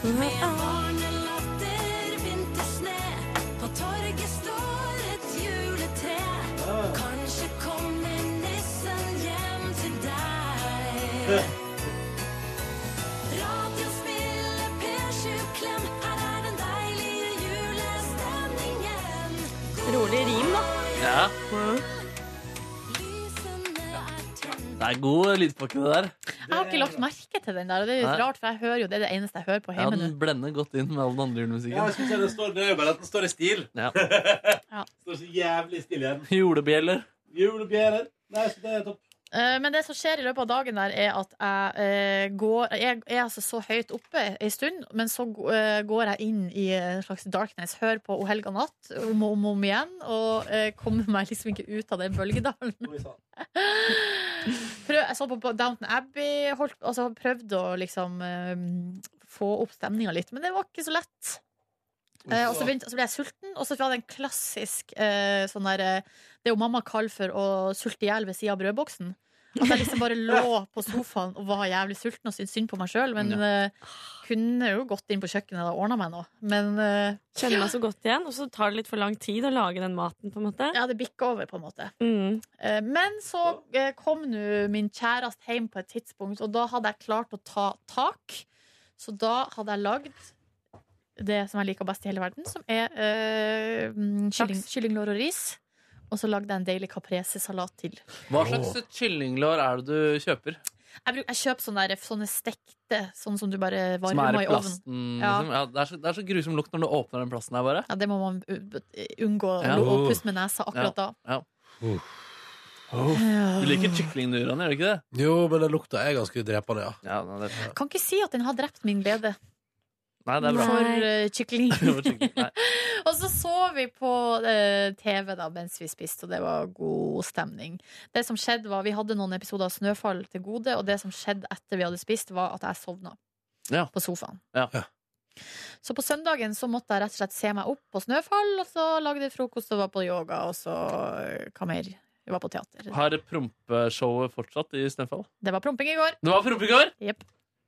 Med barnelatter, vintersne På torget står et juletre Kanskje kommer nissen hjem til deg Radio spiller P7 Klem Her er den deilige julestemningen Rolig rim, da. Mm. Ja. Det er god lydpakke, det der. Jeg har ikke lagt merke til den der, og det er litt Nei. rart, for jeg hører jo det er det eneste jeg hører på Ja, hjemme nå. den blender godt inn med all den andre Ja, jeg julemusikken. skulle si det, står, det er jo bare at den står i stil. Ja. Står så jævlig stille igjen. Julebjeller. Julebjærer. Nei, så det er topp. Eh, Men det som skjer i løpet av dagen der, er at jeg eh, går Jeg er altså så høyt oppe ei stund, men så eh, går jeg inn i en slags darkness. Hører på O helga natt om og om, og om igjen, og eh, kommer meg liksom ikke ut av den bølgedalen. *laughs* Prøv, jeg så på Downton Abbey, holdt, altså prøvde å liksom eh, få opp stemninga litt, men det var ikke så lett. Eh, og så, begynte, så ble jeg sulten, og så var det en klassisk eh, sånn der eh, Det er jo mamma kaller for å sulte i hjel ved sida av brødboksen. At jeg liksom bare lå på sofaen og var jævlig sulten og syntes synd på meg sjøl. Men eh, kunne jo gått inn på kjøkkenet og ordna meg noe. Men eh, Kjenner meg så godt igjen, og så tar det litt for lang tid å lage den maten. på en måte Mm. Ja, det bikker over, på en måte. Eh, Men så eh, kom nå min kjæreste hjem på et tidspunkt, og da hadde jeg klart å ta tak. Så da hadde jeg lagd det som jeg liker best i hele verden, som er eh, mm, kylling, kyllinglår og ris. Og så lagde jeg en deilig caprese-salat til. Hva slags kyllinglår er det du kjøper? Jeg, bruk, jeg kjøper sånne, der, sånne stekte, sånn som du bare Som er i varmer i ovnen. plasten? Ja. Liksom? Ja, det, er så, det er så grusom lukt når du åpner den plasten her, bare. Ja, det må man u- unngå Ja. å puste med nesa akkurat da. Ja. Du liker kyklingdyrene, gjør du ikke det? Jo, men den lukta er ganske drepende, ja. nei, det er, Kan ikke si at den har drept min glede nei, det er *laughs* bra. for eh, kykling. *laughs* For kylling. Og så så vi på eh, TV da mens vi spiste, og det var god stemning. Det som skjedde var, Vi hadde noen episoder av Snøfall til gode, og det som skjedde etter vi hadde spist, var at jeg sovna Ja. på sofaen. Ja. Så på søndagen så måtte jeg rett og slett se meg opp på Snøfall, og så lagde jeg frokost og var på yoga, og så eh, hva mer? Vi var på teater. Har prompeshowet fortsatt i Snøfall? Det var promping i går. Det var prompe i går? Jepp.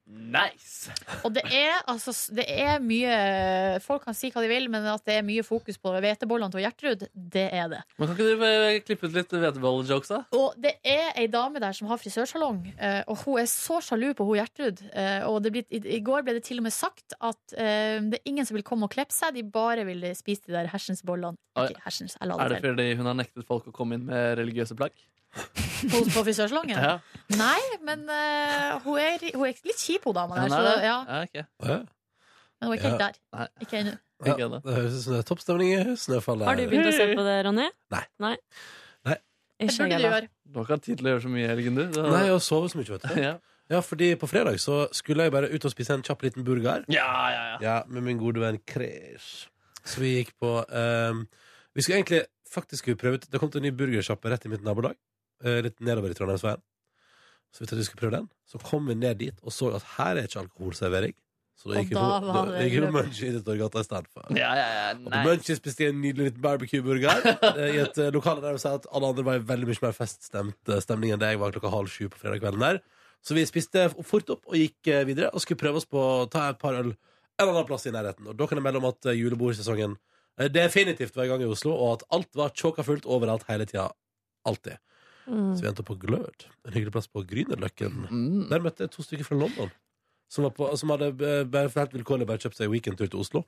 Nice! Og det er, altså, det er mye Folk kan si hva de vil, men at det er mye fokus på hvetebollene til Gjertrud, det er det. Men kan ikke du eh, klippe ut litt hvetebollejokes, da? Og det er ei dame der som har frisørsalong, eh, og hun er så sjalu på hun Gjertrud. eh, Og det blir, i, i går ble det til og med sagt at eh, det er ingen som vil komme og klippe seg, de bare vil spise de der hersens bollene. Ikke hersens, jeg la Er det det til. fordi hun har nektet folk å komme inn med religiøse plagg? På, på frisørsalongen? Ja. Nei, men eh, hun, er, hun er litt kjip, hun dama Ja, der. nei, Så, det- ja, ja, ok. men hun er ikke helt Ja. der. Ikke ennå. ja det høres ut som det er toppstemning i snøfallet. Har du begynt å se på det, Ronny? Nei. Nei. Nei. Ikke jeg heller. Du har ikke hatt tid til å gjøre så mye i helgen, du. Da- Nei, og sove så mye, vet du. Ja. Ja, fordi på fredag så skulle jeg bare ut og spise en kjapp liten burger. Ja, ja, ja. Med min gode venn Kresh. Så vi gikk på ehm, Vi skulle egentlig faktisk skulle prøve ut Det kom til en ny burgersjappe rett i mitt nabolag. eh, litt nedover i Trondheimsveien. Så vi tenkte vi skulle prøve den. Så kom vi ned dit og så at her er ikke alkoholservering. Så da Og gikk vi da på, var da det gikk vi på løp. Munchies i Torgata i stedet for. Ja, ja, ja, Og på nice. Munchies spiste jeg en nydelig liten barbecue-burger eh, i et eh, lokale der de sa at alle andre var i veldig mye mer feststemt eh, stemning enn det jeg var klokka halv sju på fredag kvelden der. Så vi spiste f- fort opp og gikk eh, videre og skulle prøve oss på å ta et par øl en annen plass i nærheten. Og da kan jeg melde om at eh, julebordsesongen eh, definitivt var i gang i Oslo, og at alt var tjåka fullt overalt hele tida. Alltid. Mm. Så vi endte opp på Glød, en hyggelig plass på Grünerløkken. Mm. Der møtte jeg to stykker fra London. Som, var på, som hadde eh, bare helt vilkårlig bare kjøpt seg weekendtur til Oslo.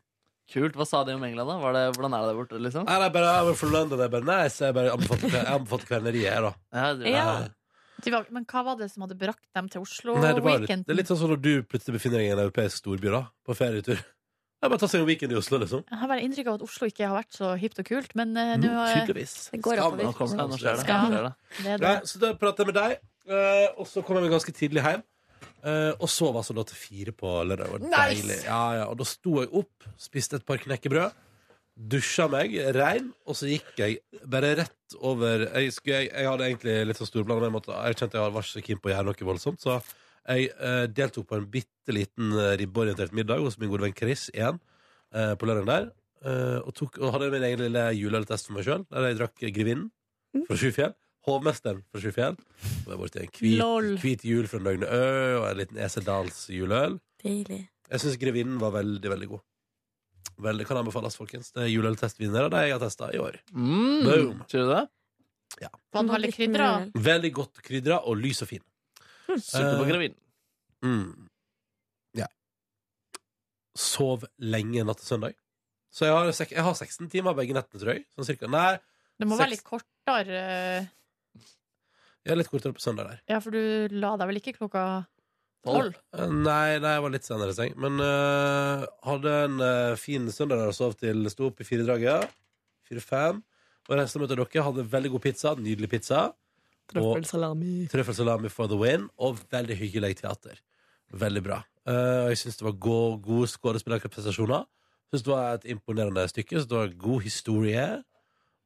Kult. Hva sa de om England, da? Var det, hvordan er det der borte, liksom? Nei, det er bare I'm from London. Det er bare nice. Jeg bare anbefaler jeg anbefaler kvelneriet, jeg, da. Ja. De var- Men hva var det som hadde brakt dem til Oslo Nei, det, var litt, weekenden? det er litt sånn som når du plutselig befinner deg i en europeisk storby, da. På ferietur. Det er bare å ta seg en weekend i Oslo, liksom. Jeg har bare inntrykk av at Oslo ikke har vært så hipt og kult, men eh, Mm, nå eh, tydeligvis. det går oppover. Nå kommer det, nå skjer det. Skam. Nå skjer det. Det er det. Nei, så da pratet jeg med deg, eh, og så kom jeg meg ganske tidlig hjem. eh, og så var det da til fire på lørdag. Det var Nice! deilig. Ja, ja. Og da sto jeg opp, spiste et par knekkebrød, dusja meg rein, og så gikk jeg bare rett over Jeg, skulle, jeg, jeg hadde egentlig litt sånn store planer, men jeg, måtte, jeg kjente jeg var så keen på å gjøre noe voldsomt, så jeg eh, deltok på en bitte liten eh, ribbeorientert middag hos min gode venn Chris igjen eh, på lørdagen der. eh, og, tok, og hadde min egen lille juleøltest for meg sjøl, der jeg drakk Grevinnen fra Sjufjell. Hovmesteren fra Sjufjell. Og jeg var borti en hvit, hvit jul fra Løgne Ø og en liten Eseldals juleøl. Deilig. Jeg syns Grevinnen var veldig, veldig god. Veldig kan anbefales, folkens. Det er juleøltestvinnere det jeg har testa i år. Mm, Boom. Tror du det? Var den veldig krydra? Veldig godt krydra og lys og fin. Sulte på Eh, gravinen. Mm. Ja. Sov lenge natt til søndag. Så jeg har, sek- jeg har 16 timer begge nettene, tror jeg. Sånn cirka. Nei, Det må seks- være litt kortere. eh, jeg er litt kortere på søndag der. Ja, for du la deg vel ikke klokka tolv? Eh, Nei, nei, jeg var litt senere i seng. Men eh, hadde en eh, fin søndag der og sov til sto opp i firedraget. Fire-fem. Og reiste med til dere. Hadde veldig god pizza. Nydelig pizza. Trøffelsalami. Og Trøffelsalami for the win. Og veldig hyggelig teater. Veldig bra. Eh, og jeg syns det var gode, gode skuespillerprestasjoner. Syns det var et imponerende stykke. Synes det var god historie.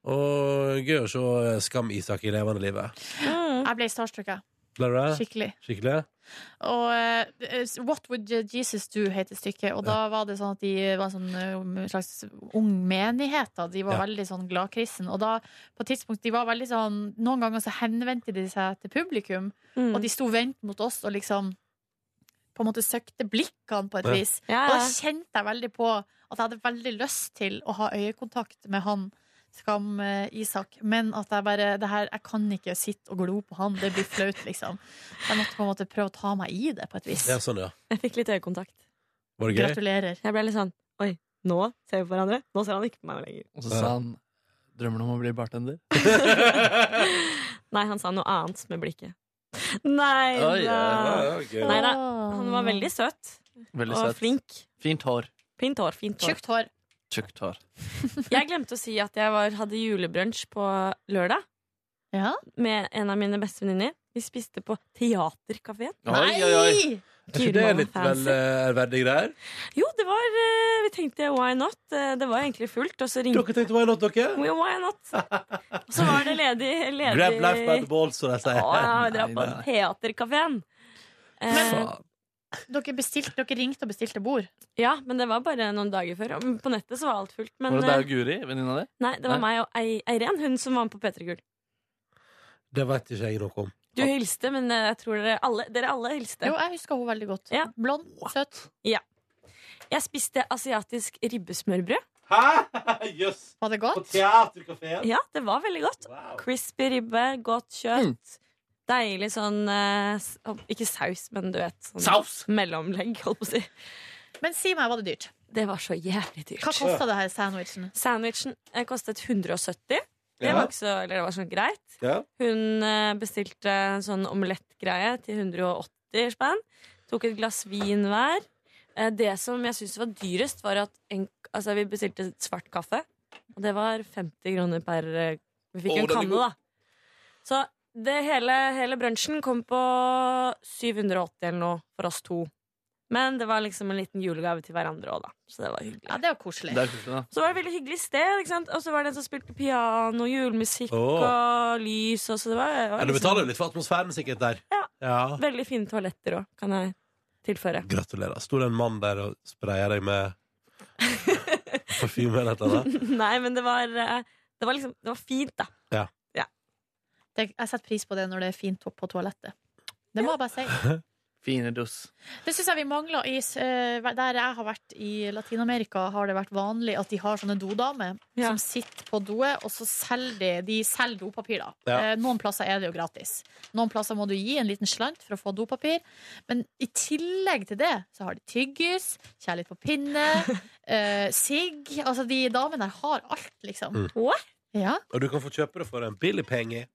Og gøy å se Skam-Isak eh, i levende livet. Jeg ble starstruck, jeg. Ble du det? Skikkelig. Skikkelig? Og eh, What Would Jesus Do heter stykket. Og da var det sånn at de var en sånn, eh, en slags ung menighet. Da. De var Ja. veldig sånn gladkristen. Og da, på et tidspunkt, de var veldig sånn Noen ganger så henvendte de seg til publikum, Mm. og de sto vendt mot oss og liksom på en måte søkte blikkene på et Ja. vis. Ja, Og da ja. kjente jeg veldig på at jeg hadde veldig lyst til å ha øyekontakt med han Skam eh, Isak, men at jeg bare det her, Jeg kan ikke sitte og glo på han. Det blir flaut, liksom. Jeg måtte på en måte prøve å ta meg i det, på et vis. Ja, sånn, ja. Jeg fikk litt øyekontakt. Var det gøy? Gratulerer. Jeg ble litt sånn Oi, nå ser vi på hverandre. Nå ser han ikke på meg *laughs* lenger. Og så sa han Drømmer du om å bli bartender? Nei, han sa noe annet med blikket. Nei da. Oi, ja, ja, gøy. Nei da. Han var veldig søt. Veldig og søt. flink. Fint hår. Fint hår. fint hår. Tjukt hår. Tjukt hår. Jeg glemte å si at jeg var, hadde julebrunsj på lørdag Ja. med en av mine beste venninner. Vi spiste på Theaterkafeen. Oi, oi, oi. Jeg tror det er litt vel eh, verdige greier. Jo, det var eh, Vi tenkte why not? Eh, Det var egentlig fullt, og så ringte Dere tenkte why not, dere? *laughs* Jo, why not? Og så var det ledig, ledig Grab life by the balls, som de sier. Å, ja, vi drar Nei, på nei. Theaterkafeen. Eh, Dere, bestilte, dere ringte og bestilte bord. ja, men det var bare noen dager før. Og På nettet så var alt fullt. Men, var det deg og eh, Guri, venninna di? nei, det var meg og Ei- Eiren, hun som var med på P3 Gull. Det vet ikke jeg noe om. Du hilste, men eh, jeg tror dere alle, dere alle hilste. Jo, jeg husker henne veldig godt. Ja. Blond, søt. Ja. Jeg spiste asiatisk ribbesmørbrød. Jøss! Var det godt? teaterkafeen? Ja, det var veldig godt. Crispy ribbe, godt kjøtt. Deilig sånn eh, s- Ikke saus, men du vet. Sånn Saus! Mellomlegg, holdt på å si. Men si meg, var det dyrt? Det var så jævlig dyrt. Hva kosta det her sandwichen? Sandwichen eh, kostet 170. Det Ja. var, ikke så, eller det var sånn greit. Ja. Hun eh, bestilte en sånn omelettgreie til 180 spenn. Tok et glass vin hver. Eh, Det som jeg syntes var dyrest, var at en, altså, vi bestilte et svart kaffe. Og det var 50 kroner per eh, Vi fikk Å, en den er kanne, god. da. Så det hele, hele brunsjen kom på 780 eller noe for oss to. Men det var liksom en liten julegave til hverandre òg, da. Så det var hyggelig. Ja, det var koselig. Det er koselig, da. Så var det et veldig hyggelig sted, ikke sant? og så var det en som spilte piano, julemusikk Åh. og lys. Og så det var, det var Ja, du liksom betaler jo litt for atmosfæren sikkert der. Ja. Veldig fine toaletter òg, kan jeg tilføre. Gratulerer. Sto det en mann der og spraya deg *laughs* med parfyme eller et eller annet? *laughs* Nei, men det var, eh, det var liksom Det var fint, da. Ja. Det, jeg setter pris på det når det er fint opp på toalettet. Det må jeg bare si. Fine dos. Det syns jeg vi mangler i s- eh, Der jeg har vært i Latin-Amerika, har det vært vanlig at de har sånne dodamer som sitter på doet, og så selger de, de selger dopapir, da. Ja. Eh, Noen plasser er det jo gratis. Noen plasser må du gi en liten slant for å få dopapir. Men i tillegg til det så har de tyggis, kjærlighet på pinne, eh, sigg Altså, de damene der har alt, liksom. Mm. What? Ja. Og du kan få kjøpe det for en billig penge.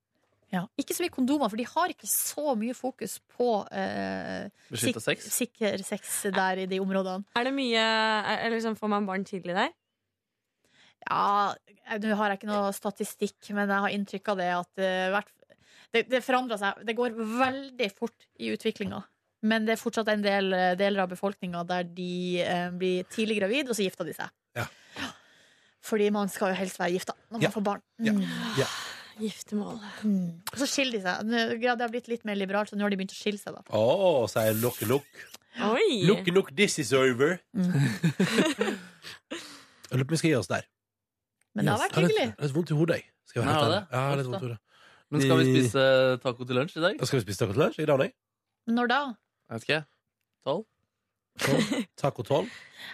Ja. Ikke så mye kondomer, for de har ikke så mye fokus på eh, Beskyttet sik- sex? sikker sex der i de områdene. Er det mye er, er liksom, Får man barn tidlig der? Ja, jeg- nå har jeg ikke noe statistikk, men jeg har inntrykk av det at eh, hvert- det, det forandrer seg. Det går veldig fort i utviklinga. Men det er fortsatt en del eh, deler av befolkninga der de eh, blir tidlig gravid, og så gifter de seg. Ja. Fordi man skal jo helst være gifta når man Ja. får barn. Ja. Ja. Giftermål. Mm. Og så skiller de seg. Nå- Det har blitt litt mer liberalt, så nå har de begynt å skille seg, da. Å, sier look look. Oi. Look look, this is over. Mm. *laughs* Jeg lurer på om vi skal gi oss der. Men det Gi har oss. vært Jeg har hyggelig. litt- jeg har litt vondt i hodet, jeg. Skal jeg være Nei, helt har ærlig. det? Jeg har litt Uff, vondt i da. hodet. Men skal vi Vi- spise eh, taco til lunsj i dag? Da skal vi spise taco til lunsj. I dag, nei? Når da? Jeg vet ikke. Tolv? Taco 12?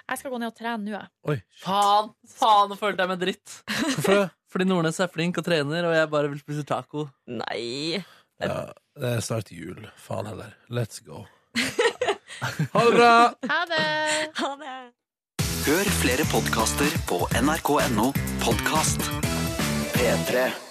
Jeg skal gå ned og trene nå, jeg. *laughs* Faen! Faen, nå følte jeg meg dritt. Hvorfor det? Fordi Nordnes er flink og trener, og jeg bare vil spise taco. Nei. Ja, det er snart jul. Faen heller. Let's go. Ha det bra! Ha det! Ha det. Hør flere podkaster på nrk.no podkast. P3.